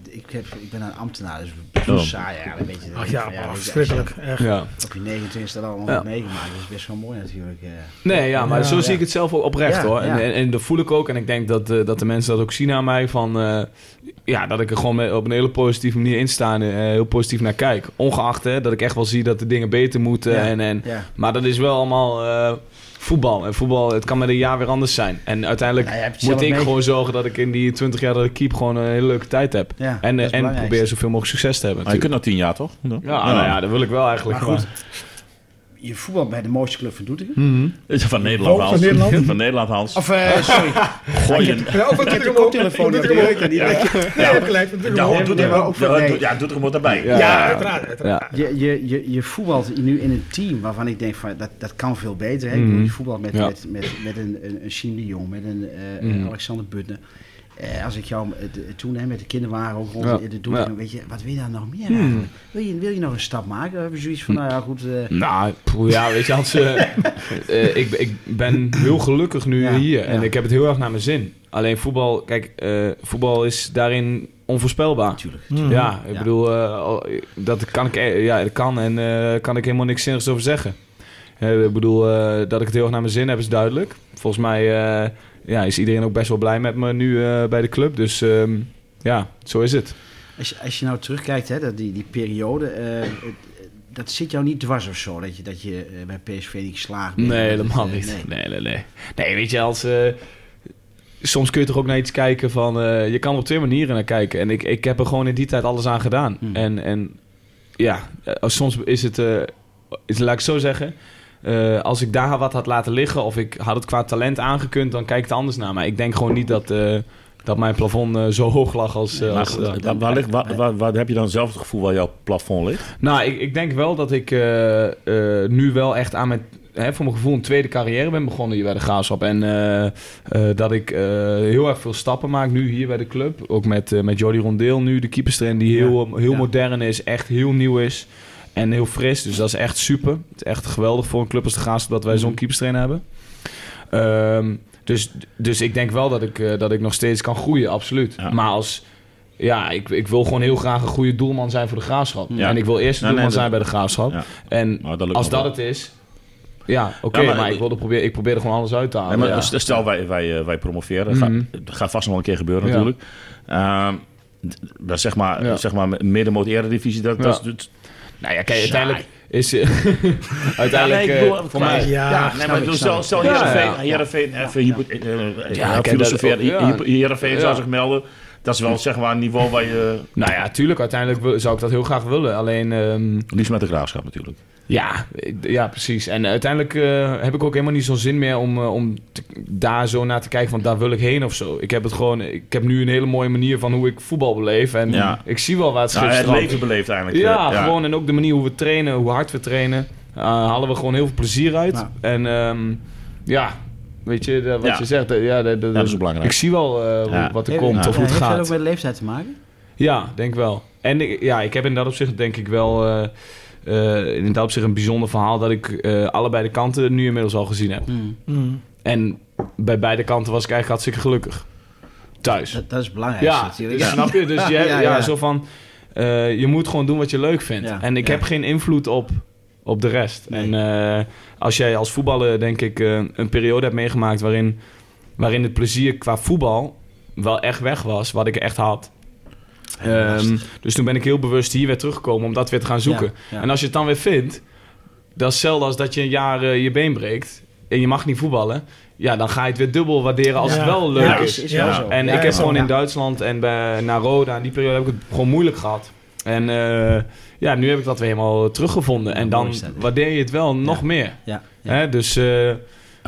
[SPEAKER 2] ik, ik, heb, ik ben een ambtenaar, dus best wel
[SPEAKER 3] Oh.
[SPEAKER 2] saai eigenlijk. Weet je,
[SPEAKER 5] Ach ja,
[SPEAKER 2] Van, weet je,
[SPEAKER 5] oh,
[SPEAKER 2] als je
[SPEAKER 5] verschrikkelijk. Echt.
[SPEAKER 4] Ja.
[SPEAKER 2] Op je 29 dat allemaal
[SPEAKER 4] Ja.
[SPEAKER 2] hebt meegemaakt, dat is best wel mooi natuurlijk. eh.
[SPEAKER 4] Nee, ja, maar
[SPEAKER 5] Ja,
[SPEAKER 4] zo
[SPEAKER 2] ja.
[SPEAKER 4] zie ik het zelf ook oprecht
[SPEAKER 2] Ja,
[SPEAKER 4] hoor. En,
[SPEAKER 2] ja.
[SPEAKER 4] en, en dat voel ik ook. En ik denk dat, eh, dat de mensen dat ook zien aan mij. Van, eh, ja, dat ik er gewoon mee- op een hele positieve manier in sta en eh, heel positief naar kijk. Ongeacht hè, dat ik echt wel zie dat de dingen beter moeten.
[SPEAKER 2] Ja.
[SPEAKER 4] En, en,
[SPEAKER 2] Ja.
[SPEAKER 4] Maar dat is wel allemaal eh, voetbal. En voetbal, het kan met een jaar weer anders zijn. En uiteindelijk
[SPEAKER 2] Nou, je hebt het
[SPEAKER 4] moet
[SPEAKER 2] zelf
[SPEAKER 4] ik
[SPEAKER 2] mee-
[SPEAKER 4] gewoon zorgen dat ik in die 20 jaar dat ik keep gewoon een hele leuke tijd heb.
[SPEAKER 2] Ja,
[SPEAKER 4] en
[SPEAKER 2] dat
[SPEAKER 4] eh,
[SPEAKER 2] is
[SPEAKER 4] en
[SPEAKER 2] belangrijk.
[SPEAKER 4] probeer zoveel mogelijk succes te hebben.
[SPEAKER 3] Maar je kunt
[SPEAKER 4] natuurlijk.
[SPEAKER 3] nog tien jaar, toch?
[SPEAKER 4] ja, nou ja, dat wil ik wel eigenlijk.
[SPEAKER 2] Maar goed, je voetbal bij de mooiste club van Doetinchem.
[SPEAKER 4] Mhm.
[SPEAKER 3] Van Nederland,
[SPEAKER 5] Van
[SPEAKER 3] Hans.
[SPEAKER 5] Nederland?
[SPEAKER 3] Van Nederland, Hans.
[SPEAKER 2] Of, eh, sorry,
[SPEAKER 3] Gooi een...
[SPEAKER 5] Ja, ook wat
[SPEAKER 2] ik heb de koptelefoon nog,
[SPEAKER 5] Doet er
[SPEAKER 2] die
[SPEAKER 5] hem
[SPEAKER 2] weet ik niet.
[SPEAKER 5] Ja, gelijk. Doet er
[SPEAKER 3] Ja,
[SPEAKER 5] hem
[SPEAKER 3] hoor,
[SPEAKER 5] op.
[SPEAKER 3] doet
[SPEAKER 2] nee,
[SPEAKER 3] er
[SPEAKER 2] maar ook
[SPEAKER 3] wat-
[SPEAKER 2] van
[SPEAKER 3] ja,
[SPEAKER 2] nee.
[SPEAKER 3] doet- ja, doet er wat daarbij.
[SPEAKER 4] Ja.
[SPEAKER 5] Ja, uiteraard. uiteraard.
[SPEAKER 4] Ja.
[SPEAKER 2] Je, je, je, je voetbalt nu in een team waarvan ik denk van dat, dat kan veel beter. Hè? Ik bedoel,
[SPEAKER 4] Mhm.
[SPEAKER 2] Je voetbalt met,
[SPEAKER 4] Ja.
[SPEAKER 2] met, met, met een, een, een Siem de Jong, met een eh,
[SPEAKER 4] Mhm.
[SPEAKER 2] een Alexander Butner. Eh, als ik jou eh, de- toen hè, met de kinderwagen ook rond
[SPEAKER 4] Ja.
[SPEAKER 2] in de doel,
[SPEAKER 4] Ja. Mhm.
[SPEAKER 2] weet je, wat wil je daar nog meer eigenlijk? Wil je, wil je nog een stap maken? We hebben zoiets van, nou ja, goed. eh,
[SPEAKER 4] Nou, poeh, ja, weet je, Hans, eh, eh, ik, ik ben heel gelukkig nu
[SPEAKER 2] Ja,
[SPEAKER 4] hier en
[SPEAKER 2] ja.
[SPEAKER 4] ik heb het heel erg naar mijn zin. Alleen voetbal, kijk, eh, voetbal is daarin onvoorspelbaar.
[SPEAKER 2] Tuurlijk.
[SPEAKER 4] Ja, ik
[SPEAKER 2] Mhm. Ja.
[SPEAKER 4] bedoel, eh, al- dat kan ik, eh, ja, dat kan en eh kan ik helemaal niks zinnigs over zeggen. Eh, ik bedoel, eh, dat ik het heel erg naar mijn zin heb is duidelijk. Volgens mij eh, ja, is iedereen ook best wel blij met me nu eh, bij de club, dus ehm, ja, zo is het.
[SPEAKER 2] Als, je- als je nou terugkijkt, hè, dat die, die periode, eh, het- het- dat zit jou niet dwars of zo, dat je, dat je eh, bij PSV niet geslaagd bent.
[SPEAKER 4] Nee,
[SPEAKER 2] Dat het,
[SPEAKER 4] helemaal
[SPEAKER 2] eh,
[SPEAKER 4] niet.
[SPEAKER 2] nee.
[SPEAKER 4] Nee. Nee, nee, nee. weet je, als... eh, soms kun je toch ook naar iets kijken van... eh, je kan er op twee manieren naar kijken. En ik, ik heb er gewoon in die tijd alles aan gedaan.
[SPEAKER 2] Hmm.
[SPEAKER 4] En, en ja, eh, als soms is het... eh, is, laat ik het zo zeggen... eh, als ik daar wat had laten liggen of ik had het qua talent aangekund, dan kijkt het anders naar. Maar ik denk gewoon niet dat, eh, dat mijn plafond eh, zo hoog lag als. eh,
[SPEAKER 3] Maar
[SPEAKER 4] als
[SPEAKER 3] waar- waar, waar ligt, waar, waar- waar heb je dan zelf het gevoel waar jouw plafond ligt?
[SPEAKER 4] Nou, ik, ik denk wel dat ik eh, eh, nu wel echt aan mijn, hè, voor mijn gevoel een tweede carrière ben begonnen hier bij de Graafschap. En eh, eh, dat ik eh, heel erg veel stappen maak nu hier bij de club. Ook met, eh, met Jordi Rondeel nu, de keeperstrainer die heel, eh, heel
[SPEAKER 2] ja.
[SPEAKER 4] modern is, echt heel nieuw is. En heel fris, dus dat is echt super. Het is echt geweldig voor een club als de Graafschap dat
[SPEAKER 2] Mhm.
[SPEAKER 4] wij zo'n keeperstrainer hebben. Ehm, dus, dus ik denk wel dat ik, eh, dat ik nog steeds kan groeien, absoluut.
[SPEAKER 3] Ja.
[SPEAKER 4] Maar als... Ja, ik, ik wil gewoon heel graag een goede doelman zijn voor de Graafschap.
[SPEAKER 3] Ja.
[SPEAKER 4] En ik wil eerst de
[SPEAKER 3] Nee,
[SPEAKER 4] doelman
[SPEAKER 3] nee, dat-
[SPEAKER 4] zijn bij de Graafschap.
[SPEAKER 3] Ja.
[SPEAKER 4] En
[SPEAKER 3] Nou, dat lukt
[SPEAKER 4] als
[SPEAKER 3] nog
[SPEAKER 4] dat
[SPEAKER 3] wel.
[SPEAKER 4] het is... Ja, oké,
[SPEAKER 3] Ja, maar-
[SPEAKER 4] maar, ik, wilde proberen, ik probeer er gewoon alles uit te halen.
[SPEAKER 3] Nee, maar
[SPEAKER 4] Oh, ja.
[SPEAKER 3] s- Stel, wij, wij, eh, wij promoveren. Ga-
[SPEAKER 4] Mhm.
[SPEAKER 3] Dat gaat vast nog wel een keer gebeuren
[SPEAKER 4] Ja.
[SPEAKER 3] natuurlijk. Ehm, d- dat zeg maar,
[SPEAKER 4] Ja.
[SPEAKER 3] zeg maar middenmoot eredivisie. Dat, dat
[SPEAKER 4] Ja.
[SPEAKER 3] is, het-
[SPEAKER 4] nou ja, kijk,
[SPEAKER 3] Saai.
[SPEAKER 4] uiteindelijk is... eh, uiteindelijk,
[SPEAKER 3] Ja, nee, ik
[SPEAKER 4] eh,
[SPEAKER 3] bedoel,
[SPEAKER 4] voor
[SPEAKER 3] maar-
[SPEAKER 4] mij...
[SPEAKER 5] Ja,
[SPEAKER 3] Ja, nee, maar ik bedoel, stel, stel
[SPEAKER 4] Ja,
[SPEAKER 3] Heerenveen,
[SPEAKER 4] ja.
[SPEAKER 3] Heerenveen, even hypo- eh, eh,
[SPEAKER 4] Ja,
[SPEAKER 3] ja,
[SPEAKER 4] ik ken dat
[SPEAKER 3] filosoferen,
[SPEAKER 4] ook, ja.
[SPEAKER 3] Hier- Heerenveen zou
[SPEAKER 4] Ja.
[SPEAKER 3] zich melden. Dat is wel zeg maar een niveau waar je...
[SPEAKER 4] Nou ja, tuurlijk, uiteindelijk wil- zou ik dat heel graag willen. Alleen, ehm,
[SPEAKER 3] Liefst met de graafschap natuurlijk.
[SPEAKER 4] ja, ik- ja, precies. En uiteindelijk eh, heb ik ook helemaal niet zo'n zin meer om, eh, om te- daar zo naar te kijken van daar wil ik heen of zo. Ik heb het gewoon... Ik heb nu een hele mooie manier van hoe ik voetbal beleef. En
[SPEAKER 3] Ja.
[SPEAKER 4] ik zie wel waar het schip
[SPEAKER 3] Nou, het
[SPEAKER 4] strandt.
[SPEAKER 3] leven beleeft eigenlijk.
[SPEAKER 4] Ja,
[SPEAKER 3] eh,
[SPEAKER 4] gewoon en ook de manier hoe we trainen, hoe hard we trainen. eh, halen we gewoon heel veel plezier uit.
[SPEAKER 2] Ja.
[SPEAKER 4] En ehm, ja, weet je, dat- wat
[SPEAKER 3] Ja.
[SPEAKER 4] je zegt. eh, Ja, dat,
[SPEAKER 3] dat is belangrijk.
[SPEAKER 4] Ik zie wel eh,
[SPEAKER 3] Ja.
[SPEAKER 4] hoe- wat er
[SPEAKER 2] Heeft-
[SPEAKER 4] komt of hoe het
[SPEAKER 2] heeft dat ook
[SPEAKER 4] gaat.
[SPEAKER 2] met de leeftijd te maken?
[SPEAKER 4] Ja, denk wel. En ik- ja, ik heb in dat opzicht denk ik wel... eh eh, in dat opzicht een bijzonder verhaal dat ik eh, allebei de kanten nu inmiddels al gezien heb.
[SPEAKER 5] Mm.
[SPEAKER 4] En bij beide kanten was ik eigenlijk hartstikke gelukkig. Thuis.
[SPEAKER 2] Dat, dat is belangrijk.
[SPEAKER 4] Ja, ja, snap je? Dus je, hebt-
[SPEAKER 2] Ja,
[SPEAKER 4] ja,
[SPEAKER 2] ja.
[SPEAKER 4] zo van, eh, je moet gewoon doen wat je leuk vindt.
[SPEAKER 2] Ja,
[SPEAKER 4] en ik
[SPEAKER 2] ja.
[SPEAKER 4] heb geen invloed op, op de rest.
[SPEAKER 2] Nee.
[SPEAKER 4] En eh, als jij als voetballer, denk ik, eh, een periode hebt meegemaakt waarin, waarin het plezier qua voetbal wel echt weg was, wat ik echt had. Ehm, dus toen ben ik heel bewust hier weer teruggekomen om dat weer te gaan zoeken.
[SPEAKER 2] Ja, ja.
[SPEAKER 4] En als je het dan weer vindt, dat is hetzelfde als dat je een jaar eh, je been breekt en je mag niet voetballen. Ja, dan ga je het weer dubbel waarderen als
[SPEAKER 5] Ja.
[SPEAKER 4] het wel leuk
[SPEAKER 2] Ja,
[SPEAKER 4] is.
[SPEAKER 2] is, is wel
[SPEAKER 3] Ja.
[SPEAKER 2] zo.
[SPEAKER 4] En
[SPEAKER 2] Ja,
[SPEAKER 4] ik heb
[SPEAKER 2] ja.
[SPEAKER 4] gewoon in
[SPEAKER 2] Ja.
[SPEAKER 4] Duitsland en bij, naar Roda, in die periode heb ik het gewoon moeilijk gehad. En eh, ja, nu heb ik dat weer helemaal teruggevonden. En
[SPEAKER 2] Mooi
[SPEAKER 4] dan
[SPEAKER 2] is dat, hè?
[SPEAKER 4] waardeer je het wel nog meer.
[SPEAKER 2] Ja, ja.
[SPEAKER 4] Hè? Dus eh,
[SPEAKER 3] Hoe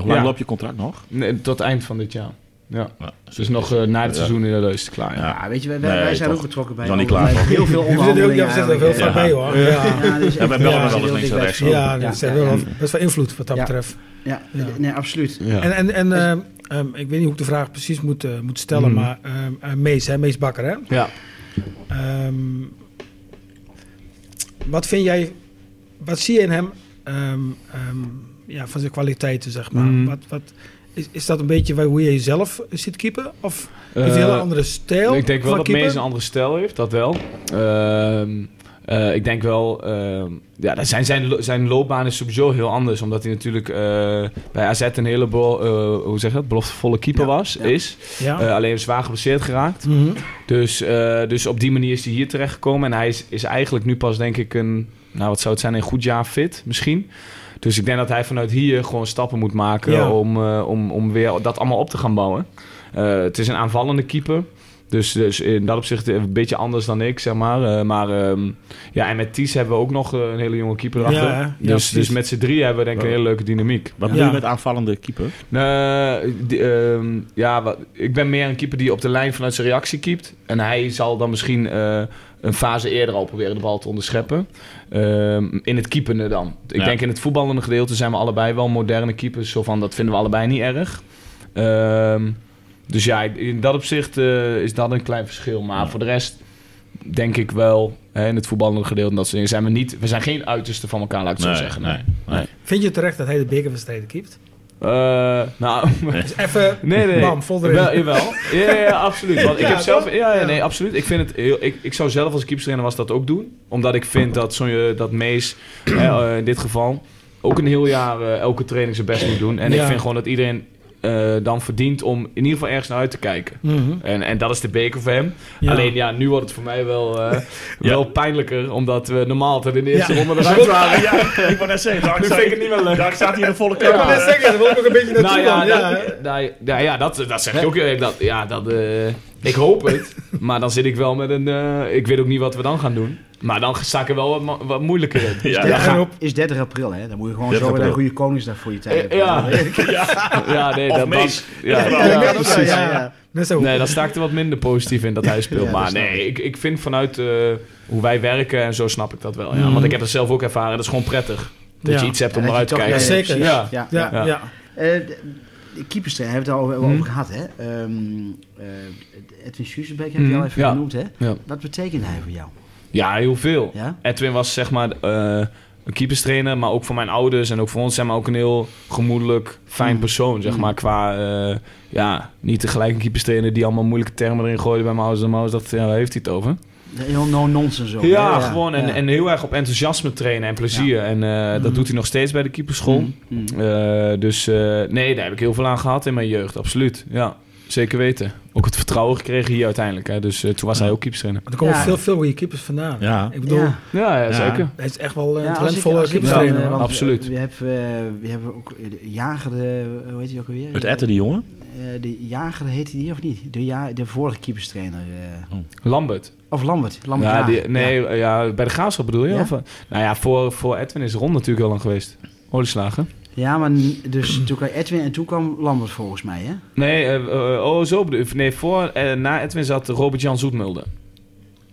[SPEAKER 3] lang
[SPEAKER 4] Ja.
[SPEAKER 3] loopt je contract nog?
[SPEAKER 4] nee, tot eind van dit jaar. Ja. Dus nog eh, na het
[SPEAKER 3] Ja.
[SPEAKER 4] seizoen in de leus klaar. Ja.
[SPEAKER 2] Ja, weet je, wij, wij-
[SPEAKER 3] Nee,
[SPEAKER 2] wij zijn
[SPEAKER 3] toch.
[SPEAKER 2] ook betrokken bij
[SPEAKER 3] Dan niet
[SPEAKER 2] onderwijs.
[SPEAKER 3] klagen.
[SPEAKER 2] heel veel
[SPEAKER 5] We zitten er ook,
[SPEAKER 2] onderhandelingen.
[SPEAKER 5] ja, we zitten er heel vaak
[SPEAKER 3] Ja.
[SPEAKER 5] bij hoor. Ja, Dus
[SPEAKER 2] Ja, dus
[SPEAKER 3] Ja, wij
[SPEAKER 2] echt-
[SPEAKER 3] bellen
[SPEAKER 2] ja,
[SPEAKER 3] met
[SPEAKER 2] heel
[SPEAKER 3] alles links en
[SPEAKER 2] dichtbij.
[SPEAKER 3] rechts.
[SPEAKER 5] ja dat is eh,
[SPEAKER 2] Ja,
[SPEAKER 5] wel
[SPEAKER 2] ja.
[SPEAKER 5] best wel invloed wat dat
[SPEAKER 2] Ja.
[SPEAKER 5] betreft.
[SPEAKER 2] Ja,
[SPEAKER 5] Ja.
[SPEAKER 2] nee, absoluut.
[SPEAKER 5] En, en, en ehm, ehm, ik weet niet hoe ik de vraag precies moet, eh, moet stellen,
[SPEAKER 4] Mhm.
[SPEAKER 5] maar ehm, eh, Mees, hè, Mees Bakker, hè?
[SPEAKER 4] Ja.
[SPEAKER 5] Ehm, wat vind jij, wat zie je in hem ehm, ehm, ja, van zijn kwaliteiten, zeg maar?
[SPEAKER 4] Mhm.
[SPEAKER 5] Wat, wat, is, is dat een beetje waar- hoe je jezelf ziet keepen? Of heeft hij
[SPEAKER 4] Eh,
[SPEAKER 5] een hele andere stijl?
[SPEAKER 4] Ik denk wel
[SPEAKER 5] van
[SPEAKER 4] dat
[SPEAKER 5] keeper?
[SPEAKER 4] Mees een andere stijl heeft, dat wel. Ehm, eh, ik denk wel, ehm, ja, dat zijn, zijn, lo- zijn loopbaan is sowieso heel anders. Omdat hij natuurlijk eh, bij AZ een hele bel- eh, hoe zeg je dat, beloftevolle keeper was, is.
[SPEAKER 5] Ja.
[SPEAKER 4] Eh, alleen zwaar geblesseerd geraakt.
[SPEAKER 5] Mhm.
[SPEAKER 4] Dus, eh, dus op die manier is hij hier terechtgekomen. En hij is, is eigenlijk nu pas, denk ik, een... Nou, wat zou het zijn? Een goed jaar fit, misschien. Dus ik denk dat hij vanuit hier gewoon stappen moet maken...
[SPEAKER 5] Ja.
[SPEAKER 4] Om, eh, om, om weer dat allemaal op te gaan bouwen. Eh, het is een aanvallende keeper. Dus, dus in dat opzicht een beetje anders dan ik, zeg maar. Eh, maar ehm, ja, en met Ties hebben we ook nog eh, een hele jonge keeper
[SPEAKER 5] Ja,
[SPEAKER 4] achter.
[SPEAKER 5] hè? Ja,
[SPEAKER 4] dus,
[SPEAKER 5] precies.
[SPEAKER 4] dus met z'n drie hebben we denk ik een hele leuke dynamiek.
[SPEAKER 3] Wat bedoel je
[SPEAKER 5] Ja.
[SPEAKER 3] met aanvallende keeper?
[SPEAKER 4] Nee, die, ehm, ja, wat- ik ben meer een keeper die op de lijn vanuit zijn reactie keept. En hij zal dan misschien eh, een fase eerder al proberen de bal te onderscheppen. Ehm, in het keepende dan. Ik
[SPEAKER 3] Ja.
[SPEAKER 4] denk in het voetballende gedeelte zijn we allebei wel moderne keepers. Zo van, dat vinden we allebei niet erg. Ehm, dus ja, in dat opzicht eh, is dat een klein verschil. Maar voor de rest denk ik wel, hè, in het voetballende gedeelte, en dat soort dingen, zijn we niet... We zijn geen uiterste van elkaar, laat ik het zo zeggen.
[SPEAKER 3] nee. nee.
[SPEAKER 5] Vind je terecht dat hij de bekerwedstrijden keept?
[SPEAKER 4] Eh, nou,
[SPEAKER 5] Dus even,
[SPEAKER 4] Nee, nee.
[SPEAKER 5] bam, vol erin.
[SPEAKER 4] Wel, jawel. Ja, ja, ja, absoluut. Want ik
[SPEAKER 5] Ja,
[SPEAKER 4] heb zelf...
[SPEAKER 5] toch?
[SPEAKER 4] Ja, ja,
[SPEAKER 5] Ja.
[SPEAKER 4] nee, absoluut. Ik, vind het heel, ik, ik zou zelf als keeperstrainer was dat ook doen. Omdat ik vind dat, zo, eh, dat Mees, hè, eh, in dit geval, ook een heel jaar eh, elke training zijn best moet doen. En ik
[SPEAKER 5] Ja.
[SPEAKER 4] vind gewoon dat iedereen eh, dan verdient om in ieder geval ergens naar uit te kijken.
[SPEAKER 5] Mhm.
[SPEAKER 4] En, en dat is de beker voor hem.
[SPEAKER 5] Ja.
[SPEAKER 4] Alleen ja, nu wordt het voor mij wel, eh, wel pijnlijker. Omdat we normaal altijd in de eerste
[SPEAKER 5] Ja.
[SPEAKER 4] ronde eruit waren.
[SPEAKER 3] ja, ik wou net zeggen, daar
[SPEAKER 4] Nu vind ik het niet meer leuk.
[SPEAKER 3] daar staat hier een volle
[SPEAKER 5] Ik wil net zeggen, daar wil ik ook een beetje
[SPEAKER 4] Nou
[SPEAKER 5] naartoe
[SPEAKER 4] ja,
[SPEAKER 5] dan, ja.
[SPEAKER 4] dat, nou ja, ja, dat, dat zeg ik ook. eh, Dat, ja, dat, eh, ik hoop het. Maar dan zit ik wel met een... eh, ik weet ook niet wat we dan gaan doen. Maar dan sta ik er wel wat, ma- wat moeilijker in.
[SPEAKER 3] Ja,
[SPEAKER 5] Ja,
[SPEAKER 2] Ja,
[SPEAKER 5] en op.
[SPEAKER 2] is 30 april, hè? Dan moet je gewoon
[SPEAKER 3] 30
[SPEAKER 2] zo weer een
[SPEAKER 3] april.
[SPEAKER 2] goede Koningsdag voor je tijd
[SPEAKER 4] Eh,
[SPEAKER 2] hebben.
[SPEAKER 4] ja. Ja, nee,
[SPEAKER 3] Of
[SPEAKER 4] dat,
[SPEAKER 3] Mees.
[SPEAKER 4] dat- ja,
[SPEAKER 5] Ja,
[SPEAKER 4] ja.
[SPEAKER 5] ja, dat is- ja, ja. Net zo.
[SPEAKER 4] Nee, dan sta ik er wat minder positief in dat hij speelt.
[SPEAKER 2] Ja,
[SPEAKER 4] maar
[SPEAKER 2] dat snap
[SPEAKER 4] nee, ik, ik vind vanuit eh, hoe wij werken en zo snap ik dat wel. Ja.
[SPEAKER 5] Mhm.
[SPEAKER 4] Want ik heb dat zelf ook ervaren. Dat is gewoon prettig. Dat
[SPEAKER 5] Ja.
[SPEAKER 4] je iets hebt om
[SPEAKER 2] Mm. Ja,
[SPEAKER 4] eruit te
[SPEAKER 2] dat je
[SPEAKER 4] kijken.
[SPEAKER 2] toch-
[SPEAKER 5] kijken.
[SPEAKER 2] ja, ja,
[SPEAKER 4] Ja.
[SPEAKER 2] precies. Ja.
[SPEAKER 5] Ja,
[SPEAKER 4] Ja.
[SPEAKER 5] ja.
[SPEAKER 2] Eh, de- de keepers daar hebben we het al wel
[SPEAKER 4] Hmm.
[SPEAKER 2] over gehad, hè? Ehm, eh, Edwin Schuurbeek heb je
[SPEAKER 4] Hmm.
[SPEAKER 2] al even
[SPEAKER 4] Ja.
[SPEAKER 2] genoemd, hè?
[SPEAKER 4] Ja.
[SPEAKER 2] Wat betekent hij voor jou?
[SPEAKER 4] Ja, heel veel.
[SPEAKER 2] Ja?
[SPEAKER 4] Edwin was zeg maar eh, een keeperstrainer, maar ook voor mijn ouders en ook voor ons zijn maar ook een heel gemoedelijk, fijn
[SPEAKER 2] Mm.
[SPEAKER 4] persoon, zeg
[SPEAKER 2] Mm.
[SPEAKER 4] maar. Qua, eh, ja, niet tegelijk een keeperstrainer die allemaal moeilijke termen erin gooide bij mijn ouders. En mijn ouders dachten, ja, waar heeft hij het over?
[SPEAKER 2] Heel no-nonsense ook. hè?
[SPEAKER 4] ja, gewoon. En,
[SPEAKER 2] ja.
[SPEAKER 4] en heel erg op enthousiasme trainen en plezier. En eh,
[SPEAKER 5] Mm.
[SPEAKER 4] dat doet hij nog steeds bij de keeperschool.
[SPEAKER 2] Hmm, hmm.
[SPEAKER 4] Eh, dus eh, nee, daar heb ik heel veel aan gehad in mijn jeugd, absoluut. Ja, zeker weten. Ook het vertrouwen gekregen hier uiteindelijk. Hè. Dus eh, toen was hij ook keeperstrainer.
[SPEAKER 5] Er komen
[SPEAKER 2] Ja.
[SPEAKER 5] veel, veel goede keepers vandaan.
[SPEAKER 3] Ja.
[SPEAKER 5] Ik
[SPEAKER 4] eh,
[SPEAKER 5] bedoel,
[SPEAKER 2] Ja.
[SPEAKER 4] Ja, ja,
[SPEAKER 3] Ja.
[SPEAKER 4] zeker.
[SPEAKER 5] hij is echt wel een
[SPEAKER 2] Ja, als ik-
[SPEAKER 5] talentvolle
[SPEAKER 2] als ik-
[SPEAKER 5] keeperstrainer.
[SPEAKER 2] eh, want
[SPEAKER 4] absoluut.
[SPEAKER 2] We, hebben, eh, we hebben ook eh, de jager, eh, hoe heet hij ook alweer?
[SPEAKER 3] Het etten die jongen?
[SPEAKER 2] Eh, de jager heet hij die of niet? De, ja, de vorige keeperstrainer. eh.
[SPEAKER 4] Lambert.
[SPEAKER 2] of Lambert. Lambert
[SPEAKER 4] Ja,
[SPEAKER 2] Jager.
[SPEAKER 4] die, nee, eh, ja. bij de graafschap bedoel je?
[SPEAKER 2] Ja?
[SPEAKER 4] Of, eh, nou ja, voor, voor Edwin is Ron natuurlijk heel lang geweest. Olieslagen.
[SPEAKER 2] Ja, maar n- dus toen kwam Edwin en toen kwam Lambert volgens mij, hè?
[SPEAKER 4] Nee, eh, eh, oh, zo bedoel Nee, voor, eh, na Edwin zat Robert-Jan Zoetmulde.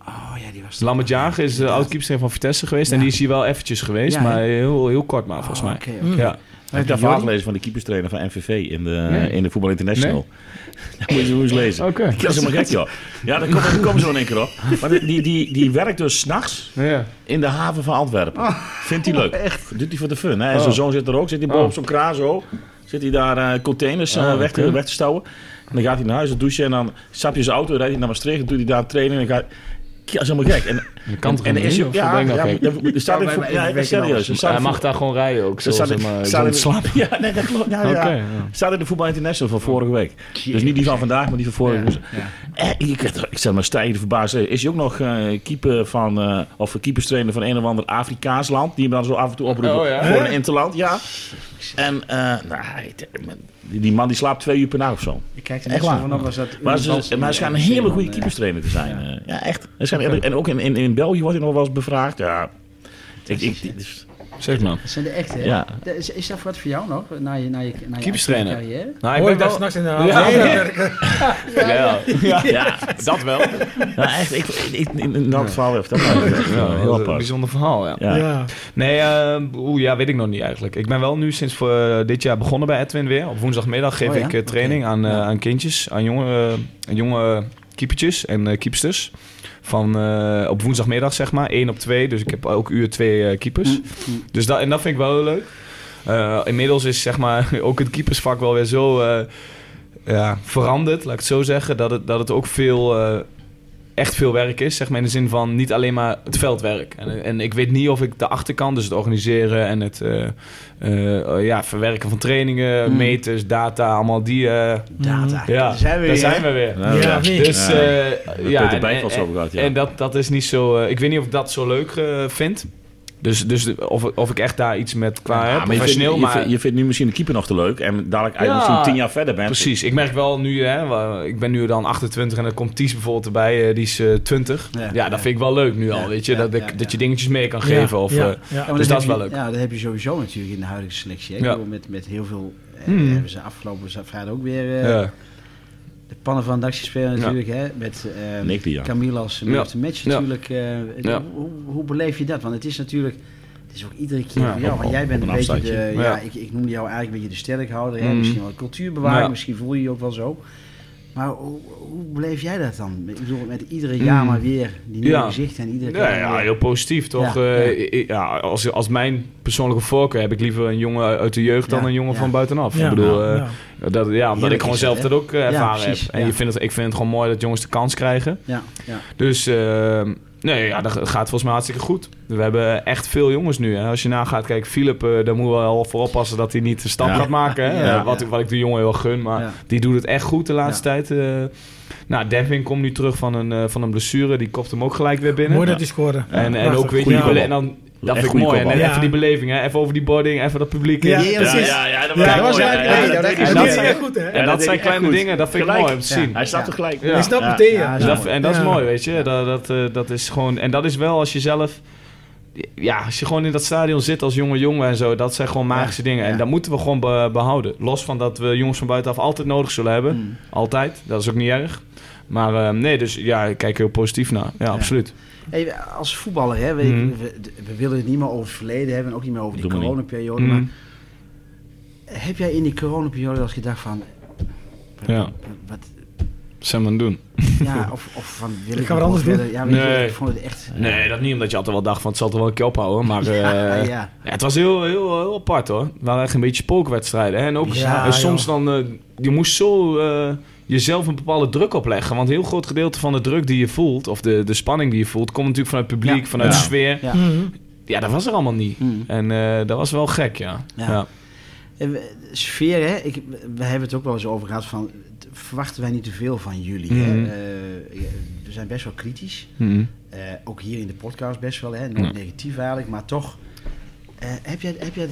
[SPEAKER 2] Oh ja, die was
[SPEAKER 4] Lambert Jager is de oud keepster van Vitesse geweest.
[SPEAKER 2] Ja.
[SPEAKER 4] En die is hier wel eventjes geweest,
[SPEAKER 2] Ja, hè?
[SPEAKER 4] maar heel, heel kort maar, volgens
[SPEAKER 2] Oh,
[SPEAKER 4] mij.
[SPEAKER 2] oké, oké.
[SPEAKER 5] Mm.
[SPEAKER 4] Ja.
[SPEAKER 2] die
[SPEAKER 3] Heb je dat verhaal
[SPEAKER 2] Jordi?
[SPEAKER 3] gelezen van de keeperstrainer van MVV in de,
[SPEAKER 4] Nee.
[SPEAKER 3] in de Voetbal International? Dat moet je zo eens lezen.
[SPEAKER 4] Oké.
[SPEAKER 3] Dat is helemaal gek, joh. Ja, daar komen kom zo in één keer op. Maar die- die, die, die werkt dus s'nachts
[SPEAKER 4] Ja.
[SPEAKER 3] in de haven van Antwerpen. Vindt hij leuk. Doet hij voor de fun. Hè? En
[SPEAKER 4] Ah. Oh.
[SPEAKER 3] zijn zoon zit er ook. Zit hij
[SPEAKER 4] Oh.
[SPEAKER 3] boven zo'n kraal zo. Zit hij daar eh, containers eh,
[SPEAKER 4] Oh,
[SPEAKER 3] weg, te,
[SPEAKER 4] oké.
[SPEAKER 3] weg te stouwen. En dan gaat hij naar huis, dan douchen. En dan sap je zijn auto, rijdt hij naar Maastricht. En doet hij daar trainen. En dan gaat... Ja, dat is helemaal gek. En,
[SPEAKER 4] Dat kan toch
[SPEAKER 3] en er
[SPEAKER 4] niet?
[SPEAKER 3] is
[SPEAKER 4] Of
[SPEAKER 3] ja,
[SPEAKER 4] ben ik
[SPEAKER 3] ja,
[SPEAKER 4] nou
[SPEAKER 3] ja,
[SPEAKER 4] gek?
[SPEAKER 3] er staat
[SPEAKER 2] Ja,
[SPEAKER 3] in
[SPEAKER 2] wij-
[SPEAKER 3] voor-
[SPEAKER 2] wij-
[SPEAKER 3] ja,
[SPEAKER 2] wij
[SPEAKER 3] echt
[SPEAKER 2] weten
[SPEAKER 3] serieus.
[SPEAKER 2] alles.
[SPEAKER 3] Er staat
[SPEAKER 4] Hij
[SPEAKER 3] in
[SPEAKER 4] mag
[SPEAKER 3] voor-
[SPEAKER 4] daar gewoon rijden ook.
[SPEAKER 3] er
[SPEAKER 4] Zoals
[SPEAKER 3] staat in-
[SPEAKER 4] hem, eh,
[SPEAKER 3] staat in-
[SPEAKER 4] ontslapen.
[SPEAKER 3] Ja, nee, dat klopt. Ja, ja.
[SPEAKER 4] Oké, ja.
[SPEAKER 3] Staat in de Voetbal International van vorige week. Dus niet die van vandaag, maar die van vorige week. Eh, ik, ik- ik stel me stijgen te verbazen. Is hij ook nog eh, keeper van, eh, of keeperstrainer van een of ander Afrikaans land? Die hem dan zo af en toe oproept
[SPEAKER 4] Oh, ja.
[SPEAKER 3] voor een interland, ja. En eh, nou, hij- die die man die slaapt twee uur per nacht of zo.
[SPEAKER 2] Ik kijk er
[SPEAKER 3] Echt
[SPEAKER 2] net zo
[SPEAKER 3] waar.
[SPEAKER 2] vanaf als dat...
[SPEAKER 3] Maar ze, maar ze gaan een hele goede keeperstrainer te zijn. eh. Ja, echt. Ze schijnen- en ook in, in, in België wordt hij nog wel eens bevraagd. Ja. Ik, ik, dit is-
[SPEAKER 4] Zeg maar.
[SPEAKER 2] Dat zijn de echte, hè?
[SPEAKER 3] Ja.
[SPEAKER 2] De- Is, is dat wat voor jou nog? Na je, na je, na je
[SPEAKER 4] Keeperstrainer.
[SPEAKER 2] carrière?
[SPEAKER 4] Nou,
[SPEAKER 5] Hoor ik dat s'nachts in de avond?
[SPEAKER 4] Ja,
[SPEAKER 5] Ja,
[SPEAKER 4] ja.
[SPEAKER 5] werken.
[SPEAKER 4] Ja,
[SPEAKER 3] Ja,
[SPEAKER 4] dat wel.
[SPEAKER 3] nou, echt, ik, ik, in, in dat verhaal heeft dat wel echt, eh,
[SPEAKER 4] Ja,
[SPEAKER 3] heel
[SPEAKER 4] heel een
[SPEAKER 3] apart.
[SPEAKER 4] bijzonder verhaal, ja.
[SPEAKER 3] Ja.
[SPEAKER 5] Ja.
[SPEAKER 4] Nee, eh, oeh, ja, weet ik nog niet eigenlijk. Ik ben wel nu sinds voor, eh, dit jaar begonnen bij Edwin weer. Op woensdagmiddag geef
[SPEAKER 2] Oh, ja?
[SPEAKER 4] ik eh, training aan, eh, aan kindjes, aan jonge, eh, jonge keepertjes en eh, keepsters. Van, eh, op woensdagmiddag zeg maar, 1 op 2. Dus ik heb ook uur twee eh, keepers.
[SPEAKER 2] Mm,
[SPEAKER 4] Dus dat, en dat vind ik wel heel leuk. Eh, inmiddels is zeg maar ook het keepersvak wel weer zo eh, ja, veranderd, laat ik het zo zeggen, dat het, dat het ook veel, eh, echt veel werk is. Zeg maar in de zin van niet alleen maar het veldwerk. En, en ik weet niet of ik de achterkant, dus het organiseren en het eh, eh, eh, ja, verwerken van trainingen,
[SPEAKER 2] Mm.
[SPEAKER 4] meters, data, allemaal die. eh,
[SPEAKER 2] Data.
[SPEAKER 4] ja,
[SPEAKER 2] Daar zijn we
[SPEAKER 4] daar
[SPEAKER 2] weer.
[SPEAKER 4] zijn we weer.
[SPEAKER 3] Nou,
[SPEAKER 5] Ja,
[SPEAKER 3] ja.
[SPEAKER 5] of niet?
[SPEAKER 4] Dus
[SPEAKER 3] Ja.
[SPEAKER 4] eh, ja,
[SPEAKER 3] Peter
[SPEAKER 4] en-
[SPEAKER 3] Bijlveld
[SPEAKER 4] en-
[SPEAKER 3] over gehad, ja.
[SPEAKER 4] En dat, dat is niet zo. eh, ik weet niet of ik dat zo leuk eh, vind. Dus, dus de- of, of ik echt daar iets met qua heb,
[SPEAKER 3] Ja, maar je, vindt,
[SPEAKER 4] professioneel.
[SPEAKER 3] je,
[SPEAKER 4] maar
[SPEAKER 3] vindt, je vindt nu misschien de keeper nog te leuk. En dadelijk, als je
[SPEAKER 4] Ja.
[SPEAKER 3] misschien tien jaar verder bent.
[SPEAKER 4] precies, ik merk wel nu, hè, wa- ik ben nu dan 28 en dan komt Ties bijvoorbeeld erbij, eh, die is eh, 20.
[SPEAKER 2] Ja,
[SPEAKER 4] Ja,
[SPEAKER 2] ja.
[SPEAKER 4] dat vind ik wel leuk nu
[SPEAKER 2] Ja,
[SPEAKER 4] al, weet je,
[SPEAKER 2] ja,
[SPEAKER 4] dat, ik,
[SPEAKER 2] ja, ja.
[SPEAKER 4] dat je dingetjes mee kan geven. Of,
[SPEAKER 5] ja,
[SPEAKER 4] eh,
[SPEAKER 5] ja.
[SPEAKER 2] maar
[SPEAKER 4] Dus
[SPEAKER 2] heb
[SPEAKER 4] dat is wel
[SPEAKER 2] je-
[SPEAKER 4] leuk.
[SPEAKER 2] Ja, dat heb je sowieso natuurlijk in de huidige selectie. hè. Ik
[SPEAKER 4] Ja.
[SPEAKER 2] bedoel, met, met heel veel... eh,
[SPEAKER 4] Hmm.
[SPEAKER 2] Hebben ze afgelopen za- vrijdag ook weer eh,
[SPEAKER 4] ja.
[SPEAKER 2] de pannen van de actie spelen natuurlijk. Hè? Met eh,
[SPEAKER 3] Nick die, ja.
[SPEAKER 2] Camille als man
[SPEAKER 4] Ja.
[SPEAKER 2] of the match
[SPEAKER 4] Ja.
[SPEAKER 2] natuurlijk. eh,
[SPEAKER 4] Ja.
[SPEAKER 2] hoe, hoe beleef je dat? Want het is natuurlijk... Het is ook iedere keer
[SPEAKER 4] Ja,
[SPEAKER 2] voor jou.
[SPEAKER 3] op-
[SPEAKER 2] Want jij
[SPEAKER 3] op
[SPEAKER 2] bent
[SPEAKER 3] een
[SPEAKER 2] een, beetje de...
[SPEAKER 3] afstandje.
[SPEAKER 2] Ja,
[SPEAKER 4] Ja.
[SPEAKER 2] ik, ik noemde jou eigenlijk een beetje de sterkhouder. Hè?
[SPEAKER 4] Mm.
[SPEAKER 2] Misschien wel cultuurbewaker.
[SPEAKER 4] Ja.
[SPEAKER 2] Misschien voel je je ook wel zo. Maar hoe, hoe beleef jij dat dan? Ik bedoel, met iedere jaar maar weer die nieuwe
[SPEAKER 4] Hmm. Ja.
[SPEAKER 2] gezichten en iedere keer
[SPEAKER 4] Ja, ja,
[SPEAKER 2] weer-
[SPEAKER 4] heel positief toch?
[SPEAKER 2] Ja,
[SPEAKER 4] Eh,
[SPEAKER 2] ja.
[SPEAKER 4] i- i- Ja, als, als mijn persoonlijke voorkeur heb ik liever een jongen uit de jeugd
[SPEAKER 2] Ja,
[SPEAKER 4] dan een jongen
[SPEAKER 2] ja.
[SPEAKER 4] van buitenaf.
[SPEAKER 5] Ja,
[SPEAKER 4] ik bedoel,
[SPEAKER 5] ja,
[SPEAKER 4] eh,
[SPEAKER 5] ja.
[SPEAKER 4] Dat, ja, omdat
[SPEAKER 2] Heerlijk
[SPEAKER 4] ik gewoon
[SPEAKER 2] is dat,
[SPEAKER 4] zelf
[SPEAKER 2] hè?
[SPEAKER 4] dat ook eh,
[SPEAKER 2] Ja,
[SPEAKER 4] ervaren
[SPEAKER 2] precies,
[SPEAKER 4] heb. En
[SPEAKER 2] ja.
[SPEAKER 4] je vindt het, ik vind het gewoon mooi dat jongens de kans krijgen.
[SPEAKER 2] Ja, ja.
[SPEAKER 4] Dus eh, nee, ja, dat gaat volgens mij hartstikke goed. We hebben echt veel jongens nu. Hè. Als je nagaat, kijk, Philip, eh, daar moeten we wel voor oppassen dat hij niet de stap
[SPEAKER 3] Ja.
[SPEAKER 4] gaat maken. Hè.
[SPEAKER 2] Ja.
[SPEAKER 4] Eh, wat, ik- wat ik de jongen heel gun, maar
[SPEAKER 2] Ja.
[SPEAKER 4] die doet het echt goed de laatste tijd. eh. nou, Demping komt nu terug van een, eh, van een blessure. Die kopt hem ook gelijk weer binnen.
[SPEAKER 5] Mooi dat hij scoorde.
[SPEAKER 4] En, en
[SPEAKER 5] Prachtig.
[SPEAKER 4] ook weet je,
[SPEAKER 5] Goeie
[SPEAKER 4] die bele-
[SPEAKER 5] kopbal.
[SPEAKER 4] en dan, dat
[SPEAKER 3] Echt
[SPEAKER 4] vind ik
[SPEAKER 3] goeie
[SPEAKER 4] mooi. En
[SPEAKER 3] kopbal.
[SPEAKER 4] dan
[SPEAKER 5] Ja.
[SPEAKER 4] even die beleving, hè? even over die boarding, even dat publiek.
[SPEAKER 5] Ja.
[SPEAKER 4] in.
[SPEAKER 2] Ja,
[SPEAKER 3] Ja,
[SPEAKER 2] precies.
[SPEAKER 3] ja, ja, dat
[SPEAKER 5] Ja,
[SPEAKER 3] was
[SPEAKER 5] dat was
[SPEAKER 3] mooi. Ja, ja,
[SPEAKER 5] eigenlijk- ja,
[SPEAKER 3] dat
[SPEAKER 5] dat
[SPEAKER 3] deed
[SPEAKER 5] deed
[SPEAKER 3] hij
[SPEAKER 5] hij
[SPEAKER 3] goed.
[SPEAKER 5] echt goed, hè?
[SPEAKER 4] En dat zijn
[SPEAKER 3] deed hij echt
[SPEAKER 4] kleine
[SPEAKER 3] goed.
[SPEAKER 4] dingen, dat vind ik
[SPEAKER 3] Gelijk.
[SPEAKER 4] mooi om te zien.
[SPEAKER 3] Hij staat er gelijk.
[SPEAKER 4] Ja.
[SPEAKER 5] Ik snap
[SPEAKER 3] Ja.
[SPEAKER 5] het tegen.
[SPEAKER 2] Ja,
[SPEAKER 5] Ja,
[SPEAKER 4] Dus dat,
[SPEAKER 2] mooi.
[SPEAKER 4] en dat is
[SPEAKER 5] Ja.
[SPEAKER 4] mooi, weet je. Dat, dat, eh, dat is gewoon, en dat is wel als je zelf... Ja, als je gewoon in dat stadion zit als jonge jongen en zo... dat zijn gewoon magische dingen. En
[SPEAKER 2] ja.
[SPEAKER 4] dat moeten we gewoon be- behouden. Los van dat we jongens van buitenaf altijd nodig zullen hebben.
[SPEAKER 2] Mm.
[SPEAKER 4] Altijd, dat is ook niet erg. Maar eh, nee, dus ja, ik kijk heel positief naar. Ja, absoluut.
[SPEAKER 2] Hey, als voetballer, hè, we,
[SPEAKER 4] Mhm.
[SPEAKER 2] we, we willen het niet meer over het verleden hebben en ook niet meer over die
[SPEAKER 3] Doen we niet.
[SPEAKER 2] coronaperiode.
[SPEAKER 4] Mm.
[SPEAKER 2] Maar heb jij in die coronaperiode als gedacht van.
[SPEAKER 4] Ja.
[SPEAKER 2] Wat,
[SPEAKER 4] Zijn we aan het doen?
[SPEAKER 2] ja, of, of van wil ik,
[SPEAKER 5] ga wat
[SPEAKER 2] nog
[SPEAKER 5] anders
[SPEAKER 2] wel
[SPEAKER 5] doen.
[SPEAKER 2] verder? Ja, weet je,
[SPEAKER 4] Nee.
[SPEAKER 2] ik vond het echt.
[SPEAKER 4] Nee, dat niet omdat je altijd wel dacht van... het zal toch wel een keer ophouden, maar... eh,
[SPEAKER 2] Ja, ja.
[SPEAKER 4] Ja, het was heel, heel, heel apart hoor. Het waren echt een beetje spookwedstrijden. Hè? En ook
[SPEAKER 5] Ja,
[SPEAKER 4] eh, soms dan, eh, je moest zo eh, jezelf een bepaalde druk opleggen. Want een heel groot gedeelte van de druk die je voelt, of de, de spanning die je voelt, komt natuurlijk vanuit het publiek,
[SPEAKER 2] Ja.
[SPEAKER 4] vanuit
[SPEAKER 3] Ja.
[SPEAKER 4] de sfeer.
[SPEAKER 2] Ja.
[SPEAKER 4] Ja.
[SPEAKER 5] Mhm.
[SPEAKER 4] dat was er allemaal niet.
[SPEAKER 2] Mm.
[SPEAKER 4] En eh, dat was wel gek, ja.
[SPEAKER 2] Ja.
[SPEAKER 4] ja.
[SPEAKER 2] En eh, we- de sfeer, hè? Ik, we hebben het ook wel eens over gehad van. t- Verwachten wij niet te veel van jullie? Hè?
[SPEAKER 4] Mhm.
[SPEAKER 2] Eh, we zijn best wel kritisch.
[SPEAKER 4] Mm.
[SPEAKER 2] Eh, ook hier in de podcast best wel, hè? Nooit negatief eigenlijk, maar toch. eh, heb jij, heb jij,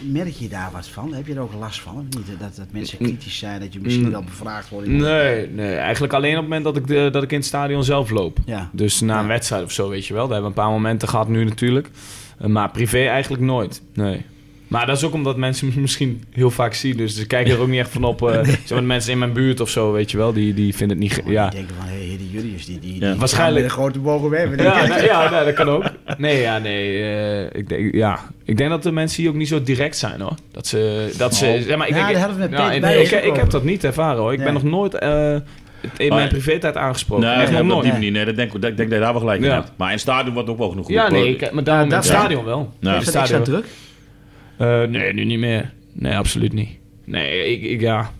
[SPEAKER 2] merk je daar wat van? Heb je er ook last van? Of niet? eh, Dat, dat mensen kritisch zijn, dat je misschien
[SPEAKER 4] Mm.
[SPEAKER 2] wel bevraagd wordt. in-
[SPEAKER 4] Nee, nee, eigenlijk alleen op het moment dat ik, de, dat ik in het stadion zelf loop.
[SPEAKER 2] Ja.
[SPEAKER 4] Dus na een
[SPEAKER 2] Ja.
[SPEAKER 4] wedstrijd of zo, weet je wel. Daar hebben we een paar momenten gehad nu natuurlijk. Eh, Maar privé eigenlijk nooit. Nee. Maar dat is ook omdat mensen me misschien heel vaak zien. Dus ze kijken er ook niet echt van op. eh zeg maar, de mensen in mijn buurt of zo, weet je wel. Die, die vinden het niet... ge-
[SPEAKER 2] Die
[SPEAKER 4] Ja,
[SPEAKER 2] denken van, hé, hey, die Julius, die, die,
[SPEAKER 3] Ja.
[SPEAKER 2] die
[SPEAKER 4] Waarschijnlijk.
[SPEAKER 2] gaan met een grote bogen weg. Maar
[SPEAKER 4] ja, nou, ja nou, dat kan ook. Nee, ja, nee. eh, ik, denk, ja. ik denk dat de mensen hier ook niet zo direct zijn, hoor. Dat ze... Dat ze zeg maar, ik
[SPEAKER 2] Oh. Ja,
[SPEAKER 4] denk,
[SPEAKER 2] dat hadden we met
[SPEAKER 4] Ja,
[SPEAKER 2] Peter
[SPEAKER 4] ik-
[SPEAKER 2] bij
[SPEAKER 4] ik,
[SPEAKER 2] ons ook
[SPEAKER 4] ik
[SPEAKER 2] over.
[SPEAKER 4] heb dat niet ervaren, hoor. Ik
[SPEAKER 2] Nee.
[SPEAKER 4] ben nog nooit eh, in
[SPEAKER 3] Maar-
[SPEAKER 4] mijn privé-tijd aangesproken.
[SPEAKER 3] Oh, Nee,
[SPEAKER 4] echt
[SPEAKER 3] nee,
[SPEAKER 4] nog
[SPEAKER 3] op
[SPEAKER 4] nooit.
[SPEAKER 3] die manier. Nee, dat denk ik dat- ik denk dat je daar wel gelijk in
[SPEAKER 4] Ja.
[SPEAKER 3] hebt. Maar in het stadion wordt ook wel genoeg
[SPEAKER 4] Ja, nee, ik, maar daarom in het
[SPEAKER 3] dat-
[SPEAKER 4] stadion wel.
[SPEAKER 3] Ja.
[SPEAKER 4] In
[SPEAKER 2] Is
[SPEAKER 4] het
[SPEAKER 2] dat extra
[SPEAKER 4] stadion wel.
[SPEAKER 2] druk?
[SPEAKER 4] Eh, nee, nu niet meer. Nee, absoluut niet. Nee, ik, ik, ja.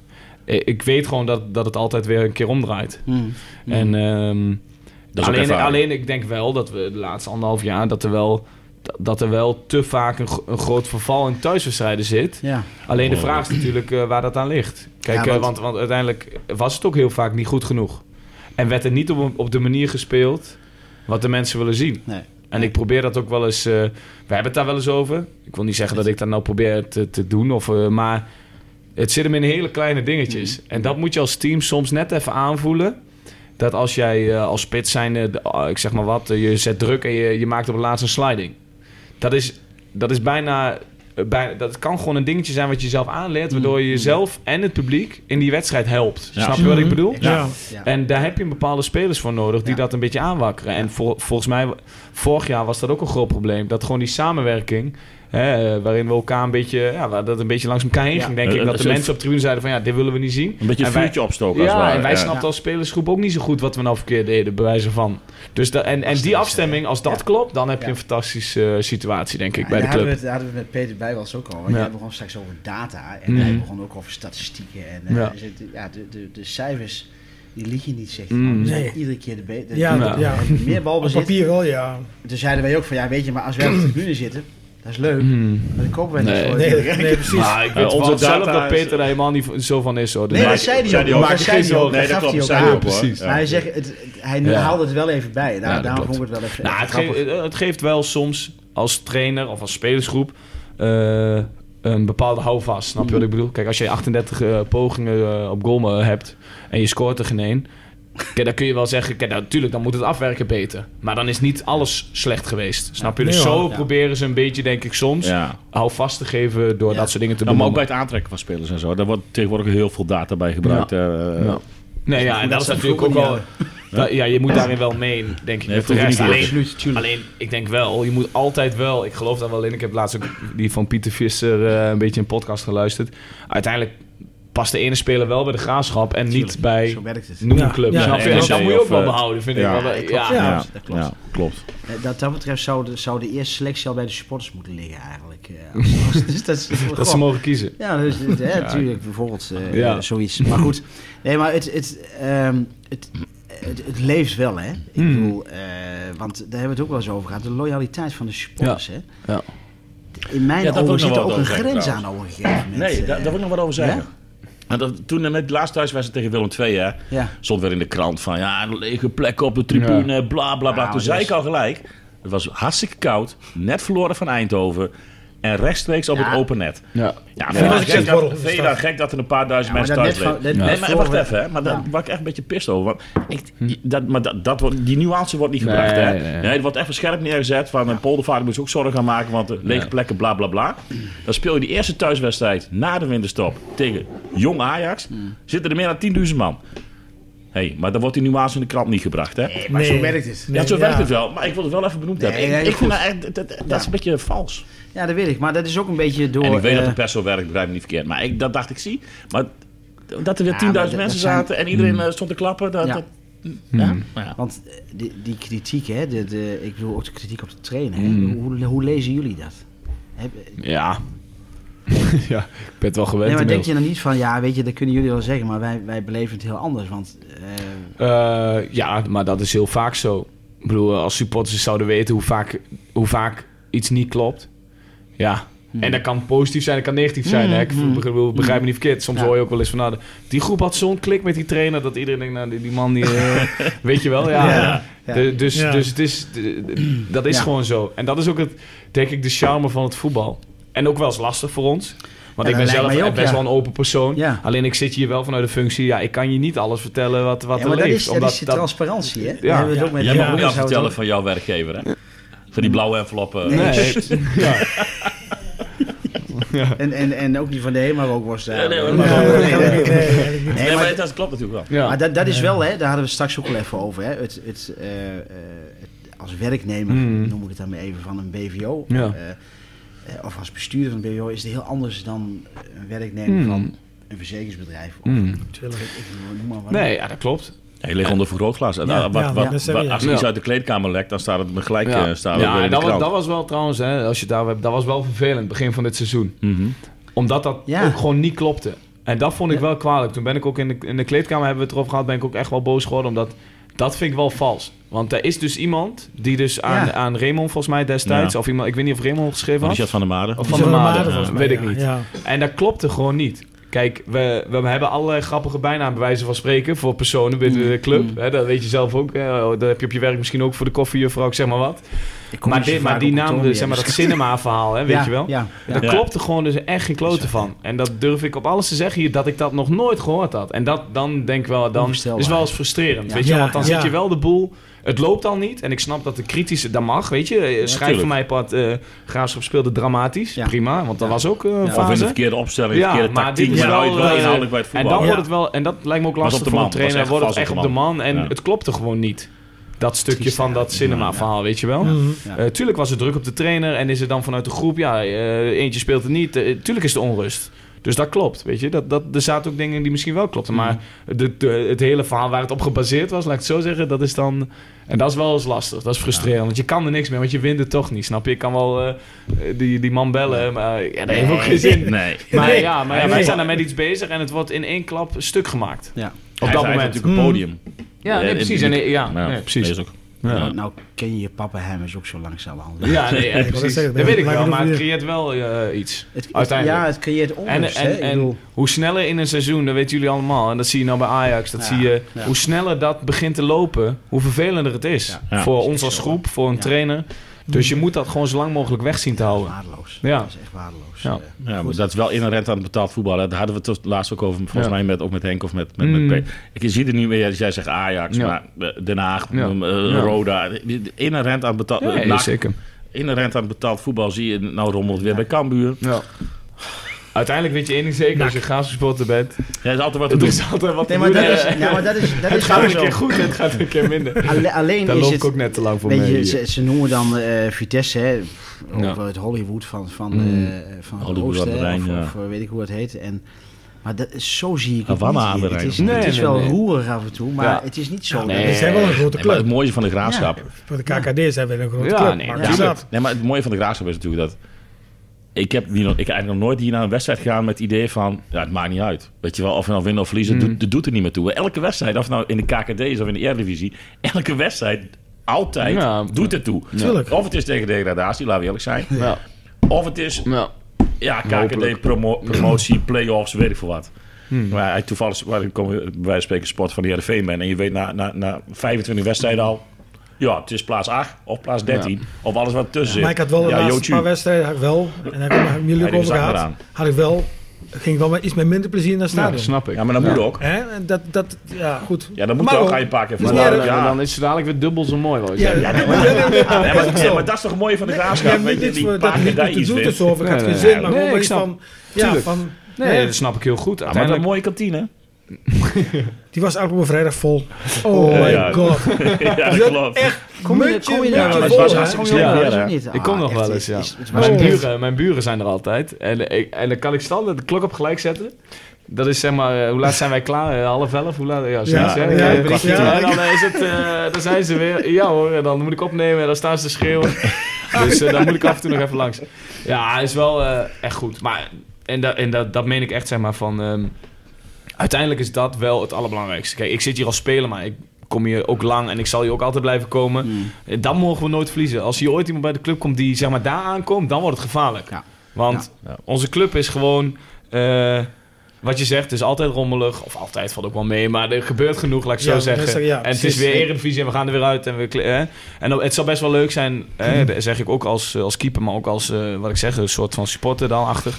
[SPEAKER 4] ik ik weet gewoon dat, dat het altijd weer een keer omdraait. En, ehm,
[SPEAKER 3] Mm. Dat is ook
[SPEAKER 4] alleen,
[SPEAKER 3] ervaring.
[SPEAKER 4] alleen ik denk wel dat we de laatste anderhalf jaar... dat er wel, dat- dat er wel te vaak een, gro- een groot verval in thuiswedstrijden zit.
[SPEAKER 2] Ja.
[SPEAKER 4] Alleen de vraag is natuurlijk eh, waar dat aan ligt.
[SPEAKER 2] Ja,
[SPEAKER 4] Kijk, eh,
[SPEAKER 2] want-
[SPEAKER 4] want, want, uiteindelijk was het ook heel vaak niet goed genoeg. En werd er niet op, op de manier gespeeld wat de mensen willen zien.
[SPEAKER 2] Nee.
[SPEAKER 4] En ik probeer dat ook wel eens. eh, we hebben het daar wel eens over. Ik wil niet zeggen dat ik dat nou probeer te, te doen. Of, eh, maar het zit hem in hele kleine dingetjes. En dat moet je als team soms net even aanvoelen. Dat als jij eh, ah, als spits zijn, ik zeg maar wat, eh, je zet druk en je, je maakt op het laatst een sliding. Dat is dat is bijna, eh, bijna... Dat kan gewoon een dingetje zijn wat je zelf aanleert... waardoor je jezelf en het publiek in die wedstrijd helpt.
[SPEAKER 3] Ja.
[SPEAKER 4] Snap je wat ik bedoel?
[SPEAKER 5] Ja.
[SPEAKER 2] Ja.
[SPEAKER 4] En daar heb je een bepaalde spelers voor nodig die
[SPEAKER 2] Ja.
[SPEAKER 4] dat een beetje aanwakkeren. En vol- volgens mij, vorig jaar was dat ook een groot probleem. Dat gewoon die samenwerking, hè, eh, waarin we elkaar een beetje, ja, waar dat een beetje langs elkaar heen
[SPEAKER 2] Ja.
[SPEAKER 4] ging, denk
[SPEAKER 3] Eh,
[SPEAKER 4] ik.
[SPEAKER 3] eh,
[SPEAKER 4] Dat de
[SPEAKER 3] zo'n-
[SPEAKER 4] mensen op tribune zeiden van, ja, dit willen we niet zien.
[SPEAKER 3] Een beetje
[SPEAKER 4] En
[SPEAKER 3] het
[SPEAKER 4] wij-
[SPEAKER 3] vuurtje opstoken. als het
[SPEAKER 4] Ja,
[SPEAKER 3] ware.
[SPEAKER 4] en wij
[SPEAKER 3] Ja.
[SPEAKER 4] snapten als spelersgroep ook niet zo goed wat we nou verkeerd deden, bij wijze van. Dus da- en, en die afstemming, als dat
[SPEAKER 2] Ja.
[SPEAKER 4] klopt, dan heb je
[SPEAKER 2] Ja.
[SPEAKER 4] een fantastische eh, situatie, denk ik,
[SPEAKER 2] Ja,
[SPEAKER 4] bij
[SPEAKER 2] en
[SPEAKER 4] de
[SPEAKER 2] daar, hadden we
[SPEAKER 4] club.
[SPEAKER 2] het, daar hadden we het met Peter Bijwels ook al. Want
[SPEAKER 4] Ja.
[SPEAKER 2] jij begon straks over data en
[SPEAKER 4] Mhm.
[SPEAKER 2] hij begon ook over statistieken. En eh,
[SPEAKER 4] Ja.
[SPEAKER 2] dus het- ja, de, de, de cijfers, die lieg je niet, zegt
[SPEAKER 4] Mm.
[SPEAKER 2] hij. We zijn
[SPEAKER 5] Nee.
[SPEAKER 2] Iedere keer de beter.
[SPEAKER 5] Ja,
[SPEAKER 4] Ja.
[SPEAKER 5] ja.
[SPEAKER 2] Meer
[SPEAKER 5] Op
[SPEAKER 2] balbezit.
[SPEAKER 5] papier wel, ja.
[SPEAKER 2] Toen zeiden wij ook van, ja weet je, maar als wij op de tribune zitten, dat is leuk.
[SPEAKER 4] Hmm.
[SPEAKER 2] Maar dan kopen wij niks
[SPEAKER 4] Nee.
[SPEAKER 2] voor.
[SPEAKER 5] Nee, nee precies.
[SPEAKER 4] Maar ik weet
[SPEAKER 3] Eh, onze
[SPEAKER 4] wel zelf
[SPEAKER 3] data
[SPEAKER 4] dat
[SPEAKER 3] is-
[SPEAKER 4] Peter er helemaal niet zo van is. Hoor. Dus
[SPEAKER 2] Nee,
[SPEAKER 4] maar-
[SPEAKER 2] dat zei hij
[SPEAKER 3] zei
[SPEAKER 2] ook.
[SPEAKER 3] hij ook.
[SPEAKER 2] Dat
[SPEAKER 3] Dat
[SPEAKER 2] zei hij
[SPEAKER 3] geeft
[SPEAKER 2] ook.
[SPEAKER 3] Nee,
[SPEAKER 2] Dat
[SPEAKER 3] dat
[SPEAKER 2] gaf
[SPEAKER 3] klopt.
[SPEAKER 2] hij ook
[SPEAKER 3] zei hij
[SPEAKER 2] aan.
[SPEAKER 3] ook hoor.
[SPEAKER 4] precies.
[SPEAKER 3] Ja.
[SPEAKER 2] Maar hij, zegt, het, het- hij
[SPEAKER 4] Ja.
[SPEAKER 2] haalde het wel even bij. Daar,
[SPEAKER 4] Ja, dat
[SPEAKER 2] daarom
[SPEAKER 4] klopt.
[SPEAKER 2] vond ik het wel even
[SPEAKER 4] Nou,
[SPEAKER 2] even
[SPEAKER 4] het,
[SPEAKER 2] grappig.
[SPEAKER 4] geeft, het geeft wel soms als trainer of als spelersgroep eh, een bepaalde houvast. Snap je wat ik bedoel? Kijk, als je 38 eh, pogingen eh, op goal eh, hebt en je scoort er geen één. Kijk, dan kun je wel zeggen, kijk, natuurlijk, dan moet het afwerken beter. Maar dan is niet alles slecht geweest. Snap je? Dus
[SPEAKER 5] Nee,
[SPEAKER 4] zo
[SPEAKER 5] hoor.
[SPEAKER 2] Ja.
[SPEAKER 4] proberen ze een beetje, denk ik, soms
[SPEAKER 3] Ja.
[SPEAKER 4] houvast te geven door
[SPEAKER 5] Ja.
[SPEAKER 4] dat soort dingen te
[SPEAKER 3] Ja,
[SPEAKER 4] doen.
[SPEAKER 3] maar ook bij het aantrekken van spelers en zo. Daar wordt tegenwoordig heel veel data bij gebruikt. eh
[SPEAKER 4] Ja. Nee, ja, en dat is
[SPEAKER 2] dat
[SPEAKER 4] natuurlijk ook
[SPEAKER 2] vroeger
[SPEAKER 4] wel... da- ja, je moet daarin wel mee, denk ik,
[SPEAKER 3] Nee,
[SPEAKER 4] met de
[SPEAKER 3] vroeger
[SPEAKER 4] rest.
[SPEAKER 3] niet.
[SPEAKER 4] Alleen, alleen, ik denk wel, je moet altijd wel... Ik geloof daar wel in. Ik heb laatst ook die van Pieter Visser eh, een beetje een podcast geluisterd. Uiteindelijk past de ene speler wel bij de graafschap en niet bij...
[SPEAKER 2] Zo werkt het.
[SPEAKER 4] Noem een
[SPEAKER 5] Ja,
[SPEAKER 4] club,
[SPEAKER 5] ja.
[SPEAKER 4] snap je?
[SPEAKER 3] Ja,
[SPEAKER 4] Dus dat
[SPEAKER 3] NEC
[SPEAKER 4] moet je ook
[SPEAKER 3] of,
[SPEAKER 4] wel
[SPEAKER 3] eh,
[SPEAKER 4] behouden, vind ik.
[SPEAKER 3] ja.
[SPEAKER 4] wel.
[SPEAKER 2] Ja,
[SPEAKER 4] Ja,
[SPEAKER 2] klopt.
[SPEAKER 4] ja.
[SPEAKER 2] Ja.
[SPEAKER 3] eh, Ja,
[SPEAKER 2] dat klopt.
[SPEAKER 3] ja, klopt.
[SPEAKER 2] Eh, Dat, dat betreft zou de, zou de eerste selectie al bij de supporters moeten liggen eigenlijk. eh, als- als- dus dat is,
[SPEAKER 4] dat ze
[SPEAKER 2] goh.
[SPEAKER 4] mogen kiezen.
[SPEAKER 2] Ja, dus, het- hè, natuurlijk, bijvoorbeeld eh,
[SPEAKER 4] Ja.
[SPEAKER 2] zoiets. Maar goed, nee, maar het, het, ehm, het, het, het leeft wel, hè? Ik
[SPEAKER 4] Hmm.
[SPEAKER 2] bedoel, eh, want daar hebben we het ook wel eens over gehad. De loyaliteit van de supporters, hè?
[SPEAKER 4] Ja.
[SPEAKER 2] In mijn
[SPEAKER 3] Ja, dat wil
[SPEAKER 2] ogen
[SPEAKER 3] ik nog
[SPEAKER 2] zit er
[SPEAKER 3] wel
[SPEAKER 2] ook een
[SPEAKER 3] zeggen,
[SPEAKER 2] grens aan
[SPEAKER 3] trouwens.
[SPEAKER 2] op een gegeven moment.
[SPEAKER 3] Nee,
[SPEAKER 2] eh.
[SPEAKER 3] daar, daar wil ik nog wat over zeggen.
[SPEAKER 2] Ja?
[SPEAKER 3] Want dat- toen eh, met de laatste thuiswedstrijd tegen Willem II, hè,
[SPEAKER 2] Ja.
[SPEAKER 3] stond weer in de krant van ja, een lege plek op de tribune, bla bla bla.
[SPEAKER 2] Nou,
[SPEAKER 3] toen zei
[SPEAKER 2] dus-
[SPEAKER 3] ik al gelijk, het was hartstikke koud, net verloren van Eindhoven en rechtstreeks op
[SPEAKER 2] Ja.
[SPEAKER 3] het open net.
[SPEAKER 4] Ja.
[SPEAKER 3] Ja,
[SPEAKER 5] Ja.
[SPEAKER 3] vind
[SPEAKER 5] Ja.
[SPEAKER 3] je dat gek
[SPEAKER 5] Ja.
[SPEAKER 3] dat-
[SPEAKER 5] Ja.
[SPEAKER 3] vind je dat gek dat er een paar duizend
[SPEAKER 2] Ja, maar
[SPEAKER 3] mensen
[SPEAKER 2] dat
[SPEAKER 3] thuis
[SPEAKER 2] net
[SPEAKER 3] leven?
[SPEAKER 2] van- net-
[SPEAKER 3] Nee,
[SPEAKER 2] net
[SPEAKER 3] maar wacht
[SPEAKER 2] voor-
[SPEAKER 3] even, hè, maar daar
[SPEAKER 2] Ja.
[SPEAKER 3] word ik echt een beetje pist over. Want ik, dat, maar dat, dat wordt, die nuance wordt niet
[SPEAKER 4] Hm. Nee,
[SPEAKER 3] gebracht. hè.
[SPEAKER 4] nee, nee.
[SPEAKER 3] Nee, er wordt even scherp neergezet van een poldervader moet zich ook zorgen gaan maken, want de lege plekken, bla bla bla. Dan speel je die eerste thuiswedstrijd na de winterstop tegen jong
[SPEAKER 2] Hm.
[SPEAKER 3] Ajax, zitten er meer dan 10.000 man. hey, maar dan wordt die nuance in de krant niet gebracht, hè?
[SPEAKER 2] Maar zo
[SPEAKER 5] Nee.
[SPEAKER 2] werkt het.
[SPEAKER 5] Nee,
[SPEAKER 3] ja, zo
[SPEAKER 5] ja.
[SPEAKER 3] werkt het wel, maar ik wil het wel even benoemd
[SPEAKER 2] Nee,
[SPEAKER 3] hebben. Ik-
[SPEAKER 2] nee,
[SPEAKER 3] ik vind
[SPEAKER 2] goed.
[SPEAKER 3] dat, echt- dat, dat- dat
[SPEAKER 2] Ja.
[SPEAKER 3] is een beetje vals.
[SPEAKER 2] Ja, dat weet ik. Maar dat is ook een beetje door...
[SPEAKER 3] En ik weet dat
[SPEAKER 2] eh,
[SPEAKER 3] de pers zo werkt, begrijp me niet verkeerd. Maar ik, dat dacht ik zie. Maar dat er weer
[SPEAKER 2] Ja,
[SPEAKER 3] 10.000
[SPEAKER 2] maar dat-
[SPEAKER 3] mensen
[SPEAKER 2] dat zijn-
[SPEAKER 3] zaten en
[SPEAKER 4] Hmm.
[SPEAKER 3] iedereen eh, stond te klappen. Dat,
[SPEAKER 2] Ja.
[SPEAKER 3] dat, ja? Ja.
[SPEAKER 2] Want eh, die, die kritiek, hè, de, de, ik bedoel ook de kritiek op de trainer. Hè, hoe, hoe lezen jullie dat? Heb,
[SPEAKER 4] Ja. ja, ik ben het wel gewend
[SPEAKER 2] nee, maar denk
[SPEAKER 4] inmiddels.
[SPEAKER 2] je dan niet van, ja, weet je, dat kunnen jullie wel zeggen, maar wij, wij beleven het heel anders. Want eh,
[SPEAKER 4] Eh, ja, maar dat is heel vaak zo. Ik bedoel, eh, als supporters zouden weten hoe vaak, hoe vaak iets niet klopt. Ja.
[SPEAKER 2] Hmm.
[SPEAKER 4] En dat kan positief zijn, dat kan negatief zijn. Hè? Ik bedoel, begrijp me niet verkeerd. Soms
[SPEAKER 2] Ja.
[SPEAKER 4] hoor je ook wel eens van... Nou, die groep had zo'n klik met die trainer... dat iedereen denkt, nou, die, die man die... eh, weet je wel, ja.
[SPEAKER 2] Ja.
[SPEAKER 4] De- dus,
[SPEAKER 5] Ja.
[SPEAKER 4] dus het is... de- de- dat is
[SPEAKER 2] Ja.
[SPEAKER 4] gewoon zo. En dat is ook, het, denk ik, de charme van het voetbal. En ook wel eens lastig voor ons. Want
[SPEAKER 2] Ja,
[SPEAKER 4] ik ben
[SPEAKER 2] dat lijkt
[SPEAKER 4] zelf
[SPEAKER 2] mij ook,
[SPEAKER 4] best
[SPEAKER 2] ja.
[SPEAKER 4] wel een open persoon.
[SPEAKER 2] Ja.
[SPEAKER 4] Alleen ik zit hier wel vanuit de functie... ja, ik kan je niet alles vertellen wat, wat
[SPEAKER 2] ja,
[SPEAKER 4] er
[SPEAKER 2] maar dat
[SPEAKER 4] leeft.
[SPEAKER 2] is, dat
[SPEAKER 4] omdat
[SPEAKER 2] is de
[SPEAKER 4] dat-
[SPEAKER 2] transparantie, hè?
[SPEAKER 4] Ja.
[SPEAKER 2] Ja. Hebben we het ook met
[SPEAKER 3] Jij
[SPEAKER 2] Jan
[SPEAKER 3] mag ook niet
[SPEAKER 2] Hoekstra
[SPEAKER 3] afvertellen
[SPEAKER 2] ook.
[SPEAKER 3] van jouw werkgever, hè? Van die blauwe enveloppen.
[SPEAKER 2] Nee.
[SPEAKER 4] Nee, ja.
[SPEAKER 2] En, en, en ook die van de HEMA ook was daar.
[SPEAKER 3] Ja, nee,
[SPEAKER 2] Nee,
[SPEAKER 3] maar-
[SPEAKER 2] nee, nee, nee.
[SPEAKER 5] nee.
[SPEAKER 3] Nee,
[SPEAKER 2] maar-
[SPEAKER 3] maar dat klopt natuurlijk wel.
[SPEAKER 4] Ja.
[SPEAKER 2] Maar dat, dat is wel, hè, daar hadden we het straks ook al even over. Hè. Het, het, eh, eh, het- als werknemer,
[SPEAKER 4] Mm.
[SPEAKER 2] noem ik het dan maar even, van een BVO.
[SPEAKER 4] Ja.
[SPEAKER 2] eh, eh, of als bestuurder van een BVO is het heel anders dan een werknemer
[SPEAKER 4] Mm.
[SPEAKER 2] van een verzekeringsbedrijf. Of, ik noem maar wat.
[SPEAKER 4] Hmm. Nee, ja, dat klopt.
[SPEAKER 3] Hij ligt onder vergrootglas. En, nou,
[SPEAKER 5] ja,
[SPEAKER 3] wat,
[SPEAKER 5] ja,
[SPEAKER 3] wat,
[SPEAKER 5] dat is
[SPEAKER 3] wat-
[SPEAKER 5] serieus.
[SPEAKER 3] als er iets
[SPEAKER 4] Ja.
[SPEAKER 3] uit de kleedkamer lekt, dan staat het me gelijk.
[SPEAKER 4] Ja,
[SPEAKER 3] eh, staat het
[SPEAKER 4] ja
[SPEAKER 3] weer
[SPEAKER 4] en
[SPEAKER 3] in de
[SPEAKER 4] dat, was,
[SPEAKER 3] krant.
[SPEAKER 4] dat was wel trouwens, hè, als je het daarover hebt, dat was wel vervelend, begin van dit seizoen.
[SPEAKER 3] Mhm.
[SPEAKER 4] Omdat dat
[SPEAKER 2] Ja.
[SPEAKER 4] ook gewoon niet klopte. En dat vond ik
[SPEAKER 2] Ja.
[SPEAKER 4] wel kwalijk. Toen ben ik ook in de, in de kleedkamer, hebben we het erover gehad, ben ik ook echt wel boos geworden. Omdat dat vind ik wel vals. Want er is dus iemand die dus aan,
[SPEAKER 2] Ja.
[SPEAKER 4] aan Raymond volgens mij destijds,
[SPEAKER 3] Ja.
[SPEAKER 4] of iemand, ik weet niet of Raymond geschreven had.
[SPEAKER 3] Richard van der Maarden.
[SPEAKER 4] Of van de Maden,
[SPEAKER 5] volgens mij,
[SPEAKER 4] weet ik
[SPEAKER 5] ja,
[SPEAKER 4] niet.
[SPEAKER 5] Ja.
[SPEAKER 4] En dat klopte gewoon niet. Kijk, we, we hebben allerlei grappige bijnaam bij wijze van spreken voor
[SPEAKER 2] Mm,
[SPEAKER 4] Oh, personen binnen de club. Hè, dat weet je zelf ook. hè. dat heb je op je werk misschien ook voor de koffiejuffrouw, ik zeg maar wat.
[SPEAKER 2] Ik kom
[SPEAKER 4] Maar,
[SPEAKER 2] niet zo
[SPEAKER 4] dit, maar
[SPEAKER 2] vaak
[SPEAKER 4] die
[SPEAKER 2] op
[SPEAKER 4] naam,
[SPEAKER 2] kantoor
[SPEAKER 4] dus,
[SPEAKER 2] meer,
[SPEAKER 4] zeg maar,
[SPEAKER 2] dus-
[SPEAKER 4] dat cinema-verhaal, hè, weet
[SPEAKER 2] Ja,
[SPEAKER 4] je wel?
[SPEAKER 2] Ja, ja.
[SPEAKER 4] Daar
[SPEAKER 3] Ja.
[SPEAKER 4] klopt er gewoon dus echt geen klote van. En dat durf ik op alles te zeggen hier, dat ik dat nog nooit gehoord had. En dat dan denk ik wel, dan
[SPEAKER 2] Onvoorstelbaar.
[SPEAKER 4] is wel eens frustrerend.
[SPEAKER 2] Ja.
[SPEAKER 4] Weet je,
[SPEAKER 5] Ja,
[SPEAKER 4] want dan
[SPEAKER 5] ja.
[SPEAKER 4] zit je wel de boel. Het loopt al niet. En ik snap dat de kritische, dat mag, weet je. Eh, Schrijf
[SPEAKER 3] tuurlijk.
[SPEAKER 4] voor mij pad, eh Graafschap speelde dramatisch.
[SPEAKER 2] Ja.
[SPEAKER 4] Prima, want dat
[SPEAKER 2] Ja.
[SPEAKER 4] was ook eh, een
[SPEAKER 3] Of in de
[SPEAKER 4] fase.
[SPEAKER 3] verkeerde opstelling,
[SPEAKER 4] Ja,
[SPEAKER 3] verkeerde
[SPEAKER 4] maar
[SPEAKER 3] tactiek.
[SPEAKER 4] dit is
[SPEAKER 3] Maar dan hou je het
[SPEAKER 4] wel,
[SPEAKER 3] wel
[SPEAKER 4] eh,
[SPEAKER 3] inhoudelijk bij het
[SPEAKER 4] En
[SPEAKER 3] voetbal.
[SPEAKER 4] dan
[SPEAKER 5] Ja.
[SPEAKER 4] wordt het wel, en dat lijkt me ook
[SPEAKER 3] Was op
[SPEAKER 4] lastig
[SPEAKER 3] de
[SPEAKER 4] voor een
[SPEAKER 3] man, was
[SPEAKER 4] trainer,
[SPEAKER 3] echt
[SPEAKER 4] wordt het
[SPEAKER 3] vast
[SPEAKER 4] echt op de man. En
[SPEAKER 3] Ja.
[SPEAKER 4] het klopte gewoon niet. Dat stukje van dat cinema-verhaal, weet je wel.
[SPEAKER 5] Mhm.
[SPEAKER 2] Ja.
[SPEAKER 4] Eh, tuurlijk was het druk op de trainer en is er dan vanuit de groep, ja, eh, eentje speelt er niet. Eh, tuurlijk is de onrust. Dus dat klopt, weet je. Dat, dat, er zaten ook dingen die misschien wel klopten. Maar
[SPEAKER 3] Mm.
[SPEAKER 4] de, de- het hele verhaal waar het op gebaseerd was, laat ik het zo zeggen, dat is dan... En dat is wel eens lastig, dat is frustrerend. Want je kan er niks mee, want je wint het toch niet, snap je? Je kan wel eh, die, die man bellen, maar ja, dat heeft ook geen zin.
[SPEAKER 3] Nee.
[SPEAKER 4] Maar
[SPEAKER 5] Nee.
[SPEAKER 4] ja, maar ja,
[SPEAKER 3] Nee.
[SPEAKER 4] wij zijn er met iets bezig en het wordt in één klap stuk gemaakt.
[SPEAKER 2] Ja.
[SPEAKER 4] Op dat moment.
[SPEAKER 3] natuurlijk een podium.
[SPEAKER 4] Ja, nee,
[SPEAKER 3] Eh,
[SPEAKER 4] precies.
[SPEAKER 3] in-
[SPEAKER 4] En, eh, ja,
[SPEAKER 3] Nou,
[SPEAKER 4] nee, precies.
[SPEAKER 3] dat is ook-
[SPEAKER 4] Ja.
[SPEAKER 2] Nou ken je papa hem is ook zo langzamerhand.
[SPEAKER 4] Ja, nee, ja, precies.
[SPEAKER 5] zeggen,
[SPEAKER 4] Dat
[SPEAKER 5] nee,
[SPEAKER 4] weet ik
[SPEAKER 5] laat
[SPEAKER 4] wel,
[SPEAKER 5] ik het
[SPEAKER 4] maar het
[SPEAKER 5] niet.
[SPEAKER 4] creëert wel eh, iets.
[SPEAKER 2] Het, het,
[SPEAKER 4] Uiteindelijk.
[SPEAKER 2] ja, het creëert
[SPEAKER 4] En,
[SPEAKER 2] onrust. hè.
[SPEAKER 4] en,
[SPEAKER 2] Ik
[SPEAKER 4] en
[SPEAKER 2] bedoel,
[SPEAKER 4] hoe sneller in een seizoen, dat weten jullie allemaal, en dat zie je nou bij Ajax, dat
[SPEAKER 2] Ja,
[SPEAKER 4] zie je,
[SPEAKER 2] ja.
[SPEAKER 4] hoe sneller dat begint te lopen, hoe vervelender het is.
[SPEAKER 3] Ja.
[SPEAKER 4] Voor
[SPEAKER 2] Dat is
[SPEAKER 4] ons
[SPEAKER 2] echt
[SPEAKER 4] als
[SPEAKER 2] zo,
[SPEAKER 4] groep, voor een
[SPEAKER 2] Ja.
[SPEAKER 4] trainer. Dus je moet dat gewoon zo lang mogelijk weg zien te houden.
[SPEAKER 2] waardeloos.
[SPEAKER 4] Ja.
[SPEAKER 2] Dat is echt waardeloos.
[SPEAKER 4] Ja.
[SPEAKER 2] Eh,
[SPEAKER 3] Ja, maar
[SPEAKER 2] Goed.
[SPEAKER 3] dat is wel inherent aan het betaald voetbal. hè. Daar hadden we het laatst ook over, volgens
[SPEAKER 4] Ja.
[SPEAKER 3] mij, met, ook met Henk of met, met,
[SPEAKER 4] Mm.
[SPEAKER 3] met P. Ik- Je ziet het nu weer, als jij zegt Ajax,
[SPEAKER 4] Ja.
[SPEAKER 3] maar eh, Den Haag,
[SPEAKER 4] Ja.
[SPEAKER 3] eh,
[SPEAKER 4] Ja.
[SPEAKER 3] Roda. Inherent aan, betaald,
[SPEAKER 4] Ja,
[SPEAKER 3] eh, NAC.
[SPEAKER 4] zeker.
[SPEAKER 3] inherent aan het betaald voetbal zie je, nou rommelt weer bij Cambuur.
[SPEAKER 4] Ja. Uiteindelijk weet je één ding zeker, als je graafspotter bent,
[SPEAKER 3] Er is altijd wat te
[SPEAKER 4] er
[SPEAKER 3] doen.
[SPEAKER 4] is altijd wat
[SPEAKER 2] Nee,
[SPEAKER 4] te
[SPEAKER 2] maar
[SPEAKER 4] doen.
[SPEAKER 2] dat is,
[SPEAKER 4] Eh,
[SPEAKER 2] ja, maar dat is, dat
[SPEAKER 4] Het
[SPEAKER 2] is
[SPEAKER 4] gaat een
[SPEAKER 2] sowieso.
[SPEAKER 4] keer goed en het gaat een keer minder.
[SPEAKER 2] Alle- alleen
[SPEAKER 4] Daar
[SPEAKER 2] is
[SPEAKER 4] loop
[SPEAKER 2] het,
[SPEAKER 4] ik ook net te lang voor
[SPEAKER 2] weet
[SPEAKER 4] mee.
[SPEAKER 2] je,
[SPEAKER 4] hier.
[SPEAKER 2] ze, ze noemen dan eh, Vitesse, hè,
[SPEAKER 4] Ja.
[SPEAKER 2] over het Hollywood van, van,
[SPEAKER 4] Mm.
[SPEAKER 2] eh, van het
[SPEAKER 3] Hollywood
[SPEAKER 2] Oosten,
[SPEAKER 3] aan de
[SPEAKER 2] hè,
[SPEAKER 3] Rijn,
[SPEAKER 2] of,
[SPEAKER 3] ja.
[SPEAKER 2] of, eh, weet ik hoe dat heet. En, maar dat, is- zo zie ik het
[SPEAKER 3] Havana
[SPEAKER 2] niet
[SPEAKER 3] aan de
[SPEAKER 2] hier.
[SPEAKER 3] Rijn.
[SPEAKER 2] Het is,
[SPEAKER 4] Nee,
[SPEAKER 2] het is
[SPEAKER 4] nee,
[SPEAKER 2] wel
[SPEAKER 4] nee.
[SPEAKER 2] roerig af en toe, maar
[SPEAKER 4] Ja.
[SPEAKER 2] het is niet zo.
[SPEAKER 5] Nee. Ze zijn wel een grote
[SPEAKER 3] Nee, maar
[SPEAKER 5] club.
[SPEAKER 3] het mooie van de graafschap.
[SPEAKER 5] Voor de KKD zijn we een grote
[SPEAKER 4] Ja,
[SPEAKER 5] club.
[SPEAKER 4] nee,
[SPEAKER 5] maar
[SPEAKER 4] ja.
[SPEAKER 5] het is dat.
[SPEAKER 3] Nee, maar het mooie van de graafschap is natuurlijk dat. Ik heb hier nog, ik eigenlijk nog nooit hier naar een wedstrijd gegaan met het idee van. Ja, het maakt niet uit. Weet je wel, of we nou winnen of verliezen, doet- dat doet er niet meer toe. Elke wedstrijd, of het nou in de KKD is of in de Eredivisie, elke wedstrijd, altijd,
[SPEAKER 4] Ja.
[SPEAKER 3] doet er toe.
[SPEAKER 5] Tuurlijk.
[SPEAKER 3] Of het is tegen degradatie, laten we eerlijk zijn.
[SPEAKER 4] Ja.
[SPEAKER 3] Of het is,
[SPEAKER 4] Ja.
[SPEAKER 3] ja, KKD,
[SPEAKER 4] Hopelijk.
[SPEAKER 3] promo- promotie, play-offs, weet ik veel wat.
[SPEAKER 4] Hmm.
[SPEAKER 3] Maar hij- toevallig, waar ik kom, bij wijze van spreken, sport van de Heerenveen ben. En je weet na, na, na 25 wedstrijden al, ja, het is plaats 8 of plaats 13. Of alles wat tussen zit.
[SPEAKER 5] Maar ik had wel de
[SPEAKER 3] ja,
[SPEAKER 5] laatste
[SPEAKER 3] Jootje.
[SPEAKER 5] paar wedstrijden, had ik wel, en daar heb ik jullie
[SPEAKER 3] Ja,
[SPEAKER 5] ook
[SPEAKER 3] die
[SPEAKER 5] over
[SPEAKER 3] zag
[SPEAKER 5] gehad,
[SPEAKER 3] eraan.
[SPEAKER 5] had ik wel, ging ik wel met iets met minder plezier naar het
[SPEAKER 4] Ja,
[SPEAKER 5] stadion.
[SPEAKER 4] dat snap ik.
[SPEAKER 3] Ja, maar dat moet ook.
[SPEAKER 5] Hè? En Dat, dat, ja, goed.
[SPEAKER 3] Ja, dat moet
[SPEAKER 5] Maar
[SPEAKER 3] ook.
[SPEAKER 5] wel.
[SPEAKER 3] Ga je een paar keer
[SPEAKER 5] Dus
[SPEAKER 3] voor.
[SPEAKER 5] niet
[SPEAKER 3] Ja,
[SPEAKER 5] erg.
[SPEAKER 3] ja.
[SPEAKER 4] Maar dan is het dadelijk weer dubbel zo mooi. Wat ik
[SPEAKER 5] Ja,
[SPEAKER 4] zeg.
[SPEAKER 5] ja, nee, maar-
[SPEAKER 3] Nee, maar, nee, maar dat is toch het mooie van de
[SPEAKER 5] Ja,
[SPEAKER 3] graafschap?
[SPEAKER 5] niet
[SPEAKER 3] Weet je,
[SPEAKER 5] dit
[SPEAKER 3] die
[SPEAKER 5] voor dat
[SPEAKER 3] paar
[SPEAKER 5] je
[SPEAKER 3] keer
[SPEAKER 5] niet
[SPEAKER 3] daar
[SPEAKER 5] doet
[SPEAKER 3] iets
[SPEAKER 5] doet
[SPEAKER 3] wint.
[SPEAKER 5] of zo, of ik had
[SPEAKER 4] Nee,
[SPEAKER 5] geen
[SPEAKER 4] nee,
[SPEAKER 5] zin, maar
[SPEAKER 4] nee,
[SPEAKER 5] gewoon
[SPEAKER 4] ik
[SPEAKER 5] iets
[SPEAKER 4] snap.
[SPEAKER 5] van, ja,
[SPEAKER 4] Tuurlijk.
[SPEAKER 5] van,
[SPEAKER 4] Nee,
[SPEAKER 5] hè,
[SPEAKER 4] dat snap ik heel goed.
[SPEAKER 3] Ja, maar wat
[SPEAKER 4] Uiteindelijk
[SPEAKER 3] een mooie kantine.
[SPEAKER 5] die was afgelopen vrijdag vol. Oh my
[SPEAKER 3] ja.
[SPEAKER 5] god.
[SPEAKER 3] Ja, dat klopt.
[SPEAKER 2] Kom je, kom je daar
[SPEAKER 3] muntje
[SPEAKER 2] wel
[SPEAKER 3] vol,
[SPEAKER 2] eens?
[SPEAKER 3] hè?
[SPEAKER 2] Kom je
[SPEAKER 3] Ja,
[SPEAKER 2] daar wel
[SPEAKER 3] ja,
[SPEAKER 2] eens of
[SPEAKER 3] ja.
[SPEAKER 2] niet?
[SPEAKER 4] Ik kom
[SPEAKER 2] Ah,
[SPEAKER 4] nog
[SPEAKER 2] echt,
[SPEAKER 4] wel eens,
[SPEAKER 2] het
[SPEAKER 4] ja.
[SPEAKER 2] is- het was
[SPEAKER 4] Mijn
[SPEAKER 2] echt-
[SPEAKER 4] buren, mijn buren zijn er altijd. En, eh, ik, en dan kan ik standaard de klok op gelijk zetten. Dat is zeg maar, eh, hoe laat zijn wij klaar? Eh, Half elf? Hoe laat? Ja, zoiets,
[SPEAKER 5] Ja,
[SPEAKER 4] hè?
[SPEAKER 5] ja,
[SPEAKER 4] Eh,
[SPEAKER 5] precies.
[SPEAKER 4] kwartier.
[SPEAKER 5] Ja.
[SPEAKER 4] En dan, is het, eh, dan zijn ze weer, ja hoor, en dan moet ik opnemen en dan staan ze te schreeuwen. dus eh, dan moet ik af en toe nog even langs. Ja, is wel eh, echt goed. Maar, en dat, en dat, dat meen ik echt zeg maar van... ehm, uiteindelijk is dat wel het allerbelangrijkste. Kijk, ik zit hier als speler, maar ik kom hier ook lang en ik zal hier ook altijd blijven komen.
[SPEAKER 2] Mm.
[SPEAKER 4] Eh, Dat mogen we nooit verliezen. Als hier ooit iemand bij de club komt die zeg maar, daar aankomt, dan wordt het gevaarlijk.
[SPEAKER 2] Ja.
[SPEAKER 4] Want
[SPEAKER 3] Ja. Ja.
[SPEAKER 4] onze club is gewoon. eh, wat je zegt, het is altijd rommelig. Of altijd valt ook wel mee, maar er gebeurt genoeg, laat ik het
[SPEAKER 5] Ja,
[SPEAKER 4] zo zeggen.
[SPEAKER 5] mensen- ja,
[SPEAKER 4] en het is
[SPEAKER 5] precies.
[SPEAKER 4] weer Eredivisie en we gaan er weer uit. En, we, kle- hè? en dan- het zal best wel leuk zijn, hè, dat zeg ik ook als, eh, als keeper, maar ook als, eh, wat ik zeg, een soort van supporter dan achter.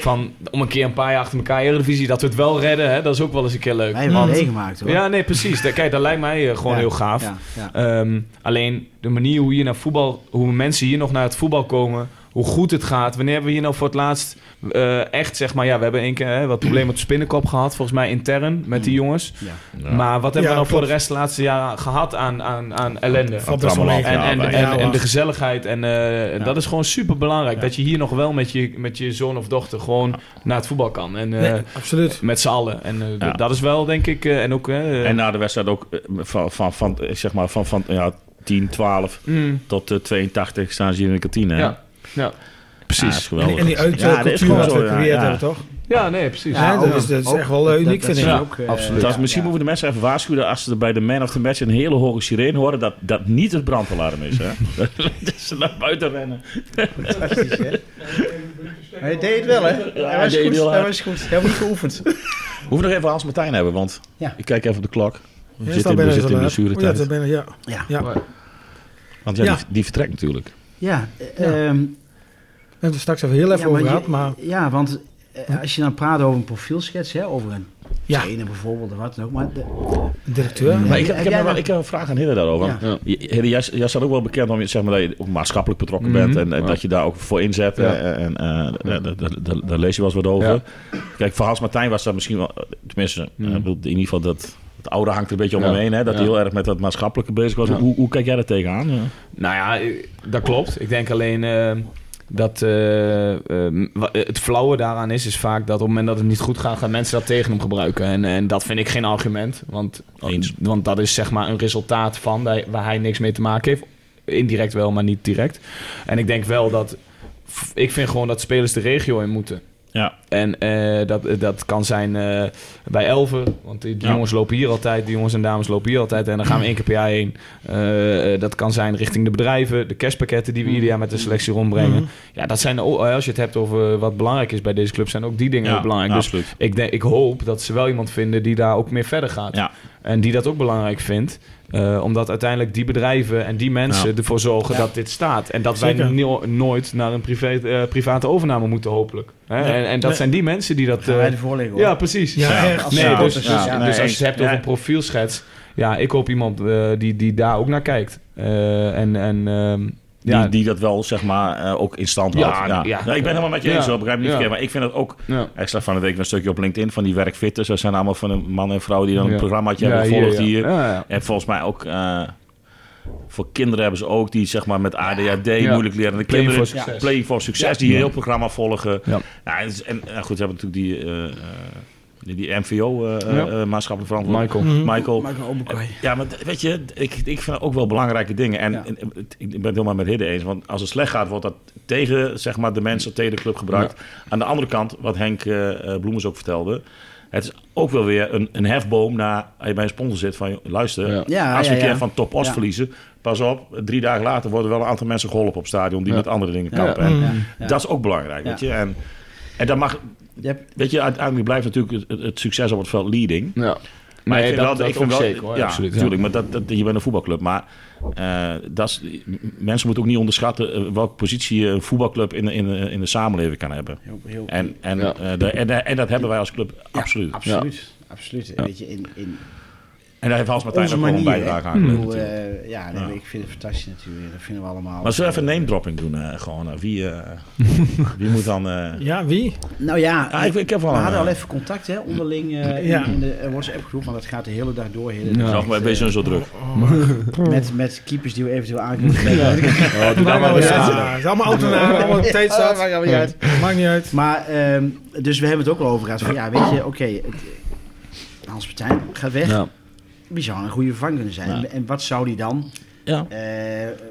[SPEAKER 4] Van, om een keer een paar jaar achter elkaar Eredivisie, dat we het wel redden, hè, dat is ook wel eens een keer leuk. Hmm.
[SPEAKER 2] Wij hebben het
[SPEAKER 5] Want-
[SPEAKER 2] meegemaakt hoor.
[SPEAKER 4] Ja, nee, precies. Dat- Kijk, dat lijkt mij eh, gewoon
[SPEAKER 2] Ja,
[SPEAKER 4] heel gaaf.
[SPEAKER 2] ja, ja.
[SPEAKER 4] Ehm, alleen de manier hoe, hier naar voetbal, hoe mensen hier nog naar het voetbal komen, hoe goed het gaat. Wanneer hebben we hier nou voor het laatst eh, echt, zeg maar, ja, we hebben één keer hè, wat problemen op de spinnenkop gehad, volgens mij intern met die jongens.
[SPEAKER 2] Ja.
[SPEAKER 4] Maar wat hebben
[SPEAKER 5] Ja,
[SPEAKER 4] we nou voor de
[SPEAKER 5] klopt.
[SPEAKER 4] rest de laatste jaren gehad aan, aan, aan ellende?
[SPEAKER 5] Valt best wel
[SPEAKER 3] allemaal
[SPEAKER 5] mee.
[SPEAKER 3] af,
[SPEAKER 4] En,
[SPEAKER 3] Ja,
[SPEAKER 4] en,
[SPEAKER 3] wij-
[SPEAKER 4] en,
[SPEAKER 5] ja,
[SPEAKER 4] en de
[SPEAKER 5] wacht.
[SPEAKER 4] gezelligheid. En eh, dat is gewoon super belangrijk. Dat je hier nog wel met je, met je zoon of dochter gewoon naar het voetbal kan. En eh,
[SPEAKER 5] Nee, absoluut.
[SPEAKER 4] met z'n allen. En eh, d-
[SPEAKER 3] Ja.
[SPEAKER 4] dat is wel, denk ik. eh, en ook. eh,
[SPEAKER 3] En na de wedstrijd ook eh, van, van, van, eh, zeg maar, van, van ja, 10, 12
[SPEAKER 4] mm,
[SPEAKER 3] tot eh, 82 staan ze hier in de kantine. hè?
[SPEAKER 4] ja. ja,
[SPEAKER 3] Ja, dat
[SPEAKER 4] precies.
[SPEAKER 3] Ah, is
[SPEAKER 5] En,
[SPEAKER 3] geweldig.
[SPEAKER 5] en die
[SPEAKER 3] Ja, dat is
[SPEAKER 5] uitcultuur
[SPEAKER 3] gewoon
[SPEAKER 5] wat
[SPEAKER 3] zo,
[SPEAKER 5] we
[SPEAKER 3] ja,
[SPEAKER 5] gecreëerd
[SPEAKER 3] ja.
[SPEAKER 5] hebben, toch?
[SPEAKER 4] Ja, nee, precies.
[SPEAKER 5] Ja, dat
[SPEAKER 2] ook-
[SPEAKER 5] is- dat is
[SPEAKER 2] ook-
[SPEAKER 5] echt wel, eh, uniek, vind ik.
[SPEAKER 2] is
[SPEAKER 4] Ja,
[SPEAKER 2] ook, eh,
[SPEAKER 4] absoluut.
[SPEAKER 3] Dat is- misschien
[SPEAKER 2] ja.
[SPEAKER 3] moeten we de mensen even waarschuwen als ze bij de man of the match een hele hoge sirene horen, dat dat niet het brandalarm is. Hè? dat ze naar buiten rennen.
[SPEAKER 2] Fantastisch, hè? Maar je deed het wel, hè? hij, was
[SPEAKER 3] deed het
[SPEAKER 2] goed,
[SPEAKER 3] heel
[SPEAKER 2] hij
[SPEAKER 3] hard.
[SPEAKER 2] was goed. Hij heeft niet geoefend.
[SPEAKER 3] We hoeven nog even Hans Martijn hebben, want
[SPEAKER 2] Ja.
[SPEAKER 3] ik kijk even op de klok. We
[SPEAKER 5] Ja,
[SPEAKER 3] zitten in,
[SPEAKER 5] staat
[SPEAKER 3] we
[SPEAKER 5] bijna
[SPEAKER 3] zitten in
[SPEAKER 5] zo
[SPEAKER 3] de
[SPEAKER 5] laat.
[SPEAKER 3] zure
[SPEAKER 5] Oh, ja, dat
[SPEAKER 3] tijd.
[SPEAKER 5] is bijna- ja.
[SPEAKER 2] Ja.
[SPEAKER 5] Ja.
[SPEAKER 3] Want ja,
[SPEAKER 5] Ja.
[SPEAKER 3] Die, die vertrekt natuurlijk.
[SPEAKER 2] Ja,
[SPEAKER 5] Ja.
[SPEAKER 2] ehm,
[SPEAKER 5] We hebben het straks even heel even
[SPEAKER 2] ja, want
[SPEAKER 5] over gehad,
[SPEAKER 2] je-
[SPEAKER 5] maar
[SPEAKER 2] Ja, want eh, als je dan praat over een profielschets, hè, over een
[SPEAKER 5] Ja.
[SPEAKER 2] trainer bijvoorbeeld of wat dan ook. Maar de-
[SPEAKER 5] de directeur.
[SPEAKER 2] Ja.
[SPEAKER 3] Maar ik, ik,
[SPEAKER 2] Heb
[SPEAKER 3] heb
[SPEAKER 2] jij
[SPEAKER 3] nog wel-
[SPEAKER 2] nog-
[SPEAKER 3] ik heb een vraag aan Hidde daarover.
[SPEAKER 2] Ja.
[SPEAKER 3] Want J- Hidde, jij, jij staat ook wel bekend om je- zeg maar, dat je ook maatschappelijk betrokken
[SPEAKER 4] Mhm.
[SPEAKER 3] bent en, en
[SPEAKER 4] Ja.
[SPEAKER 3] dat je daar ook voor inzet.
[SPEAKER 4] Ja.
[SPEAKER 3] En, en eh, daar- daar- daar- daar- daar lees je wel eens wat over.
[SPEAKER 4] Ja.
[SPEAKER 3] Kijk, voor Hans Martijn was dat misschien wel, tenminste, eh,
[SPEAKER 4] Mhm.
[SPEAKER 3] ik bedoel, in ieder geval dat. Het oude hangt er een beetje om
[SPEAKER 4] Ja.
[SPEAKER 3] hem heen, hè? dat hij
[SPEAKER 4] Ja.
[SPEAKER 3] heel erg met dat maatschappelijke bezig was.
[SPEAKER 4] Ja.
[SPEAKER 3] Hoe, hoe kijk jij daar tegenaan? Ja.
[SPEAKER 4] Nou ja, eh, dat klopt. Ik denk alleen eh, dat eh, eh, wa- eh, het flauwe daaraan is, is vaak dat op het moment dat het niet goed gaat, gaan mensen dat tegen hem gebruiken. En, en dat vind ik geen argument, want,
[SPEAKER 3] Eens.
[SPEAKER 4] want dat is zeg maar een resultaat van daar- waar hij niks mee te maken heeft. Indirect wel, maar niet direct. En ik denk wel dat, f- ik vind gewoon dat spelers de regio in moeten.
[SPEAKER 3] Ja.
[SPEAKER 4] En eh, dat, dat kan zijn eh, bij Elven, want die, die
[SPEAKER 3] Ja.
[SPEAKER 4] jongens lopen hier altijd, die jongens en dames lopen hier altijd. En dan gaan we één keer per jaar heen. Eh, eh, dat kan zijn richting de bedrijven, de kerstpakketten die we ieder jaar met de selectie rondbrengen.
[SPEAKER 5] Mhm.
[SPEAKER 4] Ja, dat zijn, ook- als je het hebt over wat belangrijk is bij deze club, zijn ook die dingen
[SPEAKER 3] Ja,
[SPEAKER 4] heel belangrijk.
[SPEAKER 3] ja,
[SPEAKER 4] dus
[SPEAKER 3] absoluut.
[SPEAKER 4] ik, denk, ik hoop dat ze wel iemand vinden die daar ook meer verder gaat.
[SPEAKER 3] Ja.
[SPEAKER 4] En die dat ook belangrijk vindt. eh, omdat uiteindelijk die bedrijven en die mensen
[SPEAKER 3] Ja.
[SPEAKER 4] ervoor zorgen
[SPEAKER 5] Ja.
[SPEAKER 4] dat dit staat. En dat wij
[SPEAKER 5] Zeker.
[SPEAKER 4] no- nooit naar een privé, eh, private overname moeten, hopelijk. Hè?
[SPEAKER 3] Nee.
[SPEAKER 4] En, en dat
[SPEAKER 3] Nee.
[SPEAKER 4] zijn die mensen die dat.
[SPEAKER 2] gaan
[SPEAKER 4] eh,
[SPEAKER 2] wij ervoor liggen, hoor.
[SPEAKER 4] ja, precies.
[SPEAKER 5] Ja,
[SPEAKER 3] Ja.
[SPEAKER 5] echt.
[SPEAKER 4] Nee,
[SPEAKER 3] Ja,
[SPEAKER 4] dus,
[SPEAKER 3] precies.
[SPEAKER 4] ja,
[SPEAKER 3] Ja,
[SPEAKER 4] dus
[SPEAKER 3] nee,
[SPEAKER 4] als je het hebt
[SPEAKER 3] ja.
[SPEAKER 4] over een profielschets. Ja, ik hoop iemand eh, die, die daar ook naar kijkt. Eh, en en ehm,
[SPEAKER 3] Die,
[SPEAKER 4] ja,
[SPEAKER 3] die dat wel zeg maar eh, ook in stand houdt.
[SPEAKER 4] Ja, ja.
[SPEAKER 3] Nou, ik ben helemaal met je eens,
[SPEAKER 4] Ja.
[SPEAKER 3] hoor. begrijp me niet
[SPEAKER 4] Ja.
[SPEAKER 3] verkeerd. Maar ik vind dat ook
[SPEAKER 4] ja.
[SPEAKER 3] Ik zag van de week een stukje op LinkedIn van die werkfitters. Dat zijn allemaal van een man en vrouw die dan
[SPEAKER 4] Ja.
[SPEAKER 3] een programmaatje
[SPEAKER 4] Ja,
[SPEAKER 3] hebben gevolgd eh,
[SPEAKER 4] ja.
[SPEAKER 3] hier.
[SPEAKER 4] Ja, ja.
[SPEAKER 3] En volgens mij ook eh, voor kinderen hebben ze ook die zeg maar met ADHD
[SPEAKER 4] Ja.
[SPEAKER 3] moeilijk leren. De
[SPEAKER 4] Play
[SPEAKER 3] kinderen
[SPEAKER 4] for Succes.
[SPEAKER 3] play for
[SPEAKER 4] Ja.
[SPEAKER 3] succes die een heel programma volgen.
[SPEAKER 4] Ja.
[SPEAKER 3] Ja. en, het is- en, eh, goed, we hebben natuurlijk die, eh, eh, die, die MVO eh, eh,
[SPEAKER 4] Ja.
[SPEAKER 3] eh, maatschappelijk verantwoord.
[SPEAKER 4] Michael.
[SPEAKER 5] Mhm.
[SPEAKER 3] Michael.
[SPEAKER 2] Maak een openkooi.
[SPEAKER 3] Ja, maar d- weet je, d- ik, ik vind dat ook wel belangrijke dingen. En,
[SPEAKER 2] Ja.
[SPEAKER 3] en, eh, het- ik ben het helemaal met Hidde eens. Want als het slecht gaat, wordt dat tegen zeg maar, de mensen, tegen de club gebruikt. Aan de andere kant, wat Henk eh eh, Bloemens ook vertelde. Het is ook wel weer een, een hefboom naar als je bij een sponsor zit van... joh, luister,
[SPEAKER 4] Ja.
[SPEAKER 2] Ja,
[SPEAKER 3] als we
[SPEAKER 2] ja,
[SPEAKER 3] een keer
[SPEAKER 2] ja.
[SPEAKER 3] van top os
[SPEAKER 2] Ja.
[SPEAKER 3] verliezen... pas op, drie dagen later worden wel een aantal mensen geholpen op het stadion... die
[SPEAKER 4] Ja.
[SPEAKER 3] met andere dingen
[SPEAKER 2] Ja.
[SPEAKER 3] kampen. En
[SPEAKER 5] Mm.
[SPEAKER 2] Ja.
[SPEAKER 3] Dat is ook belangrijk,
[SPEAKER 2] Ja.
[SPEAKER 3] weet je. En, en dat mag...
[SPEAKER 2] Je hebt-
[SPEAKER 3] Weet je, uiteindelijk blijft natuurlijk het, het- het succes op het veld leading...
[SPEAKER 4] Ja.
[SPEAKER 3] Maar
[SPEAKER 4] Nee,
[SPEAKER 3] ik vind
[SPEAKER 4] dat,
[SPEAKER 3] wel,
[SPEAKER 4] dat
[SPEAKER 3] ik vind
[SPEAKER 4] ook
[SPEAKER 3] wel,
[SPEAKER 4] zeker hoor.
[SPEAKER 3] ja,
[SPEAKER 4] absoluut.
[SPEAKER 3] Tuurlijk, maar dat, dat, je bent een voetbalclub. Maar eh, dat is, m- mensen moeten ook niet onderschatten eh, welke positie een voetbalclub in de, in de, in de samenleving kan hebben.
[SPEAKER 2] heel- heel-
[SPEAKER 3] En, en,
[SPEAKER 4] Ja.
[SPEAKER 3] eh, de- en, en dat hebben wij als club absoluut.
[SPEAKER 2] Absoluut, absoluut. En Weet je, in, in
[SPEAKER 3] En daar heeft Hans Martijn ook
[SPEAKER 2] onze
[SPEAKER 3] gewoon een
[SPEAKER 2] manier. hè.
[SPEAKER 3] bijdrage aan.
[SPEAKER 2] Ik
[SPEAKER 3] geleverd,
[SPEAKER 2] bedoel,
[SPEAKER 3] natuurlijk.
[SPEAKER 2] eh, ja, nee, maar ik vind het fantastisch natuurlijk. Dat vinden we allemaal.
[SPEAKER 3] Maar zullen we even een name dropping doen? eh, gewoon, eh, wie, eh, wie moet dan... eh,
[SPEAKER 5] Ja, wie?
[SPEAKER 2] Nou ja,
[SPEAKER 3] ah, ik, ik heb
[SPEAKER 2] we
[SPEAKER 3] wel een,
[SPEAKER 2] hadden al
[SPEAKER 3] eh,
[SPEAKER 2] even contact hè, onderling eh, in,
[SPEAKER 5] Ja.
[SPEAKER 2] in de WhatsApp groep, want dat gaat de hele dag door. Hele
[SPEAKER 4] Ja.
[SPEAKER 3] Nog maar een beetje zo druk.
[SPEAKER 2] met, met keepers die we eventueel aan kunnen spreken.
[SPEAKER 4] Ja.
[SPEAKER 5] Maakt
[SPEAKER 4] maar
[SPEAKER 5] nou
[SPEAKER 4] eens
[SPEAKER 5] niet uit.
[SPEAKER 4] aan.
[SPEAKER 5] Ja, Het is allemaal autonaam, allemaal tijdstad.
[SPEAKER 2] maakt allemaal niet uit.
[SPEAKER 5] Maakt niet uit.
[SPEAKER 2] Maar, ehm, dus we hebben het ook al over gehad. Van ja, weet je, oké, het- eh, Hans Partijn gaat weg.
[SPEAKER 4] Ja.
[SPEAKER 2] Wie zou een goede vervanger kunnen zijn?
[SPEAKER 3] Ja.
[SPEAKER 2] En wat zou die dan
[SPEAKER 3] Ja.
[SPEAKER 2] eh,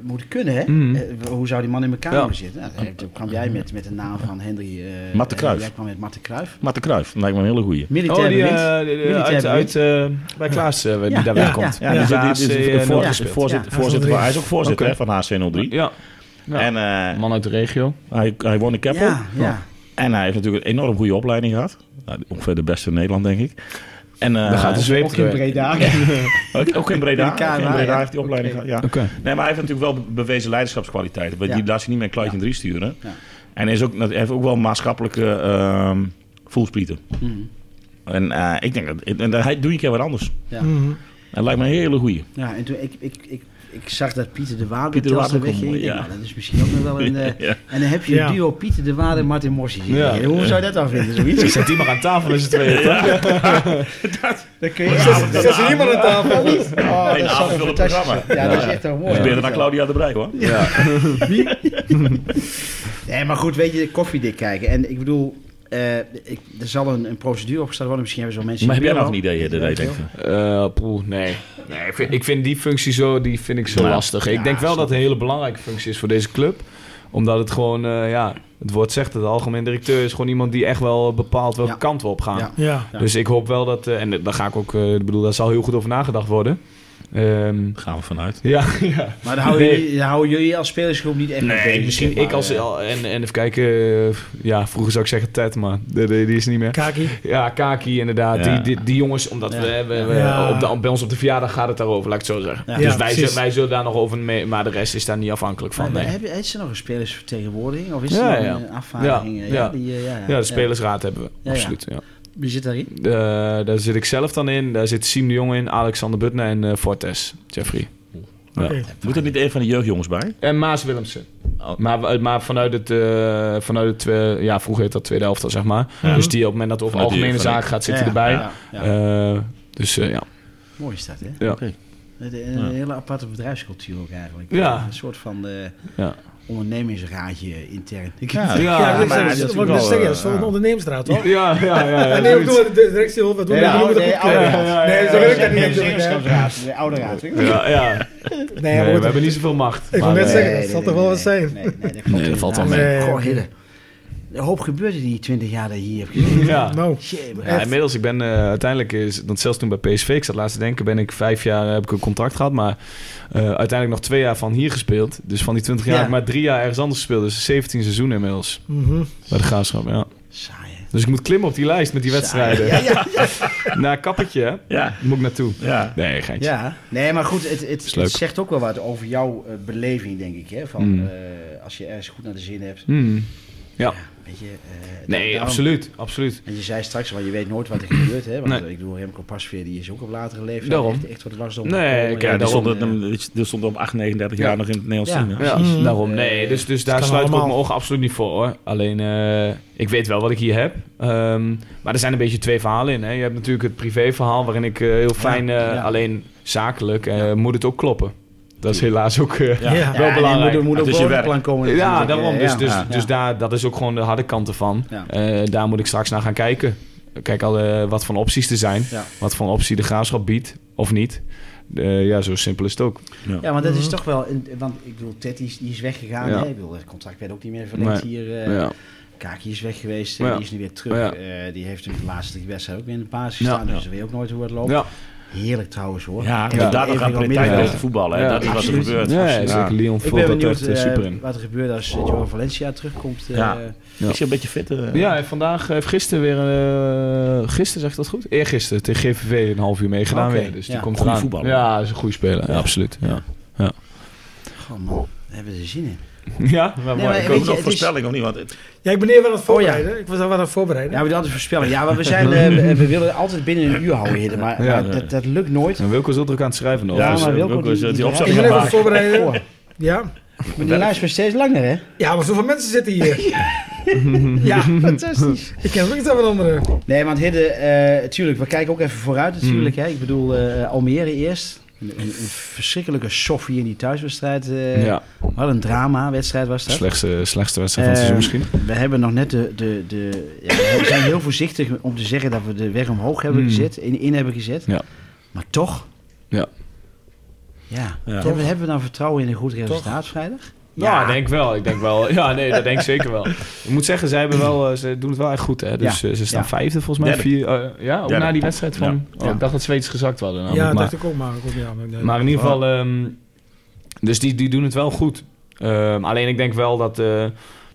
[SPEAKER 2] moeten kunnen, hè?
[SPEAKER 4] Mhm.
[SPEAKER 2] Eh, hoe zou die man in elkaar
[SPEAKER 4] Ja.
[SPEAKER 2] moeten zitten? Nou, eh, toen kwam jij met, met de naam van Henry... eh,
[SPEAKER 3] Matte
[SPEAKER 2] eh,
[SPEAKER 3] Cruijff.
[SPEAKER 2] Jij kwam met Matte Cruijf.
[SPEAKER 3] Maarten Kruijf, lijkt me een hele goeie.
[SPEAKER 2] Militair
[SPEAKER 4] Oh, die,
[SPEAKER 2] bewind.
[SPEAKER 4] eh, die- die-
[SPEAKER 2] Militair
[SPEAKER 4] uit,
[SPEAKER 2] bewind.
[SPEAKER 4] uit, eh, bij Klaas eh, die
[SPEAKER 2] Ja.
[SPEAKER 4] daar
[SPEAKER 5] Ja.
[SPEAKER 4] wegkomt.
[SPEAKER 2] Ja.
[SPEAKER 4] Die
[SPEAKER 3] dus
[SPEAKER 4] is
[SPEAKER 3] dat is- is-
[SPEAKER 4] HC, eh,
[SPEAKER 3] voor-
[SPEAKER 4] Noord
[SPEAKER 3] is
[SPEAKER 4] gespeeld.
[SPEAKER 3] voorzitter-
[SPEAKER 5] Ja.
[SPEAKER 3] voorzitter van- Hij is ook voorzitter
[SPEAKER 4] Oké.
[SPEAKER 3] hè, van HC03.
[SPEAKER 4] Ja. Ja.
[SPEAKER 3] En eh,
[SPEAKER 4] man uit de regio.
[SPEAKER 3] Hij, hij woonde in Keppel.
[SPEAKER 2] Ja, ja.
[SPEAKER 3] En hij heeft natuurlijk een enorm goede opleiding gehad. Nou, ongeveer de beste in Nederland, denk ik. En, eh,
[SPEAKER 4] Daar gaat de zweep
[SPEAKER 2] Ook in
[SPEAKER 4] terug.
[SPEAKER 2] Breda.
[SPEAKER 3] ook, ook in Breda.
[SPEAKER 2] In de KNA,
[SPEAKER 3] ook in Breda
[SPEAKER 2] ja.
[SPEAKER 3] heeft hij opleiding
[SPEAKER 2] Oké.
[SPEAKER 3] gehad. Ja.
[SPEAKER 4] Oké.
[SPEAKER 3] Nee, maar hij heeft natuurlijk wel be- bewezen leiderschapskwaliteiten. Want
[SPEAKER 2] Ja.
[SPEAKER 3] Die laat hij niet meer een kluitje in drie sturen.
[SPEAKER 2] Ja.
[SPEAKER 3] En hij is ook, hij heeft ook wel maatschappelijke ehm voelsprieten.
[SPEAKER 2] Mhm.
[SPEAKER 3] En eh, ik denk dat, en dat hij doe je een keer wat anders.
[SPEAKER 2] Ja.
[SPEAKER 5] Mhm.
[SPEAKER 3] Dat lijkt me een hele goeie.
[SPEAKER 2] Ja, en toen ik, ik, ik, ik zag dat Pieter de Waard
[SPEAKER 3] Pieter
[SPEAKER 2] Pieter de
[SPEAKER 3] de Waard ook
[SPEAKER 2] wegging.
[SPEAKER 3] een
[SPEAKER 2] Ik
[SPEAKER 3] mooie,
[SPEAKER 2] denk,
[SPEAKER 3] ja.
[SPEAKER 2] nou, dat is misschien ook nog wel een... eh,
[SPEAKER 3] Ja.
[SPEAKER 2] En dan heb je
[SPEAKER 5] Ja.
[SPEAKER 2] een duo Pieter de Waard en Martin Morsi.
[SPEAKER 4] Ja.
[SPEAKER 2] Hoe zou je dat dan vinden, zoiets?
[SPEAKER 4] Zet die maar aan tafel in z'n tweeën. toch?
[SPEAKER 2] Dan kun je...
[SPEAKER 6] Er zit niemand aan tafel.
[SPEAKER 2] Oh,
[SPEAKER 3] Eén
[SPEAKER 2] dat is
[SPEAKER 3] avond wil
[SPEAKER 2] zo'n
[SPEAKER 3] het
[SPEAKER 2] fantastisch.
[SPEAKER 3] programma.
[SPEAKER 2] Ja, dat is echt wel mooi.
[SPEAKER 3] Dat is
[SPEAKER 2] Ja.
[SPEAKER 3] beter dan Claudia de Brij, hoor.
[SPEAKER 2] Nee, maar goed, weet je, koffiedik kijken. En ik bedoel, eh, ik, er zal een, een procedure opgesteld worden. Misschien hebben ze wel mensen...
[SPEAKER 3] Maar heb
[SPEAKER 2] in
[SPEAKER 3] jij nog een
[SPEAKER 2] beeld
[SPEAKER 3] idee, Hidde, dat je denkt van-
[SPEAKER 4] Eh, poeh, nee. nee ik, vind, ik vind die functie zo, die vind ik zo
[SPEAKER 3] Ja.
[SPEAKER 4] lastig. Ik
[SPEAKER 2] Ja,
[SPEAKER 4] denk wel
[SPEAKER 2] snap
[SPEAKER 4] dat het een hele belangrijke functie is voor deze club. Omdat het gewoon, eh, ja, het woord zegt het, de algemeen directeur is gewoon iemand die echt wel bepaalt welke
[SPEAKER 2] Ja.
[SPEAKER 4] kant we op gaan.
[SPEAKER 2] Ja.
[SPEAKER 5] Ja.
[SPEAKER 4] Dus ik hoop wel dat, eh, en daar ga ik ook, eh, ik bedoel, daar zal heel goed over nagedacht worden. Ehm,
[SPEAKER 3] Daar gaan we vanuit.
[SPEAKER 4] ja, ja.
[SPEAKER 2] Maar daar houden,
[SPEAKER 4] Nee.
[SPEAKER 2] jullie, daar houden jullie als spelersgroep niet echt mee bezig,
[SPEAKER 4] misschien
[SPEAKER 2] zeg maar. eh,
[SPEAKER 4] ik als... al- En, en even kijken... eh, ja, vroeger zou ik zeggen Ted, maar die, die die is niet meer.
[SPEAKER 5] Kaki.
[SPEAKER 4] Ja, Kaki inderdaad.
[SPEAKER 3] Ja.
[SPEAKER 4] Die, die, die jongens, omdat we, we, we-
[SPEAKER 5] Ja.
[SPEAKER 4] op de, bij ons op de verjaardag gaat het daarover, laat ik het zo zeggen.
[SPEAKER 2] Ja.
[SPEAKER 4] dus
[SPEAKER 5] Ja,
[SPEAKER 4] wij,
[SPEAKER 5] precies.
[SPEAKER 4] zullen- wij zullen daar nog over mee, maar de rest is daar niet afhankelijk van.
[SPEAKER 2] Maar
[SPEAKER 4] Nee.
[SPEAKER 2] hebben- Heeft ze nog een spelersvertegenwoordiging? Of is
[SPEAKER 4] Ja,
[SPEAKER 2] er nog
[SPEAKER 4] ja.
[SPEAKER 2] een afvaardiging?
[SPEAKER 4] Ja,
[SPEAKER 2] Ja,
[SPEAKER 4] ja.
[SPEAKER 2] die, eh, ja, ja.
[SPEAKER 4] Ja, de spelersraad hebben we,
[SPEAKER 2] Ja,
[SPEAKER 4] absoluut. Ja.
[SPEAKER 2] Ja. Wie zit daarin?
[SPEAKER 4] Eh, daar zit ik zelf dan in, daar zit Siem de Jong in, Alexander Butner en eh, Fortes, Jeffrey. Ja.
[SPEAKER 5] Oké.
[SPEAKER 3] Moet er niet een van de jeugdjongens bij?
[SPEAKER 4] En Eh, Maas Willemsen.
[SPEAKER 3] Oh.
[SPEAKER 4] Maar, maar vanuit het, eh, vanuit het twe- ja, vroeger heet dat tweede helft, dan, zeg maar.
[SPEAKER 3] Ja.
[SPEAKER 4] Dus die op het moment dat het over
[SPEAKER 3] Vanuit die-
[SPEAKER 4] algemene
[SPEAKER 3] vanuit-
[SPEAKER 4] zaken gaat, zit hij
[SPEAKER 2] Ja,
[SPEAKER 4] erbij.
[SPEAKER 2] ja, ja.
[SPEAKER 4] Eh, dus eh, ja.
[SPEAKER 2] Mooi is dat, hè?
[SPEAKER 4] Ja.
[SPEAKER 3] Oké.
[SPEAKER 2] Een, een
[SPEAKER 3] Ja.
[SPEAKER 2] hele aparte bedrijfscultuur ook eigenlijk.
[SPEAKER 4] Ja.
[SPEAKER 2] Een soort van eh,
[SPEAKER 4] Ja.
[SPEAKER 2] ondernemingsraadje intern.
[SPEAKER 3] Ja,
[SPEAKER 4] Ja,
[SPEAKER 5] Ja, dat
[SPEAKER 4] maar
[SPEAKER 5] is- dat moet ik net zeggen. Dat is wel een ondernemersraad, toch?
[SPEAKER 4] Ja, ja, ja. ja,
[SPEAKER 5] Nee, we
[SPEAKER 4] zoiets.
[SPEAKER 5] doen het direct stil. We doen
[SPEAKER 2] Nee,
[SPEAKER 5] het niet.
[SPEAKER 2] oude-
[SPEAKER 5] we moeten
[SPEAKER 2] nee,
[SPEAKER 5] goed krijgen.
[SPEAKER 2] oude raad.
[SPEAKER 5] Nee, zo wil ik dat niet.
[SPEAKER 2] Nee,
[SPEAKER 5] natuurlijk, hè.
[SPEAKER 2] zeggenschapsraad. Nee, oude raad. hè?
[SPEAKER 4] ja, ja.
[SPEAKER 5] Nee,
[SPEAKER 4] Nee,
[SPEAKER 5] we
[SPEAKER 4] we
[SPEAKER 5] moeten-
[SPEAKER 4] hebben niet zoveel macht.
[SPEAKER 5] Ik wil
[SPEAKER 4] Maar,
[SPEAKER 5] net
[SPEAKER 4] eh,
[SPEAKER 5] zeggen, dat zal toch wel wat zijn?
[SPEAKER 2] Nee, nee, dat,
[SPEAKER 3] Nee, dat valt wel
[SPEAKER 5] mee.
[SPEAKER 2] Goh, Hidde. Een hoop gebeurde die 20 jaar dat je hier hebt gezeten.
[SPEAKER 4] Ja.
[SPEAKER 5] Nou,
[SPEAKER 2] Jee, maar-
[SPEAKER 4] Ja, inmiddels, ik ben eh, uiteindelijk, is, want zelfs toen bij PSV, ik zat laatst te denken, ben ik vijf jaar, eh, heb ik een contract gehad, maar eh, uiteindelijk nog twee jaar van hier gespeeld. Dus van die twintig jaar
[SPEAKER 2] Ja.
[SPEAKER 4] heb ik maar drie jaar ergens anders gespeeld. Dus 17 seizoenen inmiddels
[SPEAKER 5] mhm.
[SPEAKER 4] bij de Graafschap, ja.
[SPEAKER 2] Saai, hè?
[SPEAKER 4] Dus ik moet klimmen op die lijst met die wedstrijden.
[SPEAKER 2] Ja, ja, ja.
[SPEAKER 4] Naar kappertje, hè?
[SPEAKER 3] Ja.
[SPEAKER 4] Moet ik naartoe.
[SPEAKER 3] Ja.
[SPEAKER 4] Nee, geintje.
[SPEAKER 2] Ja, nee, maar goed, het, het,
[SPEAKER 4] leuk.
[SPEAKER 2] het zegt ook wel wat over jouw eh, beleving, denk ik. Hè? Van,
[SPEAKER 4] Mm.
[SPEAKER 2] eh, als je ergens goed naar de zin hebt.
[SPEAKER 4] Hmm. Ja.
[SPEAKER 2] Weet je, eh,
[SPEAKER 4] Nee,
[SPEAKER 2] daarom-
[SPEAKER 4] absoluut. Absoluut.
[SPEAKER 2] En je zei straks, want je weet nooit wat er gebeurt. Hè? Want
[SPEAKER 4] Nee.
[SPEAKER 2] ik bedoel, Remco Pasveer die is ook op latere leeftijd
[SPEAKER 4] Daarom.
[SPEAKER 2] echt, echt tot lastig
[SPEAKER 4] Nee,
[SPEAKER 2] ik
[SPEAKER 4] ik- ja,
[SPEAKER 3] die
[SPEAKER 4] daarom,
[SPEAKER 3] stond,
[SPEAKER 2] eh,
[SPEAKER 3] er- die stond op 8, 39
[SPEAKER 4] Ja.
[SPEAKER 3] jaar nog in het Nederlands
[SPEAKER 2] Ja.
[SPEAKER 3] team. hè?
[SPEAKER 4] Ja,
[SPEAKER 2] Hmm.
[SPEAKER 5] Mm.
[SPEAKER 4] daarom. Nee, dus, dus daar
[SPEAKER 5] kan
[SPEAKER 4] sluit ik ook
[SPEAKER 5] allemaal.
[SPEAKER 4] mijn ogen absoluut niet voor hoor. Alleen, eh, ik weet wel wat ik hier heb. Ehm, maar er zijn een beetje twee verhalen in. Hè. Je hebt natuurlijk het privéverhaal waarin ik eh, heel fijn, eh,
[SPEAKER 2] ja.
[SPEAKER 4] alleen zakelijk, eh, moet het ook kloppen. Dat is helaas ook... eh, ja.
[SPEAKER 5] Ja.
[SPEAKER 4] Wel belangrijk.
[SPEAKER 2] Moet, moet
[SPEAKER 3] Het
[SPEAKER 2] ook
[SPEAKER 3] is
[SPEAKER 2] wel
[SPEAKER 3] je
[SPEAKER 2] een plan komen. natuurlijk, eh,
[SPEAKER 4] daarom. Dus,
[SPEAKER 2] ja.
[SPEAKER 4] dus,
[SPEAKER 2] Ja.
[SPEAKER 4] dus daar, dat is ook gewoon de harde kant ervan.
[SPEAKER 2] Ja.
[SPEAKER 4] Eh, daar moet ik straks naar gaan kijken. Kijk al eh, wat voor opties er zijn.
[SPEAKER 2] Ja.
[SPEAKER 4] Wat voor optie de graafschap biedt of niet. Eh, ja, zo simpel is het ook.
[SPEAKER 2] Ja, want dat is toch wel... een- want ik bedoel, Ted die is, die is weggegaan.
[SPEAKER 4] Mhm. Ja.
[SPEAKER 2] Hè? Ik bedoel, het contract werd ook niet meer verlengd
[SPEAKER 4] Nee.
[SPEAKER 2] hier. eh,
[SPEAKER 4] Ja.
[SPEAKER 2] Kaki is weg geweest.
[SPEAKER 4] Ja.
[SPEAKER 2] eh, Die is nu weer terug.
[SPEAKER 4] Ja.
[SPEAKER 2] Eh, die heeft in de laatste drie wedstrijden ook weer in de basis
[SPEAKER 4] Ja.
[SPEAKER 2] gestaan. Dus
[SPEAKER 3] Ja.
[SPEAKER 2] dan weet je ook nooit hoe het loopt.
[SPEAKER 4] Ja.
[SPEAKER 2] Heerlijk trouwens hoor.
[SPEAKER 3] Ja,
[SPEAKER 2] En
[SPEAKER 3] inderdaad, we
[SPEAKER 2] even
[SPEAKER 3] gaan
[SPEAKER 2] wel
[SPEAKER 3] de tijd
[SPEAKER 2] middenveld.
[SPEAKER 3] weten voetballen. hè.
[SPEAKER 4] Ja,
[SPEAKER 3] dat is wat er
[SPEAKER 2] absoluut.
[SPEAKER 3] gebeurt.
[SPEAKER 4] Ja,
[SPEAKER 3] Ja.
[SPEAKER 4] zeker. Leon
[SPEAKER 2] Ik
[SPEAKER 4] vult
[SPEAKER 2] ben
[SPEAKER 4] dat
[SPEAKER 2] benieuwd
[SPEAKER 4] echt eh, super
[SPEAKER 2] eh,
[SPEAKER 4] in.
[SPEAKER 2] wat er gebeurt als eh, Joao Valencia terugkomt. eh,
[SPEAKER 3] Ja.
[SPEAKER 4] Ja.
[SPEAKER 3] Ik zie een beetje fitter. eh.
[SPEAKER 4] Ja, en vandaag heeft gisteren weer... eh gisteren, zeg ik dat goed? Eergisteren tegen GVV een half uur meegedaan
[SPEAKER 2] Oké,
[SPEAKER 4] weer. Dus die
[SPEAKER 2] ja.
[SPEAKER 4] komt
[SPEAKER 3] Goeie
[SPEAKER 4] eraan.
[SPEAKER 3] voetballer.
[SPEAKER 4] Ja, is een goede speler. Ja, absoluut. Ja,
[SPEAKER 2] Goh man, daar hebben we er zin in.
[SPEAKER 4] ja maar mooi.
[SPEAKER 2] maar
[SPEAKER 4] Ik
[SPEAKER 3] Ook
[SPEAKER 2] weet
[SPEAKER 4] ook-
[SPEAKER 2] je,
[SPEAKER 3] nog
[SPEAKER 2] het is-
[SPEAKER 3] voorspelling of niet? Want het-
[SPEAKER 5] Ja, ik ben even aan het voorbereiden.
[SPEAKER 2] Oh,
[SPEAKER 5] Ik was al wat aan het voorbereiden.
[SPEAKER 2] Ja, maar dat is voorspelling. Ja, maar we, zijn, eh, we, we willen altijd binnen een uur houden, Hidde, maar,
[SPEAKER 4] Ja.
[SPEAKER 2] maar dat, dat lukt nooit.
[SPEAKER 4] En Wilco is ook druk aan het schrijven nog.
[SPEAKER 2] Ja,
[SPEAKER 4] dus,
[SPEAKER 2] maar
[SPEAKER 4] eh,
[SPEAKER 2] Wilco,
[SPEAKER 3] ook wel
[SPEAKER 2] die,
[SPEAKER 3] eens,
[SPEAKER 2] die,
[SPEAKER 3] eh, die
[SPEAKER 2] draait-
[SPEAKER 5] ik
[SPEAKER 3] opstelling
[SPEAKER 5] ben even aan het
[SPEAKER 3] maken.
[SPEAKER 2] Oh,
[SPEAKER 5] voorbereiden. Ja.
[SPEAKER 2] Maar die lijst wordt steeds langer, hè?
[SPEAKER 5] ja, maar zoveel mensen zitten hier.
[SPEAKER 2] Ja, Nou, fantastisch.
[SPEAKER 5] Ik ken ook iets aan een andere.
[SPEAKER 2] Nee, want Hidde, eh tuurlijk, we kijken ook even vooruit natuurlijk. Hè. Ik bedoel, eh, Almere eerst. Een, een, een verschrikkelijke soffie in die thuiswedstrijd. eh.
[SPEAKER 4] ja,
[SPEAKER 2] Wat een drama-wedstrijd was dat.
[SPEAKER 4] slechtste, slechtste wedstrijd van het
[SPEAKER 2] Ehm,
[SPEAKER 4] seizoen misschien.
[SPEAKER 2] We hebben nog net de... de, de ja, we zijn heel voorzichtig om te zeggen dat we de weg omhoog hebben
[SPEAKER 4] Mm.
[SPEAKER 2] gezet. In, in hebben gezet.
[SPEAKER 4] Ja.
[SPEAKER 2] Maar toch...
[SPEAKER 4] Ja.
[SPEAKER 2] Ja.
[SPEAKER 3] Ja.
[SPEAKER 2] Hebben, we- hebben we nou vertrouwen in een goed resultaat vrijdag?
[SPEAKER 4] Ja, Nou, ik denk wel. Ik denk wel. Ja, nee, dat denk ik zeker wel. Ik moet zeggen, zij hebben wel, eh, ze doen het wel echt goed. Hè? Dus
[SPEAKER 2] Ja.
[SPEAKER 4] eh, ze staan
[SPEAKER 2] Ja.
[SPEAKER 4] vijfde volgens mij.
[SPEAKER 3] Derde.
[SPEAKER 4] Vier, eh, ja, ook
[SPEAKER 3] Derde.
[SPEAKER 4] na die wedstrijd van...
[SPEAKER 2] Ja.
[SPEAKER 4] Oh, ik dacht dat Zweeds gezakt hadden.
[SPEAKER 5] Ja,
[SPEAKER 4] namelijk, maar-
[SPEAKER 5] dacht ik ook maar. ik ook, ja, maar ik denk-
[SPEAKER 4] Maar in ieder geval, ehm, dus die, die doen het wel goed. Ehm, alleen ik denk wel dat, eh,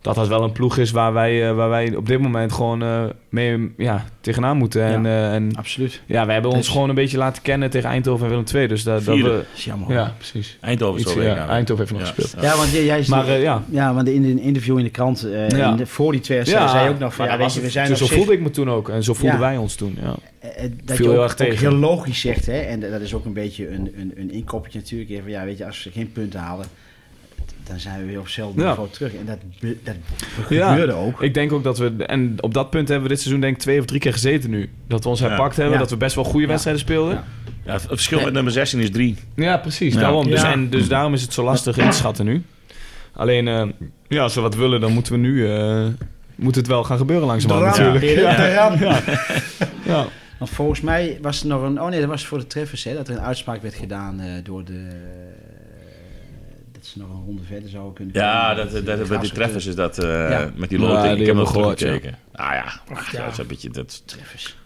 [SPEAKER 4] dat dat wel een ploeg is waar wij, eh, waar wij op dit moment gewoon eh, mee ja, tegenaan moeten. En,
[SPEAKER 2] Ja.
[SPEAKER 4] eh, en
[SPEAKER 2] Absoluut.
[SPEAKER 4] ja, we hebben ons
[SPEAKER 2] Dus-
[SPEAKER 4] gewoon een beetje laten kennen tegen Eindhoven en Willem II. Dus dat, dat
[SPEAKER 3] Vierde.
[SPEAKER 4] we,
[SPEAKER 2] Dat is jammer.
[SPEAKER 4] ja, precies.
[SPEAKER 3] Eindhoven is
[SPEAKER 4] Iets,
[SPEAKER 3] wel weer
[SPEAKER 4] ja,
[SPEAKER 3] gaan.
[SPEAKER 4] Eindhoven heeft nog
[SPEAKER 3] Ja.
[SPEAKER 4] gespeeld.
[SPEAKER 2] Ja, want jij, jij is-
[SPEAKER 4] Maar eh, ja,
[SPEAKER 2] Ja, want in een interview in de krant eh,
[SPEAKER 4] Ja.
[SPEAKER 2] in de- voor die twee wedstrijden zei je ook nog van,
[SPEAKER 4] maar
[SPEAKER 2] ja,
[SPEAKER 4] dat
[SPEAKER 2] weet
[SPEAKER 4] was
[SPEAKER 2] je, we
[SPEAKER 4] het.
[SPEAKER 2] zijn
[SPEAKER 4] Dus zo
[SPEAKER 2] op zich-
[SPEAKER 4] voelde ik me toen ook. En zo voelden
[SPEAKER 2] Ja.
[SPEAKER 4] wij ons toen. Ja.
[SPEAKER 2] eh, eh, dat
[SPEAKER 4] Viel
[SPEAKER 2] je
[SPEAKER 4] heel
[SPEAKER 2] ook,
[SPEAKER 4] erg
[SPEAKER 2] ook
[SPEAKER 4] tegen.
[SPEAKER 2] heel logisch zegt, hè, en dat is ook een beetje een, een, een inkoppertje natuurlijk, even, ja, weet je, als we geen punten halen, dan zijn we weer op hetzelfde
[SPEAKER 4] Ja.
[SPEAKER 2] niveau terug. En dat, be- dat
[SPEAKER 4] Ja.
[SPEAKER 2] gebeurde ook.
[SPEAKER 4] Ik denk ook dat we, en op dat punt hebben we dit seizoen denk ik twee of drie keer gezeten nu. Dat we ons
[SPEAKER 3] Ja.
[SPEAKER 4] herpakt hebben,
[SPEAKER 2] Ja.
[SPEAKER 4] dat we best wel goede
[SPEAKER 2] Ja.
[SPEAKER 4] wedstrijden speelden.
[SPEAKER 2] Ja.
[SPEAKER 3] Ja, het verschil met nummer 16 is 3.
[SPEAKER 4] Ja, precies.
[SPEAKER 3] Ja.
[SPEAKER 4] Daarom. Dus,
[SPEAKER 5] Ja.
[SPEAKER 4] en, dus daarom is het zo lastig in te schatten nu. Alleen, eh, ja, als we wat willen, dan moeten we nu... eh, moet het wel gaan gebeuren langzamerhand
[SPEAKER 2] Drama.
[SPEAKER 4] natuurlijk.
[SPEAKER 2] Ja.
[SPEAKER 4] Ja.
[SPEAKER 2] Want volgens mij was er nog een, oh nee, dat was voor de treffers, hè, dat er een uitspraak werd gedaan eh, door de, eh, dat ze nog een ronde verder zouden kunnen
[SPEAKER 3] Ja,
[SPEAKER 2] komen.
[SPEAKER 3] dat,
[SPEAKER 2] de
[SPEAKER 3] dat, bij die
[SPEAKER 2] Graafschap-
[SPEAKER 3] treffers is dat eh,
[SPEAKER 2] Ja.
[SPEAKER 3] met die
[SPEAKER 4] Ja,
[SPEAKER 3] loting.
[SPEAKER 4] die
[SPEAKER 3] ik heb
[SPEAKER 4] hebben
[SPEAKER 3] nog
[SPEAKER 4] we gehoord,
[SPEAKER 3] teruggekeken. Nou ja, ach, ja,
[SPEAKER 5] ja.
[SPEAKER 3] dat is een beetje dat.
[SPEAKER 2] Treffers.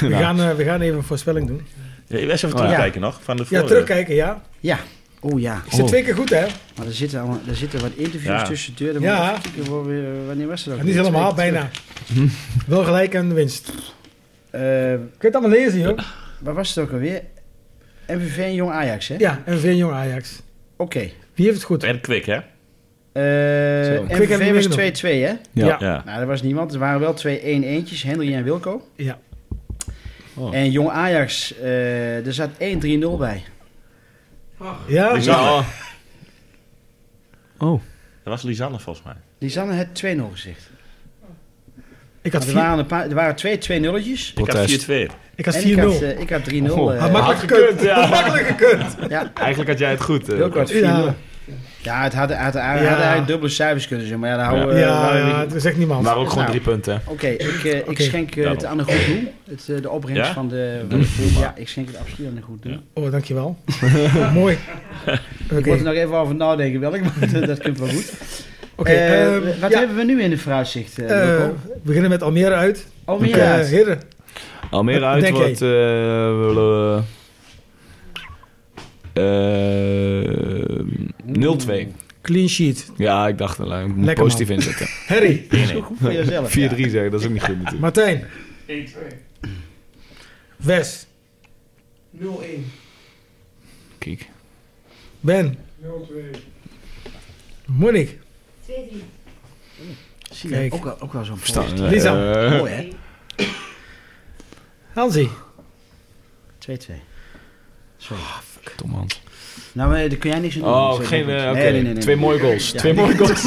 [SPEAKER 5] we, gaan, eh, we gaan even een voorspelling doen.
[SPEAKER 3] Ja, Even
[SPEAKER 4] Oh,
[SPEAKER 2] ja.
[SPEAKER 3] terugkijken nog. Van de
[SPEAKER 5] Ja,
[SPEAKER 3] vorige.
[SPEAKER 5] terugkijken, ja.
[SPEAKER 2] Ja. Oh ja.
[SPEAKER 5] Ik zit
[SPEAKER 3] Oh.
[SPEAKER 5] twee keer goed, hè?
[SPEAKER 2] Maar er zitten, allemaal, er zitten wat interviews
[SPEAKER 3] Ja.
[SPEAKER 2] tussen de deur.
[SPEAKER 5] Ja.
[SPEAKER 2] Wanneer was dat? ook
[SPEAKER 5] Niet
[SPEAKER 2] weer?
[SPEAKER 5] helemaal,
[SPEAKER 2] Twee-
[SPEAKER 5] bijna. Wel gelijk aan de winst. Kun
[SPEAKER 2] Eh,
[SPEAKER 5] je het allemaal lezen, joh?
[SPEAKER 2] waar was het ook alweer? MVV en Jong Ajax, hè?
[SPEAKER 5] Ja, en weer jong Ajax.
[SPEAKER 2] Oké. Eh
[SPEAKER 5] Wie heeft het goed?
[SPEAKER 3] En kwik, hè?
[SPEAKER 2] MVV
[SPEAKER 5] Quick hebben we
[SPEAKER 2] was
[SPEAKER 5] meegenomen.
[SPEAKER 2] 2-2, hè?
[SPEAKER 3] Ja.
[SPEAKER 5] Ja.
[SPEAKER 2] Nou, er was niemand. Er waren wel twee 1-1'tjes. Henry en Wilco.
[SPEAKER 5] Ja.
[SPEAKER 4] Oh.
[SPEAKER 2] En Jong Ajax, eh, er zat 1-3-0 bij.
[SPEAKER 5] Ja?
[SPEAKER 3] Lisanne.
[SPEAKER 4] Oh.
[SPEAKER 3] Dat was Lisanne volgens mij.
[SPEAKER 2] Lisanne had 2-0 gezegd.
[SPEAKER 5] Ik had
[SPEAKER 2] Er
[SPEAKER 5] 4-0.
[SPEAKER 2] waren, een paar, er waren twee 2-0'tjes.
[SPEAKER 4] Protest.
[SPEAKER 3] Ik had 4-2.
[SPEAKER 5] Ik had 4-0.
[SPEAKER 2] En ik had, eh, ik had 3-0. eh,
[SPEAKER 5] Had makkelijk gekund. Had makkelijk gekund.
[SPEAKER 2] ja,
[SPEAKER 4] Eigenlijk had jij het goed. eh.
[SPEAKER 2] Wilco had 4-0.
[SPEAKER 5] Ja,
[SPEAKER 2] Ja, het had, had, had, had
[SPEAKER 5] Ja.
[SPEAKER 2] eigenlijk dubbele cijfers kunnen zijn, maar ja, daar houden we...
[SPEAKER 5] ja,
[SPEAKER 2] daar-
[SPEAKER 5] ja, dat zegt niemand.
[SPEAKER 4] Maar ook gewoon
[SPEAKER 2] Nou.
[SPEAKER 4] drie punten.
[SPEAKER 2] Oké, ik, eh, ik
[SPEAKER 5] Oké.
[SPEAKER 2] schenk eh, het aan een goed doel. Het, eh, de opbrengst
[SPEAKER 3] Ja?
[SPEAKER 2] van de... Van de ja, ik schenk het absoluut aan een goed doel.
[SPEAKER 3] Ja.
[SPEAKER 5] Oh, dankjewel. Mooi. Oké,
[SPEAKER 2] Ik moet er nog even over nadenken welk, maar dat- dat komt wel goed.
[SPEAKER 5] oké,
[SPEAKER 2] Eh,
[SPEAKER 5] ehm,
[SPEAKER 2] wat
[SPEAKER 5] ja,
[SPEAKER 2] hebben we nu in de vooruitzicht, eh
[SPEAKER 5] eh,
[SPEAKER 2] Wilco?
[SPEAKER 5] we beginnen met Almere uit.
[SPEAKER 2] Almere
[SPEAKER 5] Eh,
[SPEAKER 2] uit.
[SPEAKER 5] heren,
[SPEAKER 4] Almere
[SPEAKER 5] Wat
[SPEAKER 4] uit
[SPEAKER 5] denk
[SPEAKER 4] wordt... eh, eh, eh, 0-2.
[SPEAKER 5] clean sheet.
[SPEAKER 4] Ja, ik dacht, nou, ik moet
[SPEAKER 5] Lekker,
[SPEAKER 4] positief inzetten. 4-3
[SPEAKER 5] Harry,
[SPEAKER 2] Dat is ook goed voor jezelf. ja.
[SPEAKER 4] zeggen, dat is ook niet goed natuurlijk.
[SPEAKER 5] Martijn,
[SPEAKER 6] 1-2.
[SPEAKER 5] Wes,
[SPEAKER 6] 0-1.
[SPEAKER 4] Kijk.
[SPEAKER 5] Ben,
[SPEAKER 6] 0-2.
[SPEAKER 5] Monique.
[SPEAKER 7] 2-3.
[SPEAKER 2] Zie je,
[SPEAKER 5] Kijk.
[SPEAKER 2] ook, wel- ook wel zo'n
[SPEAKER 4] Verstaan.
[SPEAKER 2] post.
[SPEAKER 5] Lisa.
[SPEAKER 4] Eh,
[SPEAKER 2] Mooi, hè?
[SPEAKER 5] Hansi.
[SPEAKER 2] 2-2. Sorry.
[SPEAKER 4] Tom Hans.
[SPEAKER 2] Nou, maar daar kun jij niks aan doen.
[SPEAKER 4] Oh,
[SPEAKER 2] Sorry,
[SPEAKER 4] geen... eh,
[SPEAKER 2] Wilco.
[SPEAKER 4] Oké,
[SPEAKER 2] Nee, nee, nee, nee,
[SPEAKER 4] twee
[SPEAKER 2] nee.
[SPEAKER 4] mooie goals.
[SPEAKER 2] Ja.
[SPEAKER 4] Twee mooie goals.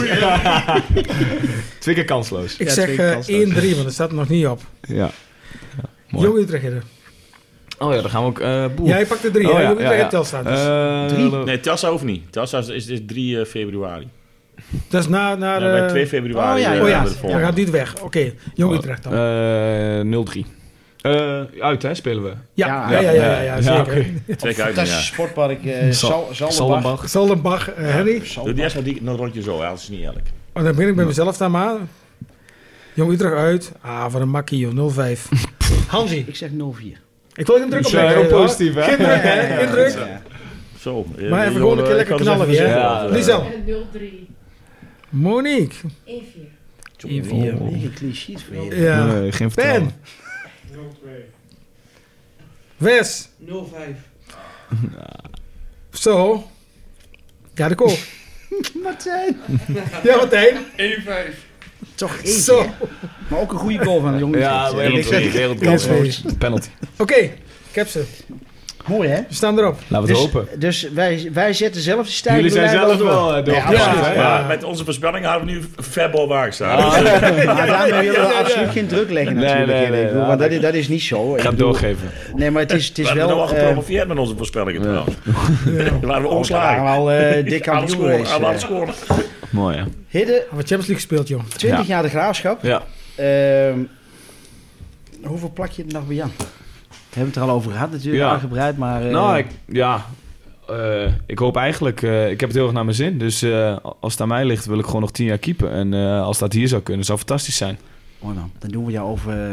[SPEAKER 4] twee keer kansloos.
[SPEAKER 5] Ik
[SPEAKER 2] Ja,
[SPEAKER 5] zeg
[SPEAKER 2] twee
[SPEAKER 5] eh, 1-3,
[SPEAKER 2] kansloos.
[SPEAKER 5] want er staat er nog niet op.
[SPEAKER 4] Ja. Mooi.
[SPEAKER 5] Jong Utrecht. heren.
[SPEAKER 4] Oh ja, dan gaan we ook... eh boer.
[SPEAKER 5] Jij pakt de 3,
[SPEAKER 4] Oh,
[SPEAKER 5] hè?
[SPEAKER 4] ja,
[SPEAKER 5] Jong
[SPEAKER 4] ja,
[SPEAKER 5] Utrecht
[SPEAKER 4] ja.
[SPEAKER 5] in Telstra. Dus.
[SPEAKER 4] Eh,
[SPEAKER 3] Nee, Tassa hoeft niet. Tassa is, is, is 3 eh, februari.
[SPEAKER 4] Eh,
[SPEAKER 5] dat is Dus na... na
[SPEAKER 3] Ja,
[SPEAKER 5] de-
[SPEAKER 3] bij 2 februari.
[SPEAKER 2] oh ja,
[SPEAKER 3] eh,
[SPEAKER 5] oh ja,
[SPEAKER 3] hebben we de
[SPEAKER 5] dan
[SPEAKER 3] volgende.
[SPEAKER 5] gaat dit weg. Oké, Jong
[SPEAKER 4] Oh.
[SPEAKER 5] Utrecht dan.
[SPEAKER 4] Eh, 0-3. Eh, uit, hè, spelen we.
[SPEAKER 5] ja, ja, ja, ja, ja, ja,
[SPEAKER 4] Ja,
[SPEAKER 5] zeker.
[SPEAKER 4] oké.
[SPEAKER 3] Twee keer uit,
[SPEAKER 2] Fantastisch
[SPEAKER 3] ja.
[SPEAKER 2] sportpark. eh Zal- Zaldenbach.
[SPEAKER 4] Saldenbach.
[SPEAKER 5] Zaldenbach, eh, Henry.
[SPEAKER 3] Doe die eerst nog die- nog een rondje zo, hè, anders is het niet eerlijk.
[SPEAKER 5] Oh, dan begin ik bij mezelf dan maar. Jong Utrecht uit. Ah, wat een makkie, joh. 05. Hansi.
[SPEAKER 2] Ik zeg 0-4.
[SPEAKER 5] Ik wil hem druk
[SPEAKER 4] Dus
[SPEAKER 5] op
[SPEAKER 4] ja,
[SPEAKER 5] leggen,
[SPEAKER 4] heel
[SPEAKER 5] hoor.
[SPEAKER 4] positief, hè?
[SPEAKER 5] Geen druk, hè?
[SPEAKER 2] Ja,
[SPEAKER 5] Geen druk.
[SPEAKER 2] ja, ja.
[SPEAKER 3] Zo. eh,
[SPEAKER 5] Maar even
[SPEAKER 3] eh,
[SPEAKER 5] gewoon een keer
[SPEAKER 3] eh,
[SPEAKER 5] lekker
[SPEAKER 3] kan het
[SPEAKER 5] knallen
[SPEAKER 3] even
[SPEAKER 5] weer, hè?
[SPEAKER 3] zeggen,
[SPEAKER 4] Ja.
[SPEAKER 3] eh,
[SPEAKER 5] Liesel.
[SPEAKER 7] En 0-3.
[SPEAKER 5] Monique.
[SPEAKER 7] 1-4.
[SPEAKER 2] Weer een clean sheet voor je.
[SPEAKER 5] Ja.
[SPEAKER 4] Nee, geen vertrouwen.
[SPEAKER 5] Ben.
[SPEAKER 6] 0-2.
[SPEAKER 5] Wes.
[SPEAKER 6] 0-5.
[SPEAKER 5] Zo. Ja, de kool.
[SPEAKER 2] Martijn.
[SPEAKER 5] Ja, Martijn.
[SPEAKER 6] 1-5.
[SPEAKER 2] Toch één.
[SPEAKER 5] Zo.
[SPEAKER 2] hè? Maar ook een goede goal van de jongen.
[SPEAKER 4] Ja, wereldgoal.
[SPEAKER 5] Kansloos.
[SPEAKER 4] Wereldgoal. Penalty.
[SPEAKER 5] Oké. Ik heb ze.
[SPEAKER 2] Mooi, hè?
[SPEAKER 5] We staan erop.
[SPEAKER 4] Laten we
[SPEAKER 2] Dus,
[SPEAKER 4] het hopen.
[SPEAKER 2] dus wij, wij zetten zelf de stijl.
[SPEAKER 4] Jullie zijn zelf wel eh, door.
[SPEAKER 2] Ja,
[SPEAKER 4] Ja,
[SPEAKER 2] absoluut.
[SPEAKER 4] hè?
[SPEAKER 3] Ja, met onze voorspelling hadden we nu ver boven waar staan.
[SPEAKER 2] Maar daarmee willen we absoluut geen druk leggen
[SPEAKER 4] Nee,
[SPEAKER 2] natuurlijk.
[SPEAKER 4] nee,
[SPEAKER 2] hè.
[SPEAKER 4] nee,
[SPEAKER 2] Ik bedoel,
[SPEAKER 4] ja,
[SPEAKER 2] want dat, is, dat is niet zo.
[SPEAKER 4] Ik ga het doorgeven.
[SPEAKER 2] Nee, maar het is, het
[SPEAKER 3] we
[SPEAKER 2] is
[SPEAKER 3] hebben nog
[SPEAKER 2] wel...
[SPEAKER 3] wel
[SPEAKER 2] eh,
[SPEAKER 3] gepromoveerd met onze voorspellingen trouwens. Laten we
[SPEAKER 2] we waren
[SPEAKER 3] omslagen.
[SPEAKER 2] al eh dik
[SPEAKER 3] Aan het
[SPEAKER 2] kampioen
[SPEAKER 3] scoren,
[SPEAKER 2] geweest.
[SPEAKER 3] aan het
[SPEAKER 2] eh.
[SPEAKER 3] scoren.
[SPEAKER 4] Mooi, hè?
[SPEAKER 2] Hidde,
[SPEAKER 5] Hebben we Champions League gespeeld, joh.
[SPEAKER 2] 20 jaar de graafschap.
[SPEAKER 4] Ja.
[SPEAKER 2] Ehm, hoeveel plak je er nog bij Jan? We hebben het er al over gehad natuurlijk,
[SPEAKER 4] Ja.
[SPEAKER 2] aangebreid, maar... eh,
[SPEAKER 4] Nou, ik, ja. Eh, ik hoop eigenlijk... eh, ik heb het heel erg naar mijn zin. Dus eh, als het aan mij ligt, wil ik gewoon nog tien jaar keepen. En eh, als dat hier zou kunnen, zou fantastisch zijn.
[SPEAKER 2] Mooi man, dan doen we jou over eh,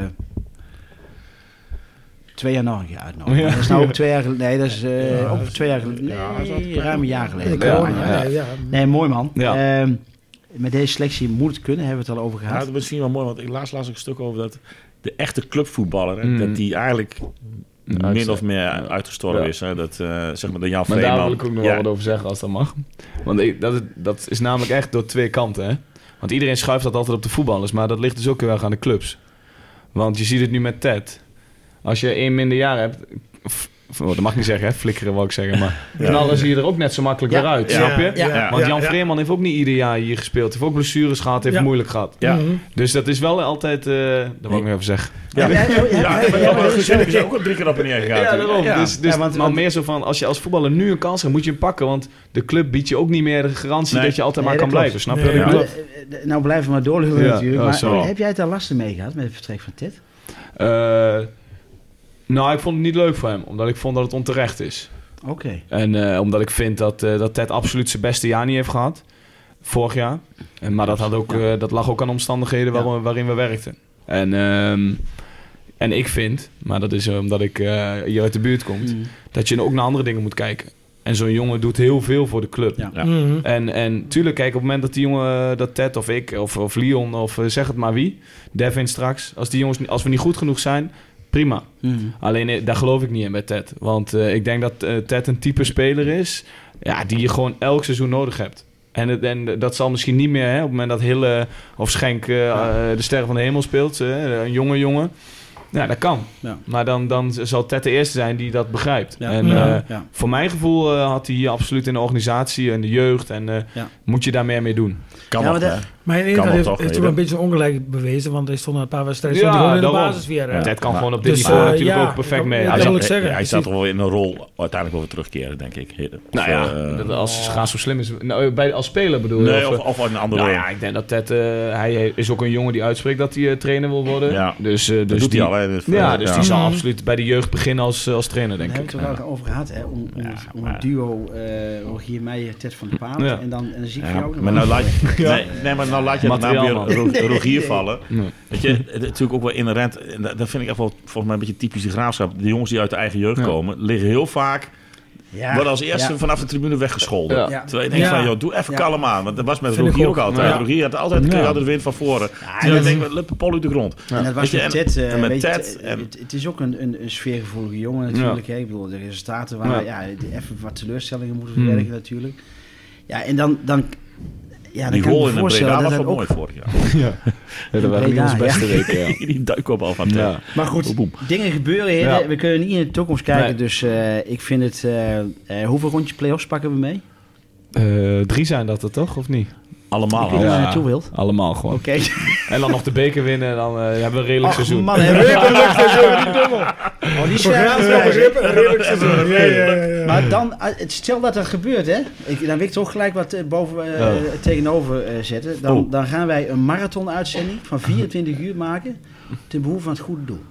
[SPEAKER 2] twee jaar nog een keer uitnodigen.
[SPEAKER 4] Ja.
[SPEAKER 2] Dat is nou ook twee jaar geleden. Nee, dat is eh, ook twee jaar geleden. Nee, ruim een jaar
[SPEAKER 5] In
[SPEAKER 2] geleden.
[SPEAKER 5] de
[SPEAKER 4] Ja,
[SPEAKER 5] corona.
[SPEAKER 4] ja.
[SPEAKER 5] Nee, ja.
[SPEAKER 2] Nee, mooi man.
[SPEAKER 4] Ja.
[SPEAKER 2] Ehm, met deze selectie moet het kunnen, hebben we het al over
[SPEAKER 3] Ja,
[SPEAKER 2] gehad.
[SPEAKER 3] dat is misschien wel mooi, want ik laatst las ik een stuk over dat de echte clubvoetballer, hè,
[SPEAKER 4] Mm.
[SPEAKER 3] dat die eigenlijk min of meer uitgestorven
[SPEAKER 4] Ja.
[SPEAKER 3] is. Hè? Dat, eh, zeg maar de Jan
[SPEAKER 4] Maar daar wil
[SPEAKER 3] Vreeman.
[SPEAKER 4] ik ook nog
[SPEAKER 3] Ja,
[SPEAKER 4] wel wat over zeggen, als dat mag. Want ik, dat, dat is namelijk echt door twee kanten, hè. Want iedereen schuift dat altijd op de voetballers, maar dat ligt dus ook heel erg aan de clubs. Want je ziet het nu met Ted. Als je één minder jaar hebt... f- f- oh, dat mag ik niet zeggen, hè. Flikkeren wou ik zeggen, maar...
[SPEAKER 3] Ja.
[SPEAKER 4] Knallen zie je er ook net zo makkelijk
[SPEAKER 2] Ja.
[SPEAKER 4] weer uit,
[SPEAKER 3] Ja.
[SPEAKER 4] snap je?
[SPEAKER 2] Ja.
[SPEAKER 3] Ja.
[SPEAKER 4] Want Jan
[SPEAKER 5] ja.
[SPEAKER 4] Vreeman heeft ook niet ieder jaar hier gespeeld. Heeft ook blessures gehad, heeft
[SPEAKER 5] Ja.
[SPEAKER 4] moeilijk gehad.
[SPEAKER 3] Ja.
[SPEAKER 5] Mhm.
[SPEAKER 4] Dus dat is wel altijd... eh, dat wou ik nog even zeggen.
[SPEAKER 3] Ja.
[SPEAKER 2] Ja, ja, ja,
[SPEAKER 3] Ja,
[SPEAKER 2] ja, ja,
[SPEAKER 3] maar dat
[SPEAKER 2] maar dat is
[SPEAKER 3] was- ik ben ook al drie keer op en neer gegaan.
[SPEAKER 4] Ja,
[SPEAKER 3] toen.
[SPEAKER 4] daarom.
[SPEAKER 3] Ja.
[SPEAKER 4] Dus, dus
[SPEAKER 2] Ja, want-
[SPEAKER 4] maar meer zo van, als je als voetballer nu een kans hebt, moet je hem pakken. Want de club biedt je ook niet meer de garantie
[SPEAKER 3] Nee.
[SPEAKER 4] dat je altijd
[SPEAKER 2] Nee,
[SPEAKER 4] maar kan
[SPEAKER 2] dat
[SPEAKER 4] blijven. Snap je?
[SPEAKER 5] Nee,
[SPEAKER 4] wat ik
[SPEAKER 3] ja.
[SPEAKER 4] bedoel?
[SPEAKER 2] Eh, eh, Nou blijven we maar doorlullen
[SPEAKER 4] Ja.
[SPEAKER 2] natuurlijk.
[SPEAKER 4] Oh,
[SPEAKER 2] Maar
[SPEAKER 4] sorry.
[SPEAKER 2] heb jij daar lasten mee gehad met het vertrek van Ted?
[SPEAKER 4] Eh, nou, ik vond het niet leuk voor hem. Omdat ik vond dat het onterecht is.
[SPEAKER 2] Oké.
[SPEAKER 4] En eh, omdat ik vind dat, eh, dat Ted absoluut zijn beste jaar niet heeft gehad. Vorig jaar. En, maar dat, had ook, eh, dat lag ook aan omstandigheden waar- waarin we werkten. En ehm, En ik vind, maar dat is eh, omdat ik eh, hier uit de buurt kom, dat je ook naar andere dingen moet kijken. En zo'n jongen doet heel veel voor de club.
[SPEAKER 2] Ja.
[SPEAKER 3] Ja.
[SPEAKER 5] Mhm.
[SPEAKER 4] En, en tuurlijk, kijk, op het moment dat die jongen, eh, dat Ted of ik, of, of Leon, of eh, zeg het maar wie, Devin straks, als, die jongens, als we niet goed genoeg zijn, prima.
[SPEAKER 2] Hm.
[SPEAKER 4] Alleen eh, daar geloof ik niet in bij Ted. Want eh, ik denk dat eh, Ted een type speler is ja, die je gewoon elk seizoen nodig hebt. En, het- en dat zal misschien niet meer, hè, op het moment dat Hille of Schenk eh, eh, de Sterren van de Hemel speelt, eh, een jonge jongen. Ja, dat kan.
[SPEAKER 2] Ja.
[SPEAKER 4] Maar dan, dan zal Ted de eerste zijn die dat begrijpt.
[SPEAKER 2] Ja.
[SPEAKER 4] En
[SPEAKER 5] Ja.
[SPEAKER 4] eh,
[SPEAKER 2] Ja.
[SPEAKER 4] voor mijn gevoel eh, had hij hier absoluut in de organisatie en de jeugd. En eh,
[SPEAKER 2] Ja.
[SPEAKER 4] moet je daar meer mee doen.
[SPEAKER 3] Kan
[SPEAKER 2] Ja,
[SPEAKER 3] nog,
[SPEAKER 2] maar
[SPEAKER 3] hè?
[SPEAKER 2] dat-
[SPEAKER 5] Maar in
[SPEAKER 3] Kan
[SPEAKER 5] Nederland
[SPEAKER 3] wel
[SPEAKER 5] heeft,
[SPEAKER 3] toch,
[SPEAKER 5] heeft
[SPEAKER 3] je
[SPEAKER 5] hij wel een
[SPEAKER 3] bent-
[SPEAKER 5] beetje ongelijk bewezen, want hij stond na een paar wedstrijden
[SPEAKER 4] Ja,
[SPEAKER 5] stond hij gewoon in
[SPEAKER 4] daarom.
[SPEAKER 5] de basis weer. hè.
[SPEAKER 4] Ted kan
[SPEAKER 3] maar-
[SPEAKER 4] gewoon op dit
[SPEAKER 5] Dus,
[SPEAKER 4] niveau
[SPEAKER 5] eh,
[SPEAKER 4] natuurlijk
[SPEAKER 5] ja,
[SPEAKER 4] ook perfect
[SPEAKER 5] ik-
[SPEAKER 4] mee.
[SPEAKER 5] ik-
[SPEAKER 3] Hij
[SPEAKER 5] dat
[SPEAKER 4] Als-
[SPEAKER 3] zat-
[SPEAKER 5] wil ik zeggen,
[SPEAKER 3] hij- Hij staat
[SPEAKER 5] precies.
[SPEAKER 3] toch wel in een rol uiteindelijk wel weer terugkeren, denk ik. Of,
[SPEAKER 4] Nou ja,
[SPEAKER 3] eh,
[SPEAKER 4] dat als Schaas of Slim is. Nou, bij, als speler bedoel je?
[SPEAKER 3] nee,
[SPEAKER 4] of,
[SPEAKER 3] of, of een andere
[SPEAKER 4] nou
[SPEAKER 3] rol.
[SPEAKER 4] ja, ik denk dat Ted... eh, hij is ook een jongen die uitspreekt dat hij eh, trainer wil worden.
[SPEAKER 3] Ja.
[SPEAKER 4] Dus, eh, dus
[SPEAKER 3] dat doet
[SPEAKER 4] die,
[SPEAKER 3] hij al, hè? Dus,
[SPEAKER 4] Ja, dus die zal
[SPEAKER 5] Mhm.
[SPEAKER 4] absoluut bij de jeugd beginnen als, eh, als trainer,
[SPEAKER 2] Daar
[SPEAKER 4] denk
[SPEAKER 2] hebben
[SPEAKER 4] ik.
[SPEAKER 2] we het ook al over gehad, hè? Om, om,
[SPEAKER 3] Ja,
[SPEAKER 2] het- om
[SPEAKER 3] maar-
[SPEAKER 2] het duo eh Rogier Meijer, Ted van der Paal.
[SPEAKER 4] Ja.
[SPEAKER 2] En, dan, en dan zie ik
[SPEAKER 3] Ja,
[SPEAKER 2] jou ook
[SPEAKER 3] maar nou
[SPEAKER 2] nog.
[SPEAKER 3] laat je, nee, nee, maar nou laat je het naam weer
[SPEAKER 4] Materiaal,
[SPEAKER 3] Ro-
[SPEAKER 2] Nee,
[SPEAKER 3] Rogier
[SPEAKER 2] nee.
[SPEAKER 3] vallen.
[SPEAKER 4] Nee.
[SPEAKER 3] Weet je, het is natuurlijk ook wel inherent. en Dat dat vind ik echt wel volgens mij een beetje typisch de graafschap. De jongens die uit de eigen jeugd
[SPEAKER 4] Ja.
[SPEAKER 3] komen, liggen heel vaak.
[SPEAKER 2] Ja.
[SPEAKER 3] worden als eerste
[SPEAKER 2] Ja.
[SPEAKER 3] vanaf de tribune weggescholden.
[SPEAKER 4] Ja.
[SPEAKER 2] Ja.
[SPEAKER 3] Terwijl je denkt
[SPEAKER 5] Ja.
[SPEAKER 3] van, joh, doe even
[SPEAKER 2] Ja.
[SPEAKER 3] kalm aan. Want dat was met
[SPEAKER 5] Vind ik
[SPEAKER 3] Rogier ook
[SPEAKER 5] ook.
[SPEAKER 3] altijd.
[SPEAKER 5] Ja.
[SPEAKER 3] Rogier had altijd, kreeg
[SPEAKER 4] Ja.
[SPEAKER 3] altijd de wind van voren.
[SPEAKER 2] en
[SPEAKER 3] Terwijl ik
[SPEAKER 2] dat-
[SPEAKER 3] denk, lippen pol uit de grond.
[SPEAKER 2] En dat was
[SPEAKER 3] Weet je,
[SPEAKER 2] met
[SPEAKER 3] en-
[SPEAKER 2] Ted. eh,
[SPEAKER 3] en met
[SPEAKER 2] weet je,
[SPEAKER 3] Ted,
[SPEAKER 2] eh,
[SPEAKER 3] en-
[SPEAKER 2] het, het is ook een, een, een sfeergevoelige jongen natuurlijk. Hè? Ik bedoel, de resultaten waren... Ja. de- even wat teleurstellingen moeten
[SPEAKER 4] Hmm.
[SPEAKER 2] verwerken natuurlijk. Ja, en dan... dan ja, dan
[SPEAKER 3] Die
[SPEAKER 2] kan ik
[SPEAKER 3] rol
[SPEAKER 2] me
[SPEAKER 3] in een Breda
[SPEAKER 2] voorstellen dat
[SPEAKER 3] was
[SPEAKER 2] dat
[SPEAKER 3] wel
[SPEAKER 2] ook...
[SPEAKER 3] mooi vorig jaar.
[SPEAKER 4] dat
[SPEAKER 2] waren niet onze beste
[SPEAKER 4] weken,
[SPEAKER 3] Die duikkop al van
[SPEAKER 4] Ja.
[SPEAKER 3] Ted.
[SPEAKER 2] Maar goed,
[SPEAKER 3] Boem.
[SPEAKER 2] dingen gebeuren, heren.
[SPEAKER 4] Ja.
[SPEAKER 2] We kunnen niet in de toekomst kijken.
[SPEAKER 4] Nee.
[SPEAKER 2] Dus eh, ik vind het... eh, eh, hoeveel rondjes play-offs pakken we mee?
[SPEAKER 4] Eh, drie zijn dat er toch, of niet?
[SPEAKER 3] Allemaal.
[SPEAKER 2] Ik weet niet
[SPEAKER 3] al.
[SPEAKER 2] waar je naartoe wilt.
[SPEAKER 4] Allemaal gewoon.
[SPEAKER 2] Oké.
[SPEAKER 4] En dan nog de beker winnen en dan eh, hebben we een redelijk
[SPEAKER 2] Ach,
[SPEAKER 4] seizoen.
[SPEAKER 2] man, hebben we een leuk seizoen. Die Oh, die zijn
[SPEAKER 5] Een redelijk seizoen. Ja, ja, ja, ja.
[SPEAKER 2] Maar dan, eh, het- stel dat dat gebeurt, hè. Ik, dan wil ik toch gelijk wat eh, boven, eh, tegenover eh, zetten. Dan,
[SPEAKER 3] Oh.
[SPEAKER 2] dan gaan wij een marathon-uitzending van 24 uur maken ten behoeve van het goede doel.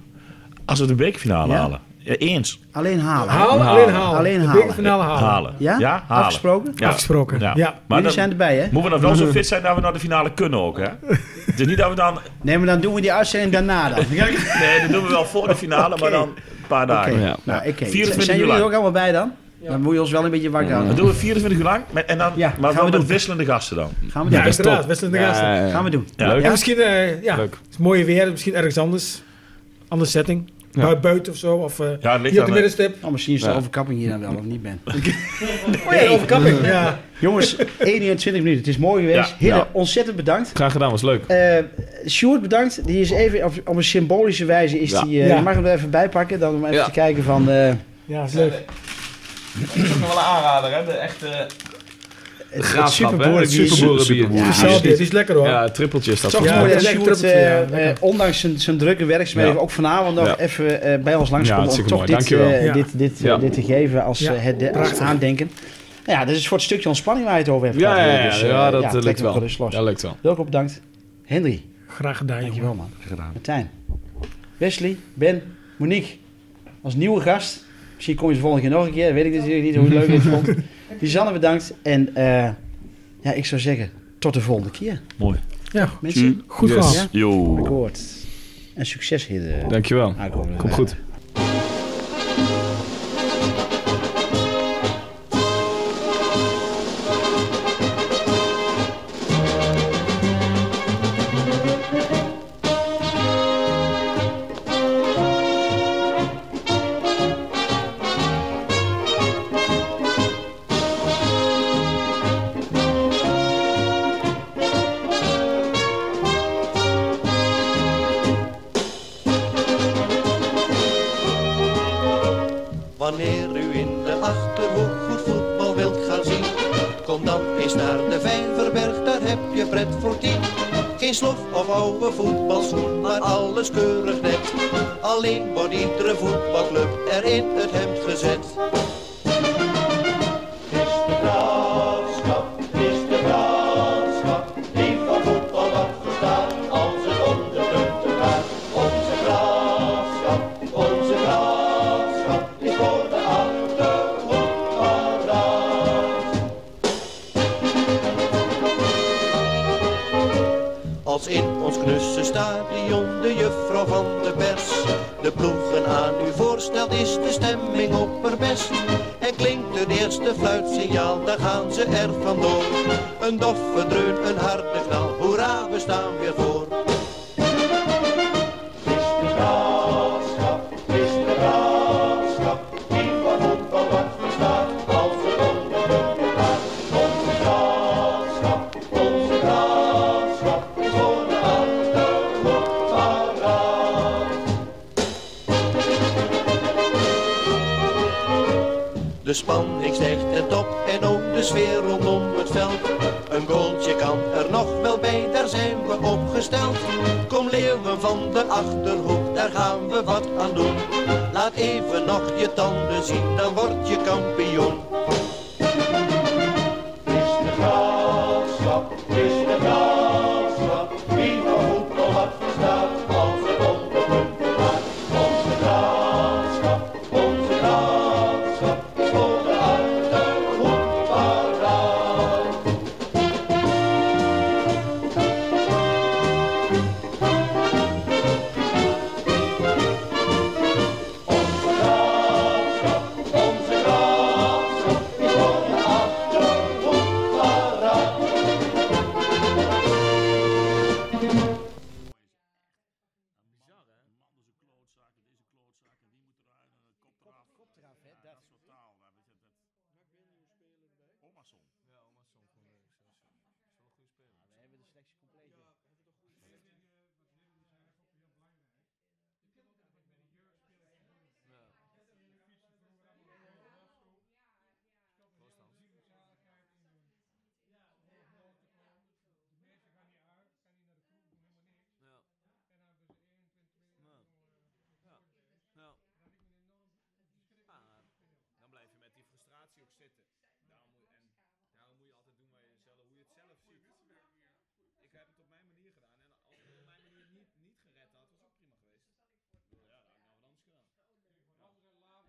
[SPEAKER 3] Als we de bekerfinale
[SPEAKER 2] Ja.
[SPEAKER 3] halen. Ja, eens.
[SPEAKER 2] Alleen halen.
[SPEAKER 5] Halen, alleen halen.
[SPEAKER 2] Alleen
[SPEAKER 5] De
[SPEAKER 2] halen.
[SPEAKER 5] bekerfinale halen.
[SPEAKER 3] Halen.
[SPEAKER 2] Ja?
[SPEAKER 3] Ja, halen.
[SPEAKER 2] Afgesproken?
[SPEAKER 3] Ja.
[SPEAKER 5] Afgesproken. Ja.
[SPEAKER 3] Maar
[SPEAKER 2] Jullie
[SPEAKER 3] dan
[SPEAKER 2] zijn erbij, hè?
[SPEAKER 3] moeten we nog wel zo fit zijn dat we naar de finale kunnen ook, hè? Het is niet dat we dan...
[SPEAKER 2] Nee, maar dan doen we die uitzending daarna dan. Oké.
[SPEAKER 3] Nee, dat doen we wel voor de finale, maar dan een paar dagen.
[SPEAKER 4] Ja.
[SPEAKER 2] Nou, oké.
[SPEAKER 3] 24
[SPEAKER 2] Zijn
[SPEAKER 3] uur
[SPEAKER 2] jullie
[SPEAKER 3] lang.
[SPEAKER 2] er ook allemaal bij dan? Dan moet je ons wel een beetje wakker houden.
[SPEAKER 3] Dat doen we 24 uur lang, met, en dan,
[SPEAKER 2] Ja,
[SPEAKER 3] maar
[SPEAKER 2] gaan
[SPEAKER 3] wel
[SPEAKER 2] we
[SPEAKER 3] met
[SPEAKER 2] doen.
[SPEAKER 3] wisselende gasten dan.
[SPEAKER 2] Gaan we doen.
[SPEAKER 5] inderdaad. Wesley de Gasten.
[SPEAKER 4] Ja, ja, ja.
[SPEAKER 2] Gaan we doen.
[SPEAKER 3] Ja.
[SPEAKER 4] Leuk.
[SPEAKER 5] En misschien, eh, ja,
[SPEAKER 4] Leuk.
[SPEAKER 5] het is mooie weer, misschien ergens anders. Andere setting. Bui- Buiten of zo, of eh,
[SPEAKER 3] Ja, het ligt
[SPEAKER 5] hier op de
[SPEAKER 3] aan, eh,
[SPEAKER 5] middenstip.
[SPEAKER 2] Oh, misschien is de
[SPEAKER 4] Ja.
[SPEAKER 2] overkapping hier dan wel, of niet Ben?
[SPEAKER 5] Oh ja, overkapping. Ja.
[SPEAKER 2] Jongens, 21 minuten. Het is mooi geweest.
[SPEAKER 3] Ja.
[SPEAKER 2] Hille,
[SPEAKER 4] Ja.
[SPEAKER 2] ontzettend bedankt.
[SPEAKER 4] Graag gedaan, was leuk.
[SPEAKER 2] Eh Sjoerd, bedankt. Die is even op, op een symbolische wijze. Is
[SPEAKER 4] Ja.
[SPEAKER 2] die, eh,
[SPEAKER 5] Ja.
[SPEAKER 2] Je mag hem er even bij pakken. Dan om even
[SPEAKER 4] Ja.
[SPEAKER 2] te kijken van. eh,
[SPEAKER 5] ja, is leuk.
[SPEAKER 4] Dat is ook nog wel een aanrader, hè? De echte...
[SPEAKER 2] het, het
[SPEAKER 4] Graafschap, hè?
[SPEAKER 2] superboer.
[SPEAKER 4] Het
[SPEAKER 2] die is-
[SPEAKER 4] superboer.
[SPEAKER 5] Ja,
[SPEAKER 4] Ja,
[SPEAKER 5] Zelfde,
[SPEAKER 4] die
[SPEAKER 5] die
[SPEAKER 4] is-
[SPEAKER 5] is lekker hoor.
[SPEAKER 4] Ja, trippeltjes dat.
[SPEAKER 2] Toch
[SPEAKER 5] Ja,
[SPEAKER 2] mooi dat
[SPEAKER 5] lekker
[SPEAKER 2] Sjoerd,
[SPEAKER 5] trapje,
[SPEAKER 2] eh,
[SPEAKER 5] ja,
[SPEAKER 2] eh,
[SPEAKER 5] lekker.
[SPEAKER 2] ondanks zijn, zijn drukke werkzaamheden,
[SPEAKER 4] Ja.
[SPEAKER 2] ook vanavond nog
[SPEAKER 4] Ja.
[SPEAKER 2] even eh, bij ons langs
[SPEAKER 4] Ja,
[SPEAKER 2] om
[SPEAKER 4] hartstikke
[SPEAKER 2] toch
[SPEAKER 4] mooi.
[SPEAKER 2] dit,
[SPEAKER 4] Dankjewel.
[SPEAKER 2] eh,
[SPEAKER 5] Ja.
[SPEAKER 2] dit, dit, eh,
[SPEAKER 4] Ja.
[SPEAKER 2] dit te geven als,
[SPEAKER 5] Ja,
[SPEAKER 2] eh, het, de- als
[SPEAKER 5] prachtig.
[SPEAKER 2] aandenken. Nou Ja, dit is voor het stukje ontspanning waar je het over hebt.
[SPEAKER 4] Ja,
[SPEAKER 2] gehad,
[SPEAKER 4] ja, ja,
[SPEAKER 2] eh, dus, eh,
[SPEAKER 4] ja, dat
[SPEAKER 2] ja,
[SPEAKER 4] eh,
[SPEAKER 2] trek
[SPEAKER 4] lukt
[SPEAKER 2] hem
[SPEAKER 4] wel.
[SPEAKER 2] gerust los.
[SPEAKER 4] Dat lukt wel.
[SPEAKER 2] Welkom, bedankt. Henry,
[SPEAKER 5] Graag gedaan, jongen.
[SPEAKER 2] dankjewel man. Martijn, Wesley, Ben, Monique, als nieuwe gast. Misschien kom je ze volgende keer nog een keer. Weet ik natuurlijk niet hoe leuk je het vond. Lisanne bedankt. En eh, ja, ik zou zeggen, tot de volgende keer.
[SPEAKER 3] Mooi.
[SPEAKER 5] Ja,
[SPEAKER 2] Mensen,
[SPEAKER 5] goed
[SPEAKER 4] Yes.
[SPEAKER 5] verhaal.
[SPEAKER 2] Ja.
[SPEAKER 3] Yo.
[SPEAKER 2] akkoord. En succes hier. de-
[SPEAKER 4] Dankjewel.
[SPEAKER 2] aankomende
[SPEAKER 4] Komt goed.
[SPEAKER 7] Wanneer u in de Achterhoek goed voetbal wilt gaan zien Kom dan eens naar de Vijverberg, daar heb je pret voor tien Geen slof of oude voetbalschoen, maar alles keurig net Alleen wordt iedere voetbalclub er in het hemd gezet Het is de graafschap, het is de graafschap Die van voetbal wat verstaat, als het onder te gaat Onze graafschap, onze graafschap Is voor de achterhoek paraat Als in ons knusse stadion de juffrouw van de pers aan u voorstelt is de stemming opperbest. En klinkt het eerste fluitsignaal, daar gaan ze er vandoor. Een doffe dreun, een harde knal, hoera, we staan weer voor. De spanning stijgt en top en ook de sfeer rondom het veld. Een goaltje kan er nog wel bij, daar zijn we opgesteld. Kom leeuwen van de achterhoek, daar gaan we wat aan doen. Laat even nog je tanden zien, dan word je kampioen.
[SPEAKER 8] Daarom moet je altijd doen waar je zelf, hoe je het zelf ziet. Ik heb het op mijn manier gedaan.